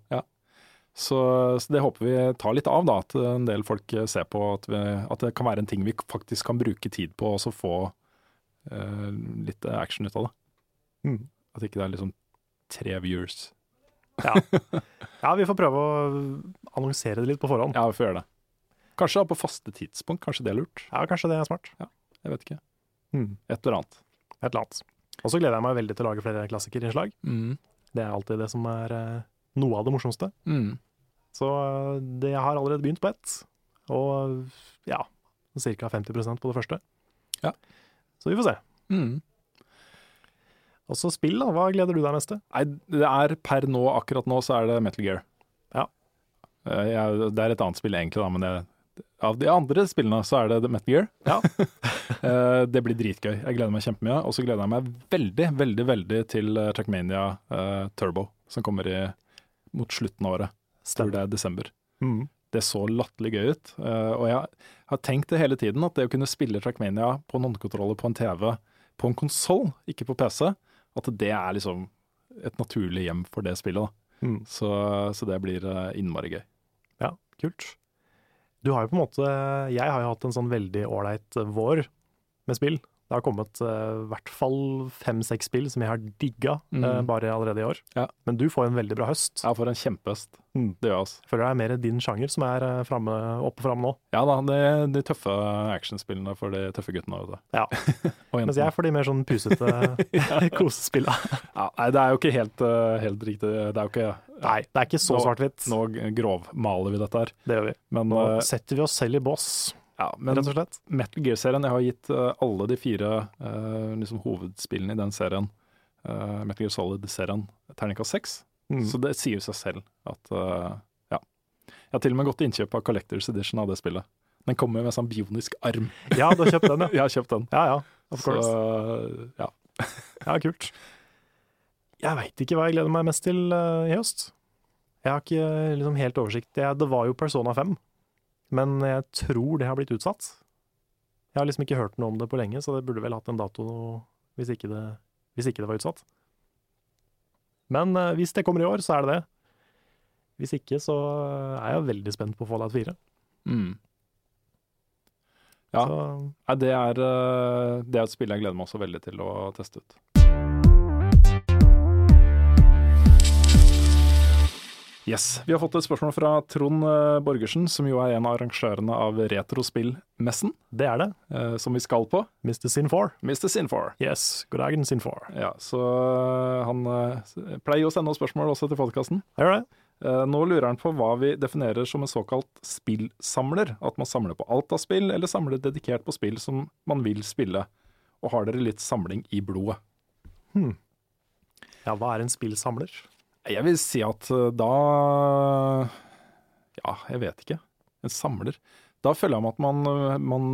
Så, så det håper vi tar litt av, da, at en del folk ser på at, vi, at det kan være en ting vi faktisk kan bruke tid på, og så få eh, litt action ut av det.
Mm.
At ikke det er liksom tre viewers.
Ja, vi får prøve å annonsere det litt på forhånd. Ja,
Ja, vi får gjøre det. Kanskje da på faste tidspunkt, kanskje det er lurt.
kanskje det er smart.
Jeg vet ikke.
Mm.
Et eller annet.
Et eller annet. Og så gleder jeg meg veldig til å lage flere klassikerinnslag. Det er alltid det som er eh, noe av det morsomste.
Mm.
Så eh, det jeg har allerede begynt på ett, og ja, ca. 50 på det første.
Ja.
Så vi får se.
Mm.
Også spill, da. Hva gleder du deg mest til?
Nei, det er per nå, akkurat nå, så er det Metal Gear.
Ja.
Eh, jeg, det er et annet spill egentlig, da, men jeg, av de andre spillene så er det The Metal Gear.
Ja.
(laughs) Eh, det blir dritgøy. Jeg gleder meg kjempemye. Og så gleder jeg meg veldig, veldig veldig til eh, Trackmania eh, Turbo, som kommer i, mot slutten av året. Tror det er desember.
Mm.
Det så latterlig gøy ut. eh, og jeg har tenkt det hele tiden, at det å kunne spille Trackmania på en håndkontroller på en TV, på en konsoll, ikke på PC, at det er liksom et naturlig hjem for det spillet. Da.
Mm.
Så, så det blir eh, innmari gøy.
Ja, kult. Du har jo på en måte Jeg har jo hatt en sånn veldig ålreit eh, vår med spill. Det har kommet eh, i hvert fall fem-seks spill som jeg har digga eh,
Mm.
bare allerede i år.
Ja.
Men du får jo en veldig bra høst.
Jeg får en kjempehøst.
Mm.
Det gjør jeg altså.
Føler det er mer din sjanger som er eh, framme, oppe og framme nå.
Ja da, det de tøffe actionspillene for de tøffe guttene. Vet du.
Ja.
(laughs) Og
Mens
jentene.
jeg får de mer sånn (laughs)
(laughs)
pusete kosespilla.
Ja, nei, det er jo ikke helt, eh, helt riktig. Det er jo ikke
Nei, det er ikke så
Nå-
svart-hvitt.
Nå g- grovmaler vi dette her.
Det gjør vi.
Men,
Nå
eh,
setter vi oss selv i bås,
ja, men
rett og slett.
Metal Gear-serien, jeg har gitt eh, alle de fire eh, liksom, hovedspillene i den serien, eh, Metal Gear Solid-serien, terningkast seks.
Mm.
Så det sier seg selv at eh, ja. Jeg har til og med gått til innkjøp av Collectors Edition av det spillet. Den kommer med en sånn bionisk arm.
Ja, du har kjøpt den, ja.
(laughs) Jeg har kjøpt den.
Ja ja, of
Så eh,
course.
ja.
Ja, kult. Jeg veit ikke hva jeg gleder meg mest til eh, i høst. Jeg har ikke eh, liksom helt oversikt. Jeg, det var jo Persona 5, men jeg tror det har blitt utsatt. Jeg har liksom ikke hørt noe om det på lenge, så det burde vel hatt en dato hvis ikke det, hvis ikke det var utsatt. Men eh, hvis det kommer i år, så er det det. Hvis ikke, så eh, er jeg veldig spent på Fallout 4.
Mm. Ja.
Så
Nei, det er, eh, det er et spill jeg gleder meg også veldig til å teste ut. Yes, Vi har fått et spørsmål fra Trond eh, Borgersen, som jo er en av arrangørene av Retrospillmessen,
det er det.
eh, som vi skal på.
Mr. Sin 4.
Mr. Sinfor.
Yes, god dagen, Sin 4.
Ja, så eh, han eh, s- pleier jo å sende oss spørsmål også til podkasten.
Gjør det.
Eh, Nå lurer han på hva vi definerer som en såkalt spillsamler. At man samler på alt av spill, eller samler dedikert på spill som man vil spille. Og har dere litt samling i blodet?
Ja, hva er en spillsamler?
Jeg vil si at eh, da Ja, jeg vet ikke. En samler. Da føler jeg meg at man, eh, man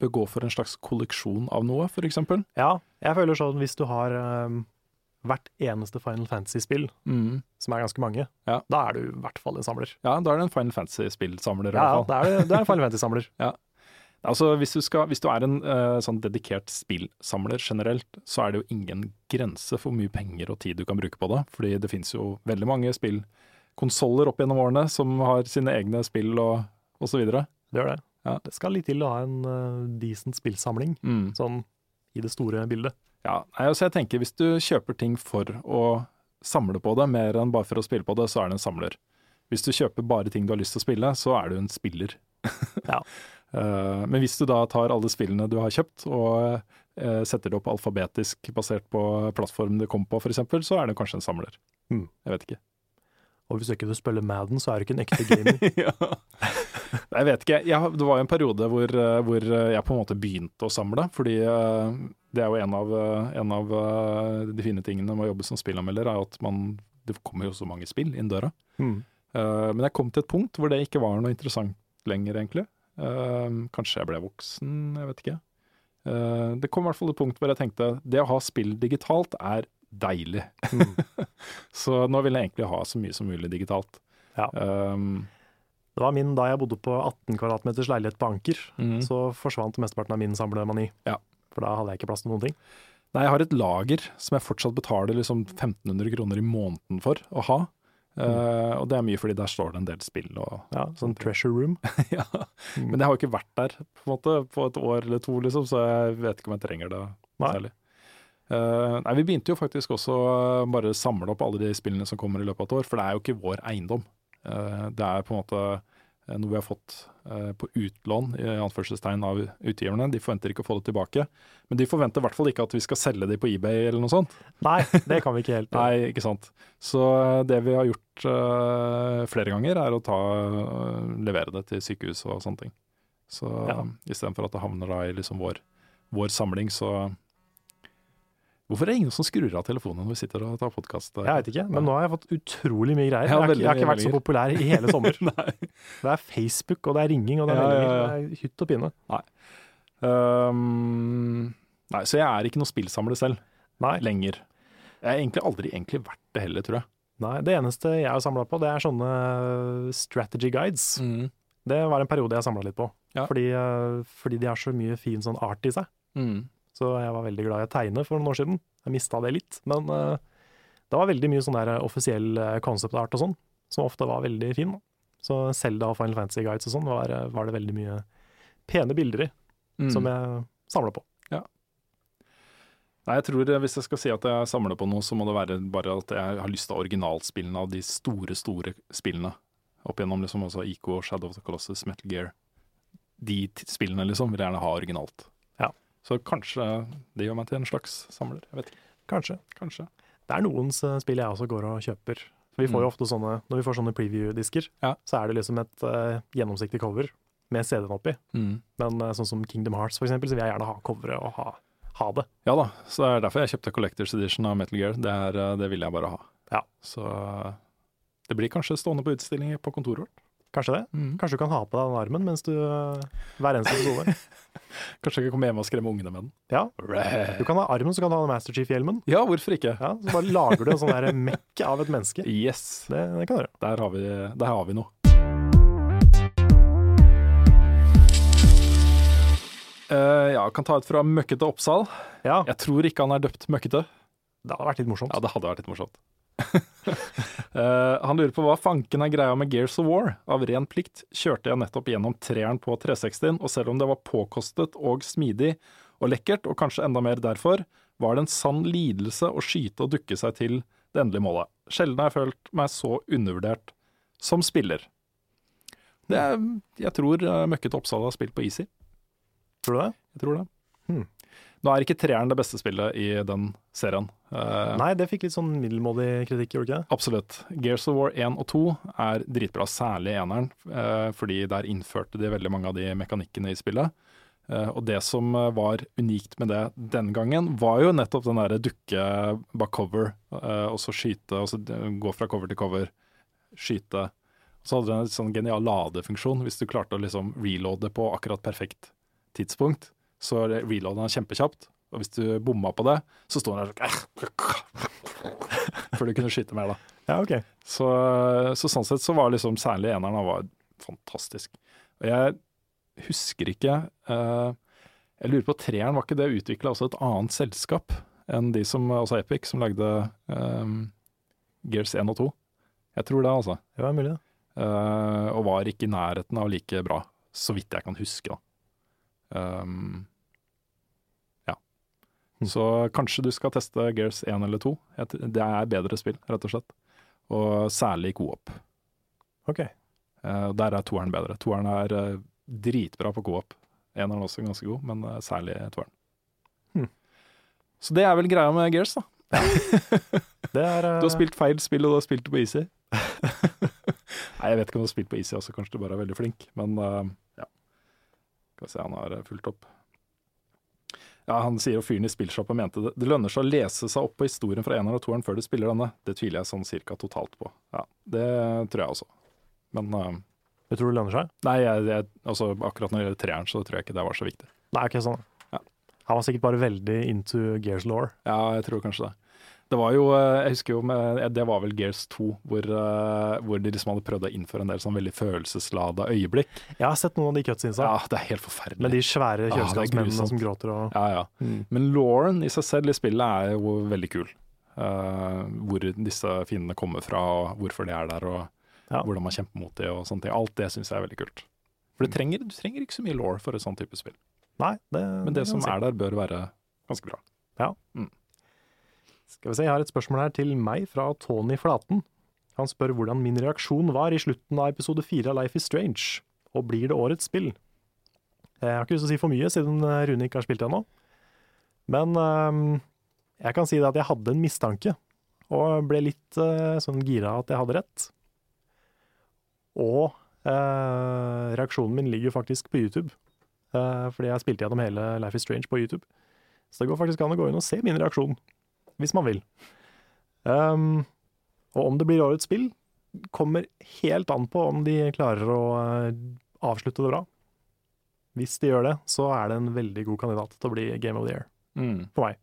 bør gå for en slags kolleksjon av noe, f.eks.
Ja, jeg føler sånn hvis du har ehm, hvert eneste Final Fantasy-spill,
Mm.
som er ganske mange,
Ja.
da er du i hvert fall en samler.
Ja, da er det en Final Fantasy-spillsamler. i
Ja,
hvert
ja,
fall.
da er du, du er en Final Fantasy-samler.
Altså, hvis du, skal, hvis du er en eh, sånn dedikert spillsamler generelt, så er det jo ingen grense for hvor mye penger og tid du kan bruke på det. Fordi det finnes jo veldig mange spillkonsoller opp gjennom årene som har sine egne spill og, og så videre.
Det gjør det.
Ja.
Det skal litt til å ha en eh, decent spillsamling,
Mm.
sånn i det store bildet.
Ja, nei, altså jeg tenker hvis du kjøper ting for å samle på det, mer enn bare for å spille på det, så er det en samler. Hvis du kjøper bare ting du har lyst til å spille, så er du en spiller. (laughs)
Ja.
Eh, Men hvis du da tar alle spillene du har kjøpt og eh, setter det opp alfabetisk basert på plattformen det kom på f.eks., så er det kanskje en samler.
Mm.
Jeg vet ikke.
Og hvis du ikke spiller Madden, så er du ikke en ekte
(laughs)
gamer.
Nei, Jeg vet ikke. Jeg, har- det var jo en periode hvor, eh, hvor jeg på en måte begynte å samle, fordi eh, det er jo en av, eh, en av eh, de fine tingene med å jobbe som spillanmelder, er jo at man, det kommer jo så mange spill inn døra.
Mm.
Eh, Men jeg kom til et punkt hvor det ikke var noe interessant lenger, egentlig. Eh, Kanskje jeg ble voksen, jeg vet ikke. Eh, Det kom i hvert fall et punkt hvor jeg tenkte det å ha spill digitalt er deilig. så nå vil jeg egentlig ha så mye som mulig digitalt.
Ja.
Um,
Det var min da jeg bodde på 18 kvadratmeters leilighet på Anker,
Mhm.
så forsvant mesteparten av min samlemani.
Ja.
For da hadde jeg ikke plass til noen ting.
Nei, jeg har et lager som jeg fortsatt betaler liksom 1500 kroner i måneden for å ha. Eh, og det er mye fordi der står det en del spill og
Ja, sånn treasure room.
ja. Men jeg har jo ikke vært der på, en måte, på et år eller to, liksom, så jeg vet ikke om jeg trenger det
Nei.
særlig. Eh, nei, Vi begynte jo faktisk også å bare samle opp alle de spillene som kommer i løpet av et år, for det er jo ikke vår eiendom. Eh, det er på en måte eh, noe vi har fått eh, på utlån i anførselstegn av utgiverne. De forventer ikke å få det tilbake, men de forventer i hvert fall ikke at vi skal selge de på eBay eller noe sånt.
Nei, det kan vi ikke helt.
Nei, ikke sant. Så eh, det vi har gjort eh, flere ganger, er å ta, eh, levere det til sykehus og sånne ting. Så
Ja.
eh, istedenfor at det havner da i liksom vår, vår samling, så Hvorfor er det ingen som skrur av telefonen når vi sitter og tar podkast?
Jeg vet ikke, men nå har jeg fått utrolig mye greier.
Ja,
Jeg har, ikke- jeg har ikke
veldig mye
vært så
meldinger.
populær i hele
(laughs)
sommer.
Nei.
Det er Facebook, og det er ringing, og det er,
Ja,
meldinger,
ja, ja.
Det er hytt og pinne.
Ehm, nei, så jeg er ikke noe spillsamler selv,
Nei,
lenger. Jeg har egentlig aldri egentlig vært det heller, tror jeg.
nei, det eneste jeg har samla på, det er sånne eh, strategy guides. Det var en periode jeg samla litt på,
Mm. Ja.
fordi, eh, fordi de har så mye fin sånn art i seg.
Mm.
Så jeg var veldig glad i å tegne for noen år siden. Jeg mista det litt, men eh, det var veldig mye sånn der offisiell eh, concept art og sånn, som ofte var veldig fin. da. Så Selda og Final Fantasy Guides og sånn var, eh, var det veldig mye pene bilder i,
Mm.
som jeg samla på.
Nei, jeg tror eh, Hvis jeg skal si at jeg samler på noe, så må det være bare at jeg har lyst til originalspillene av de store, store spillene. Opp gjennom liksom også IK, Shadow of the Colossus, Metal Gear. De t- spillene liksom vil jeg gjerne ha originalt.
Ja.
Så kanskje det gjør meg til en slags samler. Jeg vet ikke.
Kanskje.
Kanskje.
Det er noens eh, spill jeg også går og kjøper. For vi får jo ofte sånne, Når vi får sånne preview-disker,
Mm. Ja.
så er det liksom et eh, gjennomsiktig cover med CD-en oppi.
Mm.
Men eh, sånn som Kingdom Hearts, for eksempel, så vil jeg gjerne ha coveret og ha, ha det.
Ja da, så det er derfor jeg kjøpte Collectors Edition av Metal Gear. Det, er, eh, det ville jeg bare ha.
Ja.
Så eh, det blir kanskje stående på utstillinger på kontoret vårt.
Kanskje det? Kanskje du kan ha på deg den armen mens du eh, hver eneste episode.
(laughs) Kanskje jeg kan komme hjem og skremme ungene med den.
Ja. Du kan ha armen, så kan du ha Master Chief-hjelmen.
Ja, hvorfor ikke?
Ja, så bare lager du en sånn der mekk av et menneske. Det,
Yes.
det kan du gjøre.
Der har vi, der har vi noe. Eh, ja, kan ta et fra Møkkete Oppsal.
Ja,
Jeg tror ikke han er døpt Møkkete.
det hadde vært litt morsomt.
Ja, det hadde vært litt morsomt. (laughs) Eh, han lurer på hva fanken er greia med Gears of War. Av ren plikt kjørte jeg nettopp gjennom treeren på 360-en, og selv om det var påkostet og smidig og lekkert, og kanskje enda mer derfor, var det en sann lidelse å skyte og dukke seg til det endelige målet. Sjelden har jeg følt meg så undervurdert som spiller. Det er, jeg tror eh, Møkkete Oppsal har spilt på Easy.
Tror du det?
Jeg tror det.
Hmm.
Nå er ikke treeren det beste spillet i den serien. Eh,
Nei, det fikk litt sånn middelmådig kritikk, gjorde det ikke det?
Absolutt. Gears of War 1 og 2 er dritbra, særlig eneren, eh, fordi der innførte de veldig mange av de mekanikkene i spillet. Eh, Og det som eh, var unikt med det den gangen, var jo nettopp den derre dukke bak cover, eh, og så skyte, og så d- gå fra cover til cover, skyte. Så hadde den en sånn genial ladefunksjon, hvis du klarte å liksom reloade på akkurat perfekt tidspunkt, så reloada han kjempekjapt. Og hvis du bomma på det, så sto han der sånn (laughs) Før du kunne skyte mer, da.
Ja, ok.
Så, så sånn sett så var liksom særlig eneren han var fantastisk. Og jeg husker ikke eh, Jeg lurer på treeren, var ikke det utvikla også et annet selskap enn de som, altså Epic, som lagde eh, Gears 1 og 2? Jeg tror det, altså.
Det var mulig, det.
Eh, og var ikke i nærheten av like bra, så vidt jeg kan huske. Da. Um, ja. Så kanskje du skal teste Gears 1 eller 2. Jeg tr- Det er bedre spill, rett og slett. Og særlig co-op.
Ok.
Eh, der er toeren bedre. Toeren er eh, dritbra på co-op. Eneren er også ganske god, men eh, særlig toeren.
Hmm.
Så det er vel greia med Gears, da.
Det er eh,
Du har spilt feil spill, og du har spilt det på Easy. (laughs) Nei, jeg vet ikke om du har spilt på Easy også, kanskje du bare er veldig flink, men eh, ja. Skal vi se, han har eh, fulgt opp. Ja, Han sier jo fyren i spillshoppa mente det. Det lønner seg å lese seg opp på historien fra eneren og toeren før du spiller denne. Det tviler jeg sånn cirka totalt på. Ja, Det tror jeg også. Men eh,
Du tror det lønner seg?
nei, jeg, jeg, altså, akkurat når det gjelder treeren, så tror jeg ikke det var så viktig.
Nei, ok, sånn.
Ja.
Han var sikkert bare veldig into Gears law.
Ja, jeg tror kanskje det. Det var jo, eh, jeg husker jo, med, det var vel Gears 2, hvor, eh, hvor de liksom hadde prøvd å innføre en del sånn veldig følelseslada øyeblikk.
Jeg har sett noen av de cutsinsa,
Ja, det er helt forferdelig.
med de svære
Ah, det er
kjøleskapsmennene
grusomt.
som gråter og
Ja, ja. Men Lauren i seg selv i spillet er jo veldig kul. Eh, hvor disse fiendene kommer fra, og hvorfor de er der, og
Ja.
hvordan man kjemper mot det og sånne ting. Alt det syns jeg er veldig kult. For du trenger, du trenger ikke så mye law for et sånt type spill.
Nei, det,
Men
kan
det som
jeg si.
er der, bør være ganske bra.
Skal vi se, Jeg har et spørsmål her til meg fra Tony Flaten. Han spør hvordan min reaksjon var i slutten av episode fire av Life is Strange. Og blir det årets spill? Eh, Jeg har ikke lyst til å si for mye, siden eh, Rune ikke har spilt det ennå. Men ehm, jeg kan si det at jeg hadde en mistanke, og ble litt eh, sånn gira at jeg hadde rett. Og eh, reaksjonen min ligger jo faktisk på YouTube, eh, fordi jeg spilte gjennom hele Life is Strange på YouTube. Så det går faktisk an å gå inn og se min reaksjon hvis man vil. Um, og om det blir årets spill, kommer helt an på om de klarer å eh, avslutte det bra. Hvis de gjør det, så er det en veldig god kandidat til å bli Game of the Year
Mm.
for meg.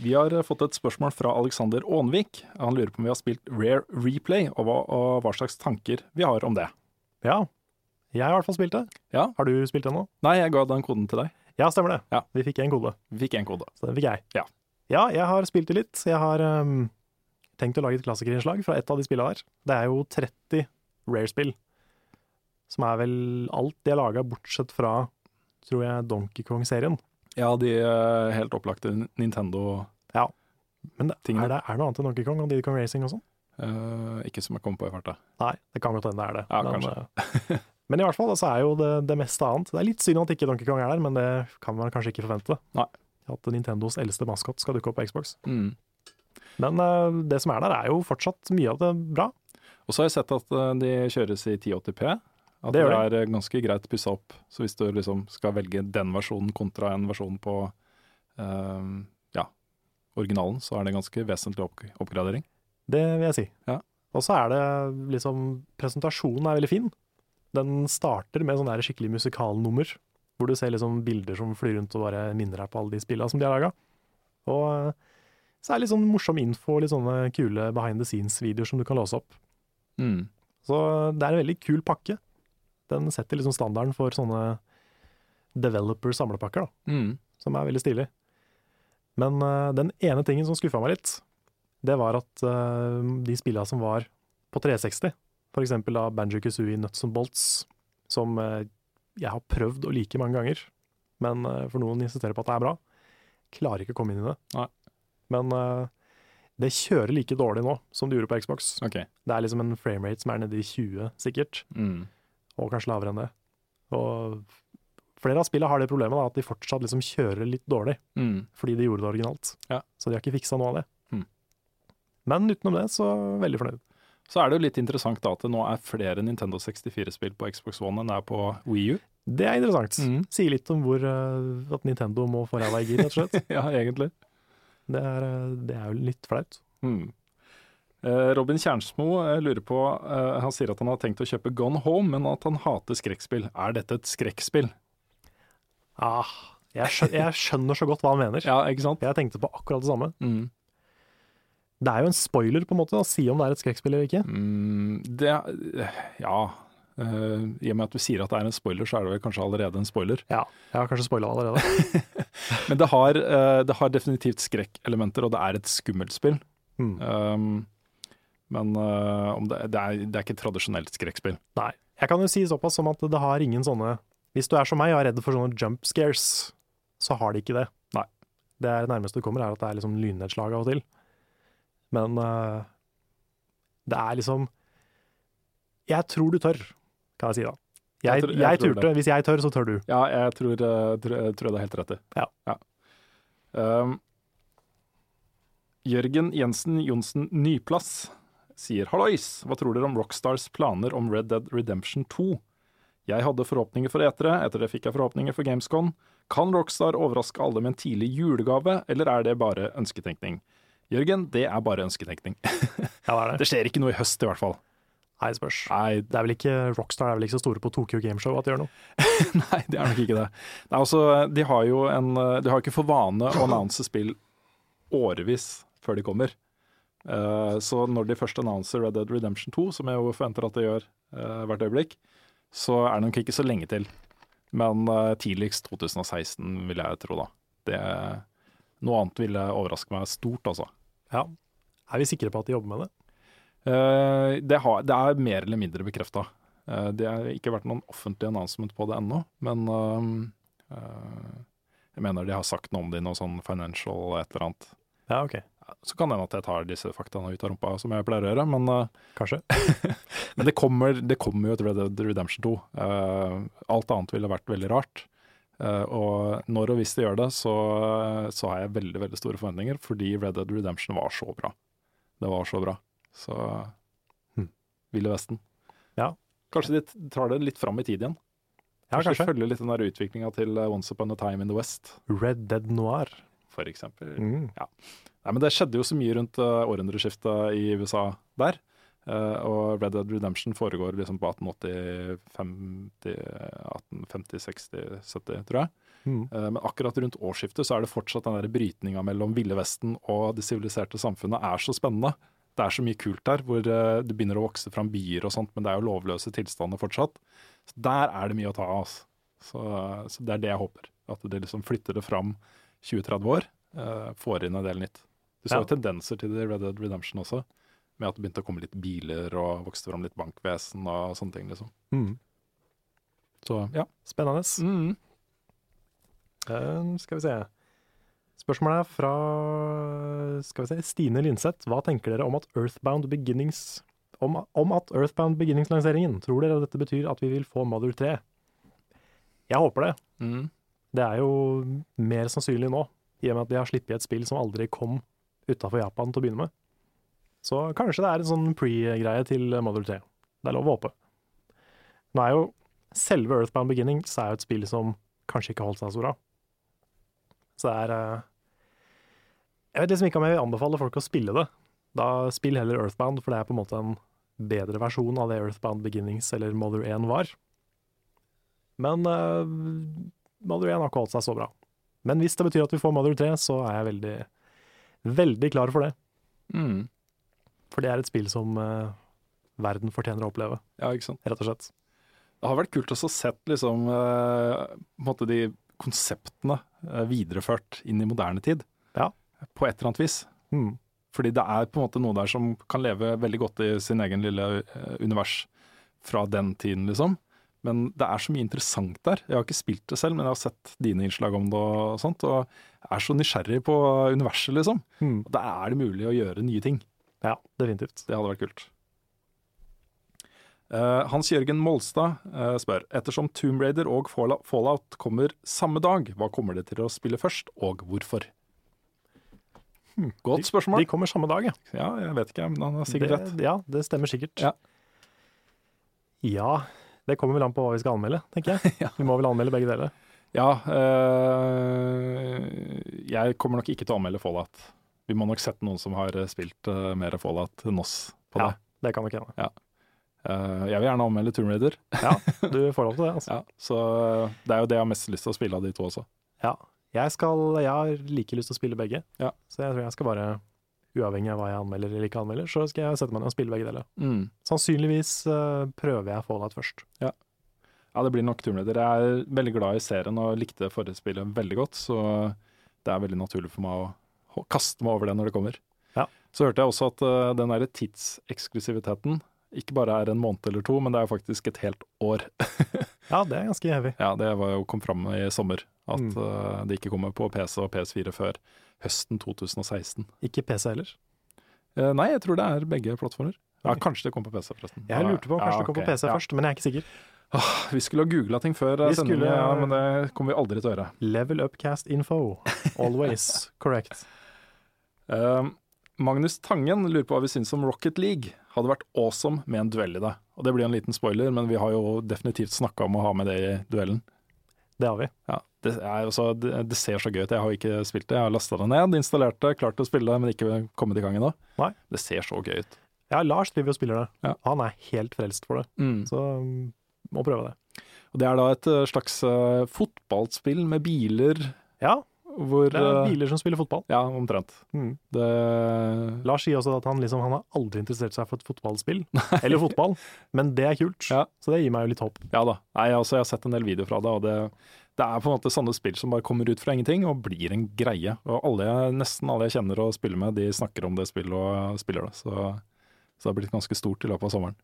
Vi har fått et spørsmål fra Alexander Aanvik. Han lurer på om vi har spilt Rare Replay, og hva, og hva slags tanker vi har om det.
Ja, jeg har i hvert fall spilt det.
Ja.
Har du spilt det nå?
Nei, jeg ga den koden til deg.
Ja, stemmer det.
Ja.
Vi fikk en kode,
Vi fikk én kode.
så den fikk jeg.
Ja.
Ja, jeg har spilt det litt. Jeg har ehm, tenkt å lage et klassikerinnslag fra et av de spillene der. Det er jo 30 Rare-spill, som er vel alt de har laga, bortsett fra, tror jeg, Donkey Kong-serien.
Ja, de eh, helt opplagte Nintendo
Men det,
Tingene.
er, det, er det noe annet enn Donkey Kong og Diddy Kong Racing og sånn?
eh, Ikke som jeg kom på i farta.
Nei, det kan godt hende det er det.
Ja,
eh, (laughs) men i hvert fall så er jo det, det meste annet. Det er litt synd at ikke Donkey Kong er der, men det kan man kanskje ikke forvente.
Nei.
At Nintendos eldste maskot skal dukke opp på Xbox.
Mm.
Men eh, det som er der, er jo fortsatt mye av det bra.
Og så har jeg sett at eh, de kjøres i 1080P. At
Det
det,
gjør
er eh, ganske greit pussa opp. Så hvis du liksom skal velge den versjonen kontra en versjon på eh, ja, originalen, så er det ganske vesentlig opp oppgradering.
Det vil jeg si.
Ja.
Og så er det liksom Presentasjonen er veldig fin. Den starter med sånn der skikkelig musikalnummer, hvor du ser liksom bilder som flyr rundt og bare minner deg på alle de spilla som de har laga. Og eh, så er det litt sånn morsom info og litt sånne kule behind the scenes-videoer som du kan låse opp.
Mm.
Så det er en veldig kul pakke. Den setter liksom standarden for sånne developer-samlepakker, da
Mm.
som er veldig stilig. Men eh, den ene tingen som skuffa meg litt, det var at eh, de spilla som var på 360, for eksempel da Banjo Kazooie Nuts and Bolts, som eh, jeg har prøvd å like mange ganger, men eh, for noen insisterer på at det er bra, klarer ikke å komme inn i det.
Nei.
Men eh, det kjører like dårlig nå som det gjorde på Xbox.
OK.
Det er liksom en framerate som er nede i 20, sikkert
Mm.
og kanskje lavere enn det. Og flere av spillene har det problemet, da, at de fortsatt liksom kjører litt dårlig,
Mm.
fordi de gjorde det originalt.
Ja.
Så de har ikke fiksa noe av det.
Hmm.
Men utenom det, så veldig fornøyd.
Så er det jo litt interessant da at det nå er flere Nintendo 64-spill på Xbox One enn det er på Wii U. (laughs)
Det er interessant.
Mm.
Sier litt om hvor eh, at Nintendo må få ræva i gir, rett og
(laughs)
slett.
ja, egentlig.
Det er, eh, det er jo litt flaut.
Mm. Eh, Robin Kjernsmo eh, lurer på eh, Han sier at han har tenkt å kjøpe Gone Home, men at han hater skrekkspill. Er dette et skrekkspill?
Ah, jeg, skjønner, jeg skjønner så godt hva han mener.
Ja, ikke sant?
Jeg tenkte på akkurat det samme.
Mm.
Det er jo en spoiler, på en måte, å si om det er et skrekkspill eller ikke.
Mm, det Ja. Eh, I og med at du sier at det er en spoiler, så er det vel kanskje allerede en spoiler.
Ja, jeg har kanskje spoila det
(laughs)
allerede.
Men det har, eh, det har definitivt skrekkelementer, og det er et skummelt spill.
Mm.
Um, men eh, om det, det, er, det er ikke et tradisjonelt skrekkspill.
Nei. Jeg kan jo si såpass som at det har ingen sånne Hvis du er som meg og er redd for sånne jump scares, så har de ikke det.
Nei.
Det er det nærmeste du kommer, er at det er liksom lynnedslag av og til. Men eh, det er liksom Jeg tror du tør, kan jeg si da. Jeg,
Jeg
jeg,
tror- jeg tror
turte. Hvis jeg tør, så tør du.
Ja, jeg tror, eh, tror, jeg tror det er helt rett i.
Ja.
Um, Jørgen Jensen Johnsen Nyplass sier Hallois, hva tror dere om Rockstars planer om Red Dead Redemption 2? Jeg hadde forhåpninger for etere, etter det fikk jeg forhåpninger for Gamescon. Kan Rockstar overraske alle med en tidlig julegave, eller er det bare ønsketenkning? Jørgen, det er bare ønsketenkning. (laughs)
Ja, det er det.
Det skjer ikke noe i høst, i hvert fall.
Nei, spørs.
Nei,
Det er vel ikke, Rockstar er vel ikke så store på Tokyo Gameshow at de gjør noe.
(laughs) Nei, det er nok ikke det. Nei, altså, de har jo en, de har ikke for vane å annonse spill årevis før de kommer. Eh, så når de først annonser Red Dead Redemption 2, som jeg jo forventer at de gjør eh, hvert øyeblikk, så er det nok ikke så lenge til. Men eh, tidligst 2016, vil jeg tro, da. Det, noe annet ville overraske meg stort, altså.
Ja. Er vi sikre på at de jobber med det?
Eh, det, har, det er mer eller mindre bekrefta. det har ikke vært noen offentlig announcement på det ennå, men eh, eh, jeg mener de har sagt noe om det i noe sånn financial et eller annet.
Ja, OK.
Så kan det hende at jeg tar disse faktaene ut av rumpa, som jeg pleier å gjøre, men, eh,
Kanskje.
men det, kommer, det kommer jo et Red Dead Redemption 2. Eh, alt annet ville vært veldig rart. Eh, og når og hvis de gjør det, så, så har jeg veldig veldig store forventninger, fordi Red Dead Redemption var så bra. Det var så bra. Så
Hmm.
Ville Vesten.
Ja.
Kanskje de t- tar det litt fram i tid igjen.
Ja,
Kanskje
kanskje.
følge litt den der utviklinga til eh, Once Upon a Time in the West,
Red Dead Noir.
for eksempel.
Mm.
Nei, men det skjedde jo så mye rundt eh, århundreskiftet i USA der. Eh, og Red Dead Redemption foregår liksom på 1880-50-60-70, tror jeg.
Mm.
Eh, Men akkurat rundt årsskiftet så er det fortsatt den der brytninga mellom Ville Vesten og det siviliserte samfunnet er så spennende. Det er så mye kult der, hvor eh, det begynner å vokse fram byer og sånt, men det er jo lovløse tilstander fortsatt. Så der er det mye å ta av. Altså. Så, så det er det jeg håper. At det liksom flytter det fram 20-30 år, eh, får inn en del nytt. Du så
Ja.
jo tendenser til det i Red Dead Redemption også, med at det begynte å komme litt biler og vokste fram litt bankvesen og sånne ting, liksom.
Mm.
Så ja. Mm-hmm.
Spennende. Eh, skal vi se. Spørsmålet er fra skal vi se, Stine Linseth. Hva tenker dere om at Earthbound Beginnings om, om at Earthbound Beginnings-lanseringen? Tror dere dette betyr at vi vil få Mother 3? Jeg håper det.
Mm.
Det er jo mer sannsynlig nå, i og med at de har sluppet et spill som aldri kom utafor Japan til å begynne med. Så kanskje det er en sånn pre-greie til Mother 3. Det er lov å håpe. Nå er jo selve Earthbound Beginning så er jo et spill som kanskje ikke holdt seg så bra. Så det er eh, Jeg vet liksom ikke om jeg vil anbefale folk å spille det. Da spill heller Earthbound, for det er på en måte en bedre versjon av det Earthbound Beginnings eller Mother 1 var. Men eh, Mother 1 har ikke holdt seg så bra. Men hvis det betyr at vi får Mother 3, så er jeg veldig, veldig klar for det.
Mm.
For det er et spill som eh, verden fortjener å oppleve,
Ja, ikke sant.
rett og slett.
Det har vært kult også å sett liksom, eh, på en måte de konseptene eh, videreført inn i moderne tid.
Ja.
På et eller annet vis.
Mm.
Fordi det er på en måte noe der som kan leve veldig godt i sin egen lille eh, univers fra den tiden, liksom. Men det er så mye interessant der. Jeg har ikke spilt det selv, men jeg har sett dine innslag om det og sånt, og er så nysgjerrig på universet, liksom.
Mm.
Og Da er det mulig å gjøre nye ting.
Ja, definitivt.
Det hadde vært kult. Eh, Hans Jørgen Molstad eh, spør Ettersom Tomb Raider og Fall- Fallout kommer samme dag, hva kommer det til å spille først, og hvorfor? Godt spørsmål.
Hm, De kommer samme dag, ja.
ja, jeg vet ikke, men han har sikkert rett.
Det, ja, det stemmer sikkert.
Ja.
Ja, det kommer vel an på hva vi skal anmelde, tenker jeg.
(laughs)
Vi må vel anmelde begge deler.
Ja, eh, jeg kommer nok ikke til å anmelde Fallout. Vi må nok sette noen som har eh, spilt eh, mer Fallout enn oss på
Ja,
det.
det kan nok hende.
Eh, jeg vil gjerne anmelde Tomb Raider,
Du får lov til det, altså.
ja, så eh, det er jo det jeg har mest lyst til å spille av de to også.
Ja. Jeg, skal, jeg har like lyst til å spille begge,
Ja.
så jeg tror jeg skal bare, uavhengig av hva jeg anmelder eller ikke anmelder, så skal jeg sette meg ned og spille begge deler.
Mm.
Sannsynligvis eh, prøver jeg Fallout først.
Ja, det blir nok Tomb Raider. Jeg er veldig glad i serien og likte forrige spillet veldig godt, så det er veldig naturlig for meg å ho- kaste meg over det når det kommer.
Ja.
Så hørte jeg også at eh, den der tidseksklusiviteten ikke bare er en måned eller to, men det er faktisk et helt år. (laughs)
Ja, det er ganske heavy.
Ja, det var jo kom fram i sommer, at
Mm.
eh, det ikke kommer på PC og PS4 før høsten 2016.
Ikke PC heller.
Eh, nei, jeg tror det er begge plattformer. Ja,
Ok.
Kanskje det kommer på PC, forresten.
Jeg lurte på om kanskje
Ja,
det kom på
ok.
PC
Ja.
først, men jeg er ikke sikker.
Vi skulle ha googla ting før eh,
Vi
sendingen,
skulle-
ja, men det kommer vi aldri til å gjøre.
Level up cast info. Always correct.
Eh, Magnus Tangen lurer på hva vi syns om Rocket League. Hadde vært awesome med en duell i det. Og Det blir en liten spoiler, men vi har jo definitivt snakka om å ha med det i duellen.
Det har vi.
Ja, det, er, altså, det, det ser så gøy ut. Jeg har jo ikke spilt det. Jeg har lasta det ned, installert det, klart å spille det, men ikke kommet i gang ennå.
Nei.
Det ser så gøy ut.
Ja, Lars driver og spiller det.
Ja.
Han er helt frelst for det, så um, må prøve det.
Og Det er da et eh, slags eh, fotballspill med biler
Ja,
hvor
det er
eh,
biler som spiller fotball.
Ja, omtrent.
Mm.
Det
Lars sier også at han, liksom, han har aldri interessert seg for et fotballspill, eller fotball, men det er kult.
Ja.
Så det gir meg jo litt håp.
Ja da. Nei, altså, jeg har sett en del videoer fra det, og det, det er på en måte sånne spill som bare kommer ut fra ingenting og blir en greie. Og alle, jeg- Nesten alle jeg kjenner og spiller med, de snakker om det spillet og eh, spiller det. Så, så det har blitt ganske stort i løpet av sommeren.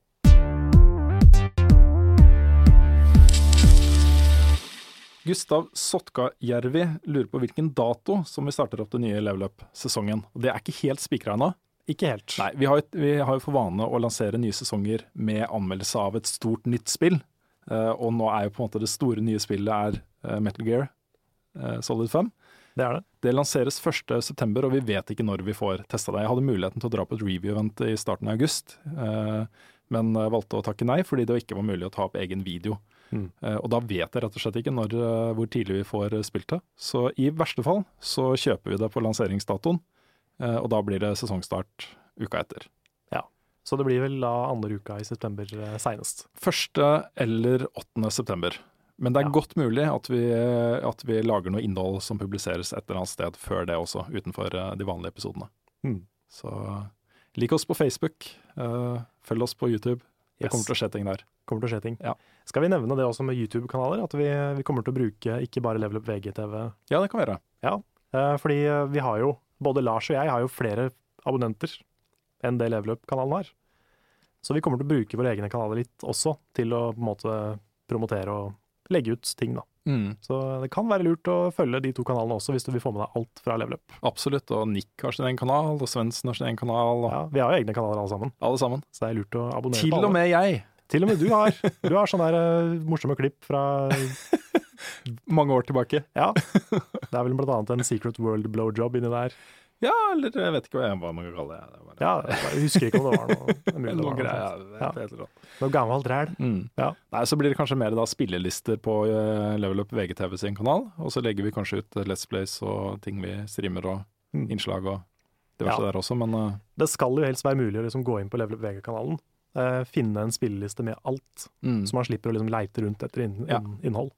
Gustav Sotkajärvi lurer på hvilken dato som vi starter opp den nye Level Up-sesongen. Og Det er ikke helt spikra ennå.
Ikke helt.
Nei, vi har, jo- vi har jo for vane å lansere nye sesonger med anmeldelse av et stort nytt spill. Eh, og nå er jo på en måte det store nye spillet er eh, Metal Gear eh, Solid 5.
Det er det.
Det lanseres 1.9, og vi vet ikke når vi får testa det. Jeg hadde muligheten til å dra på et review-event i starten av august, eh, men eh, valgte å takke nei fordi det ikke var mulig å ta opp egen video. Eh, Og da vet jeg rett og slett ikke når, eh, hvor tidlig vi får eh, spilt det. Så i verste fall så kjøper vi det på lanseringsdatoen, eh, og da blir det sesongstart uka etter.
Ja. Så det blir vel da andre uka i september eh, seinest.
1. eller 8. september. Men det er
Ja.
godt mulig at vi, at vi lager noe innhold som publiseres et eller annet sted før det også, utenfor eh, de vanlige episodene.
Mm.
Så lik oss på Facebook, eh, følg oss på YouTube. Det
Yes.
kommer til å skje ting der.
Kommer til å skje ting.
Ja.
Skal vi nevne det også med YouTube-kanaler? At vi, vi kommer til å bruke ikke bare Level Up VGTV.
Ja, det kan være.
Ja, eh, fordi eh, vi har jo, både Lars og jeg har jo flere abonnenter enn det Level Up-kanalen har. Så vi kommer til å bruke våre egne kanaler litt også, til å på en måte promotere og legge ut ting da. Så det kan være lurt å følge de to kanalene også, hvis du vil få med deg alt fra Level Up.
Absolutt. Og Nick har sin egen kanal, og Svendsen har sin egen kanal, og
Ja, vi har jo egne kanaler alle sammen,
alle sammen.
så det er lurt å abonnere
Til
på alle.
og med jeg,
Til og med du har. Du har sånne der, eh, morsomme klipp fra
mange år tilbake. (laughs)
Ja, det er vel blant annet en Secret World blowjob inni der.
Ja, eller jeg vet ikke hva jeg- hva man kan kalle det. det. er bare-
Ja, jeg husker ikke om det var noe. det er mulig det
Noe
var noe
greier,
sånt.
jeg
Ja.
vet helt rått.
Noe gammelt ræl.
Mm.
Ja.
Nei, Så blir det kanskje mer da spillelister på eh, Level Up VGTV sin kanal. Og så legger vi kanskje ut eh, Let's Plays og ting vi streamer og innslag og diverse
Ja.
der også. Men eh,
Det skal jo helst være mulig å liksom gå inn på Level Up VG-kanalen, eh, finne en spilleliste med alt,
Mm.
så man slipper å liksom leite rundt etter inn,
Ja.
inn, innhold.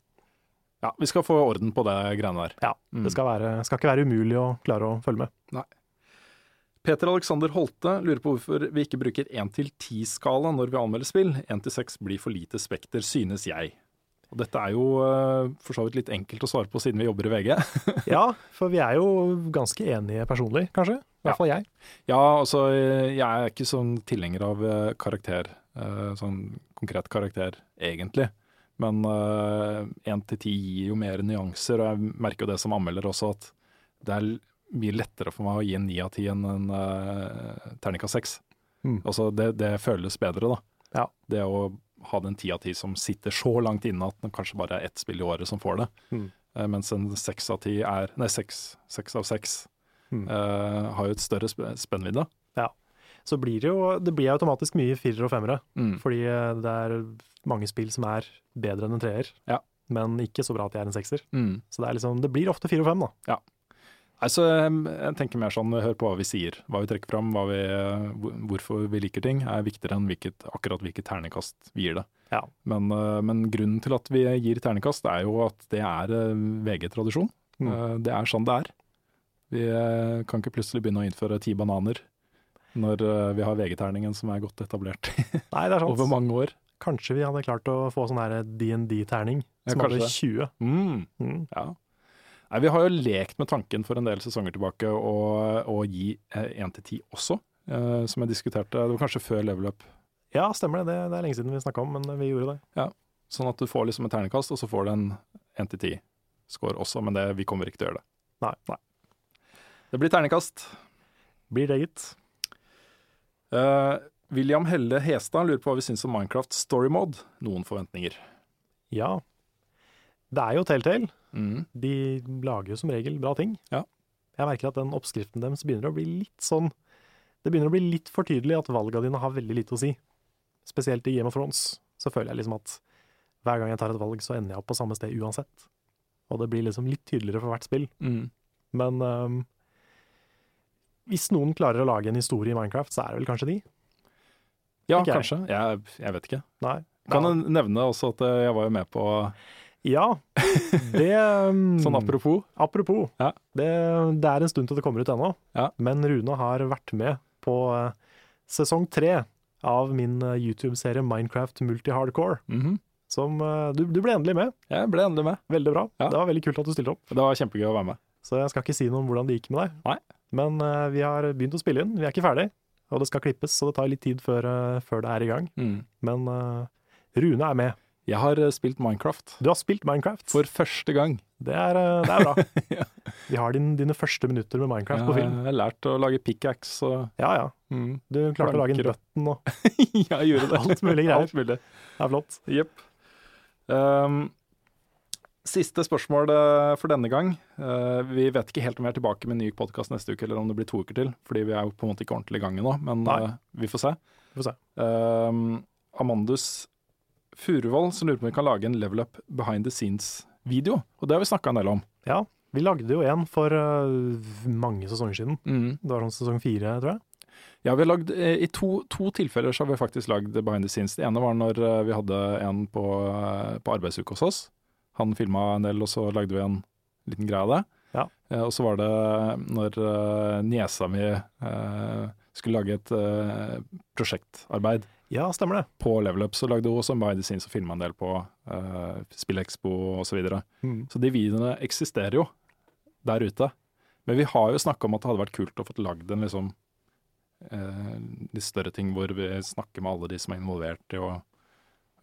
ja, vi skal få orden på det greiene der.
Ja, Det skal, være, skal ikke være umulig å klare å
(laughs)
følge med.
Peter Alexander Holte lurer på hvorfor vi ikke bruker 1-10-skala når vi anmelder spill. 1-6 blir for lite spekter, synes jeg. Og dette er jo eh, for så vidt litt enkelt å svare på siden vi jobber i VG.
Ja, for vi er jo ganske enige personlig, kanskje. I
Ja.
hvert fall jeg.
Ja, altså, jeg er ikke sånn tilhenger av eh, karakter, eh, sånn konkret karakter, egentlig. Men én til ti gir jo mer nyanser, og jeg merker jo det som anmelder også, at det er l- mye lettere for meg å gi en ni av ti enn en uh, terning av seks.
Mm.
Altså, det, det føles bedre, da.
Ja.
Det å ha den ti av ti som sitter så langt inne at det kanskje bare er ett spill i året som får det.
Mm.
Eh, mens en seks av ti er Nei, seks seks av seks
Mm.
eh, har jo et større sp spennvidde.
Ja. Så blir det jo det blir automatisk mye firere og femmere,
Mm.
fordi eh, det er mange spill som er bedre enn en treer,
Ja.
men ikke så bra at de er en sekser. Så det, er liksom, det blir ofte fire og fem, da.
Altså, jeg tenker mer sånn, hør på hva vi sier, hva vi trekker fram, hva vi, eh, hvor- hvorfor vi liker ting, er viktigere enn hvilket, akkurat hvilket ternekast vi gir det.
Ja.
Men, eh, men grunnen til at vi gir ternekast er jo at det er eh, VG-tradisjon.
Mm.
Eh, Det er sånn det er. Vi eh, kan ikke plutselig begynne å innføre ti bananer når eh, vi har VG-terningen som er godt etablert
Nei, det er sant.
over mange år.
Kanskje vi hadde klart å få sånn her D&D-terning,
Ja,
som hadde 20.
kanskje Mm.
Mm.
Ja. Nei, vi har jo lekt med tanken for en del sesonger tilbake å, å gi én til ti også, eh, som jeg diskuterte. Det var kanskje før level up.
Ja, stemmer det. det. Det er lenge siden vi snakka om, men vi gjorde det.
Sånn at du får liksom et ternekast, og så får du en én til ti-score også. Men det, vi kommer ikke til å gjøre det.
Nei.
Det blir ternekast.
Blir det, gitt.
Eh, William Helle Hestad lurer på hva vi syns om Minecraft story mode. Noen forventninger.
Ja. Det er jo Telltale.
Mm.
De lager jo som regel bra ting.
Ja.
Jeg merker at den oppskriften deres begynner å bli litt sånn Det begynner å bli litt for tydelig at valga dine har veldig lite å si. Spesielt i Game of Thrones. Så føler jeg liksom at hver gang jeg tar et valg, så ender jeg opp på samme sted uansett. Og det blir liksom litt tydeligere for hvert spill.
Mm.
Men ehm, hvis noen klarer å lage en historie i Minecraft, så er det vel kanskje de?
Ja,
Ikke jeg.
kanskje. Jeg, jeg vet ikke.
Nei.
Kan jeg nevne også at eh, jeg var jo med på
Ja, det ehm,
(laughs) Sånn apropos.
Apropos,
Ja.
det, det er en stund til det kommer ut ennå,
Ja.
men Rune har vært med på eh, sesong tre av min eh, YouTube-serie Minecraft Multi-Hardcore,
Mhm.
som eh, du, du ble endelig med.
Jeg ble endelig med.
Veldig bra.
Ja.
Det var veldig kult at du stilte opp,
Det var kjempegøy å være med.
så jeg skal ikke si noe om hvordan det gikk med deg.
Nei.
Men eh, vi har begynt å spille inn, vi er ikke ferdig, og det skal klippes, så det tar litt tid før, eh, før det er i gang.
Mm.
Men eh, Rune er med.
Jeg har eh, spilt Minecraft
Du har spilt Minecraft.
for første gang.
Det, er, eh, det er bra. Vi har din, dine første minutter med Minecraft på film.
Jeg har lært å lage pickaxe og
Ja, ja.
mm.
Du klarte å lage en
Planker og-
button og
(laughs) Jeg gjorde det.
alt mulig greier.
Alt mulig.
Det er flott.
Jepp. Ehm, siste spørsmål eh, for denne gang. Eh, vi vet ikke helt om vi er tilbake med en ny podkast neste uke, eller om det blir to uker til, fordi vi er jo på en måte ikke eh, ordentlig i gang ennå, men
Nei.
eh, vi får se.
Vi får se.
Ehm, Amandus Furuvoll som lurer på om vi kan lage en level up behind the scenes-video. Og det har vi snakka en del om.
Ja, vi lagde jo en for eh, mange sesonger siden. Det var sånn sesong fire, tror jeg.
Ja, vi har lagd, eh, I to, to tilfeller så har vi faktisk lagd behind the scenes. Det ene var når eh, vi hadde en på, eh, på arbeidsuke hos oss. Han filma en del, og så lagde vi en liten greie av det.
Ja.
Eh, og så var det når eh, niesa mi eh, skulle lage et eh, prosjektarbeid
Ja, stemmer det.
på Level Up, så lagde hun også behind the scenes og filma en del på eh, Spillexpo osv. Så, videre.
Mm.
så de videoene eksisterer jo der ute. Men vi har jo snakka om at det hadde vært kult å få lagd en liksom eh, litt større ting hvor vi snakker med alle de som er involvert i å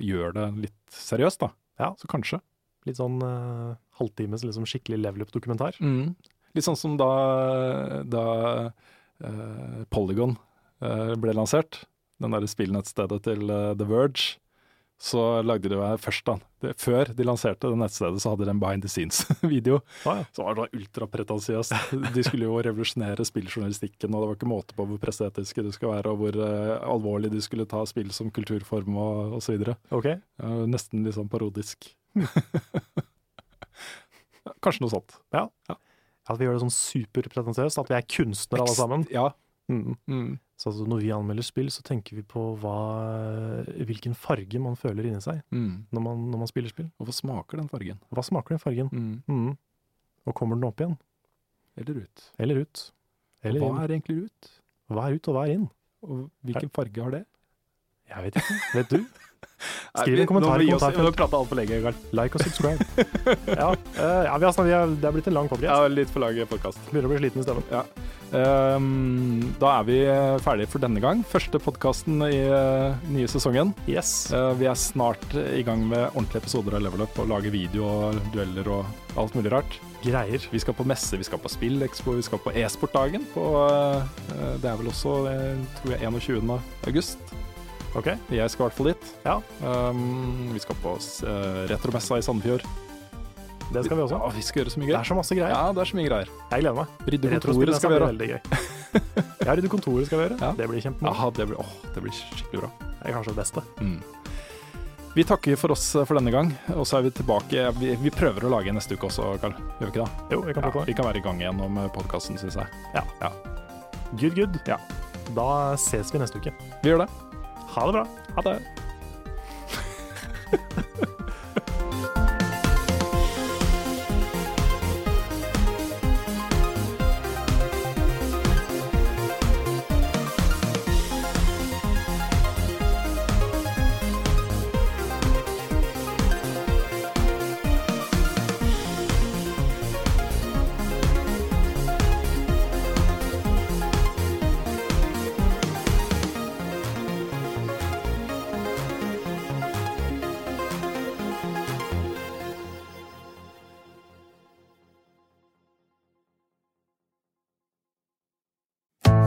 gjøre det litt seriøst, da.
Ja.
Så kanskje.
Litt sånn eh, halvtimes liksom skikkelig level up-dokumentar.
Litt sånn som da, da eh, Polygon eh, ble lansert, den der spillnettstedet til eh, The Verge, så lagde de det først da. Det, før de lanserte det nettstedet, så hadde de en behind the (laughs) scenes-video.
Ah, ja.
Så var det da ultrapretensiøst. De skulle jo revolusjonere spilljournalistikken, og det var ikke måte på hvor presteetiske det skulle være, og hvor eh, alvorlig de skulle ta spill som kulturform og, og så videre.
Ok.
Eh, nesten litt sånn parodisk. (laughs) Ja, Kanskje noe sånt.
At vi gjør det sånn superpretensiøst, at vi er kunstnere alle sammen.
Ja.
Mm. Så altså, når vi anmelder spill, så tenker vi på hva, hvilken farge man føler inni seg når man, når man spiller spill.
Mm. Og hva smaker den fargen?
Hva smaker den fargen? Mm. Og kommer den opp igjen?
Eller ut?
Eller ut?
Og
Eller
hva
inn?
er egentlig ut?
Hva er ut, og hva er inn?
Og hvilken farge har det?
Jeg vet ikke. Vet du? Skriv en kommentar i kommentarfeltet.
prata altfor lenge, Karl.
Like og subscribe.
(laughs)
ja, eh, ja vi har, snak- vi har, det er blitt en lang podcast.
litt for lang podkast.
Begynner å bli sliten i stemmen.
Ehm, da er vi ferdige for denne gang. Første podkasten i eh, nye sesongen.
Yes.
Eh, vi er snart i gang med ordentlige episoder av Level Up og lager video og dueller og alt mulig rart.
Greier.
Vi skal på messe, vi skal på Spillexpo, vi skal på e-sportdagen. På, eh, det er vel også eh, tror jeg 21. august.
Ok.
Jeg skal i hvert fall dit.
Ja.
Um, vi skal på s- eh, retromessa i Sandefjord.
Det skal vi også.
Ja, vi skal gjøre så mye
Det er
greier.
så masse greier.
Ja, det er så mye greier.
Jeg gleder meg.
Rydde
Retrospill
kontoret skal vi
blir
gjøre.
veldig gøy. Ja, Rydde kontoret skal vi gjøre.
Ja.
Det blir kjempemoro.
Ja, det blir, åh, det blir skikkelig bra. Mm.
Det er kanskje det beste.
Vi takker for oss eh, for denne gang, og så er vi tilbake. Vi, vi prøver å lage en neste uke også, Karl. Gjør vi ikke det?
Jo, vi kan
Ja,
prate om
vi kan være i gang igjen om podkasten, syns jeg.
det. Good, good.
Ja.
Da ses vi neste uke.
Vi gjør det.
Ha det bra.
Ha det.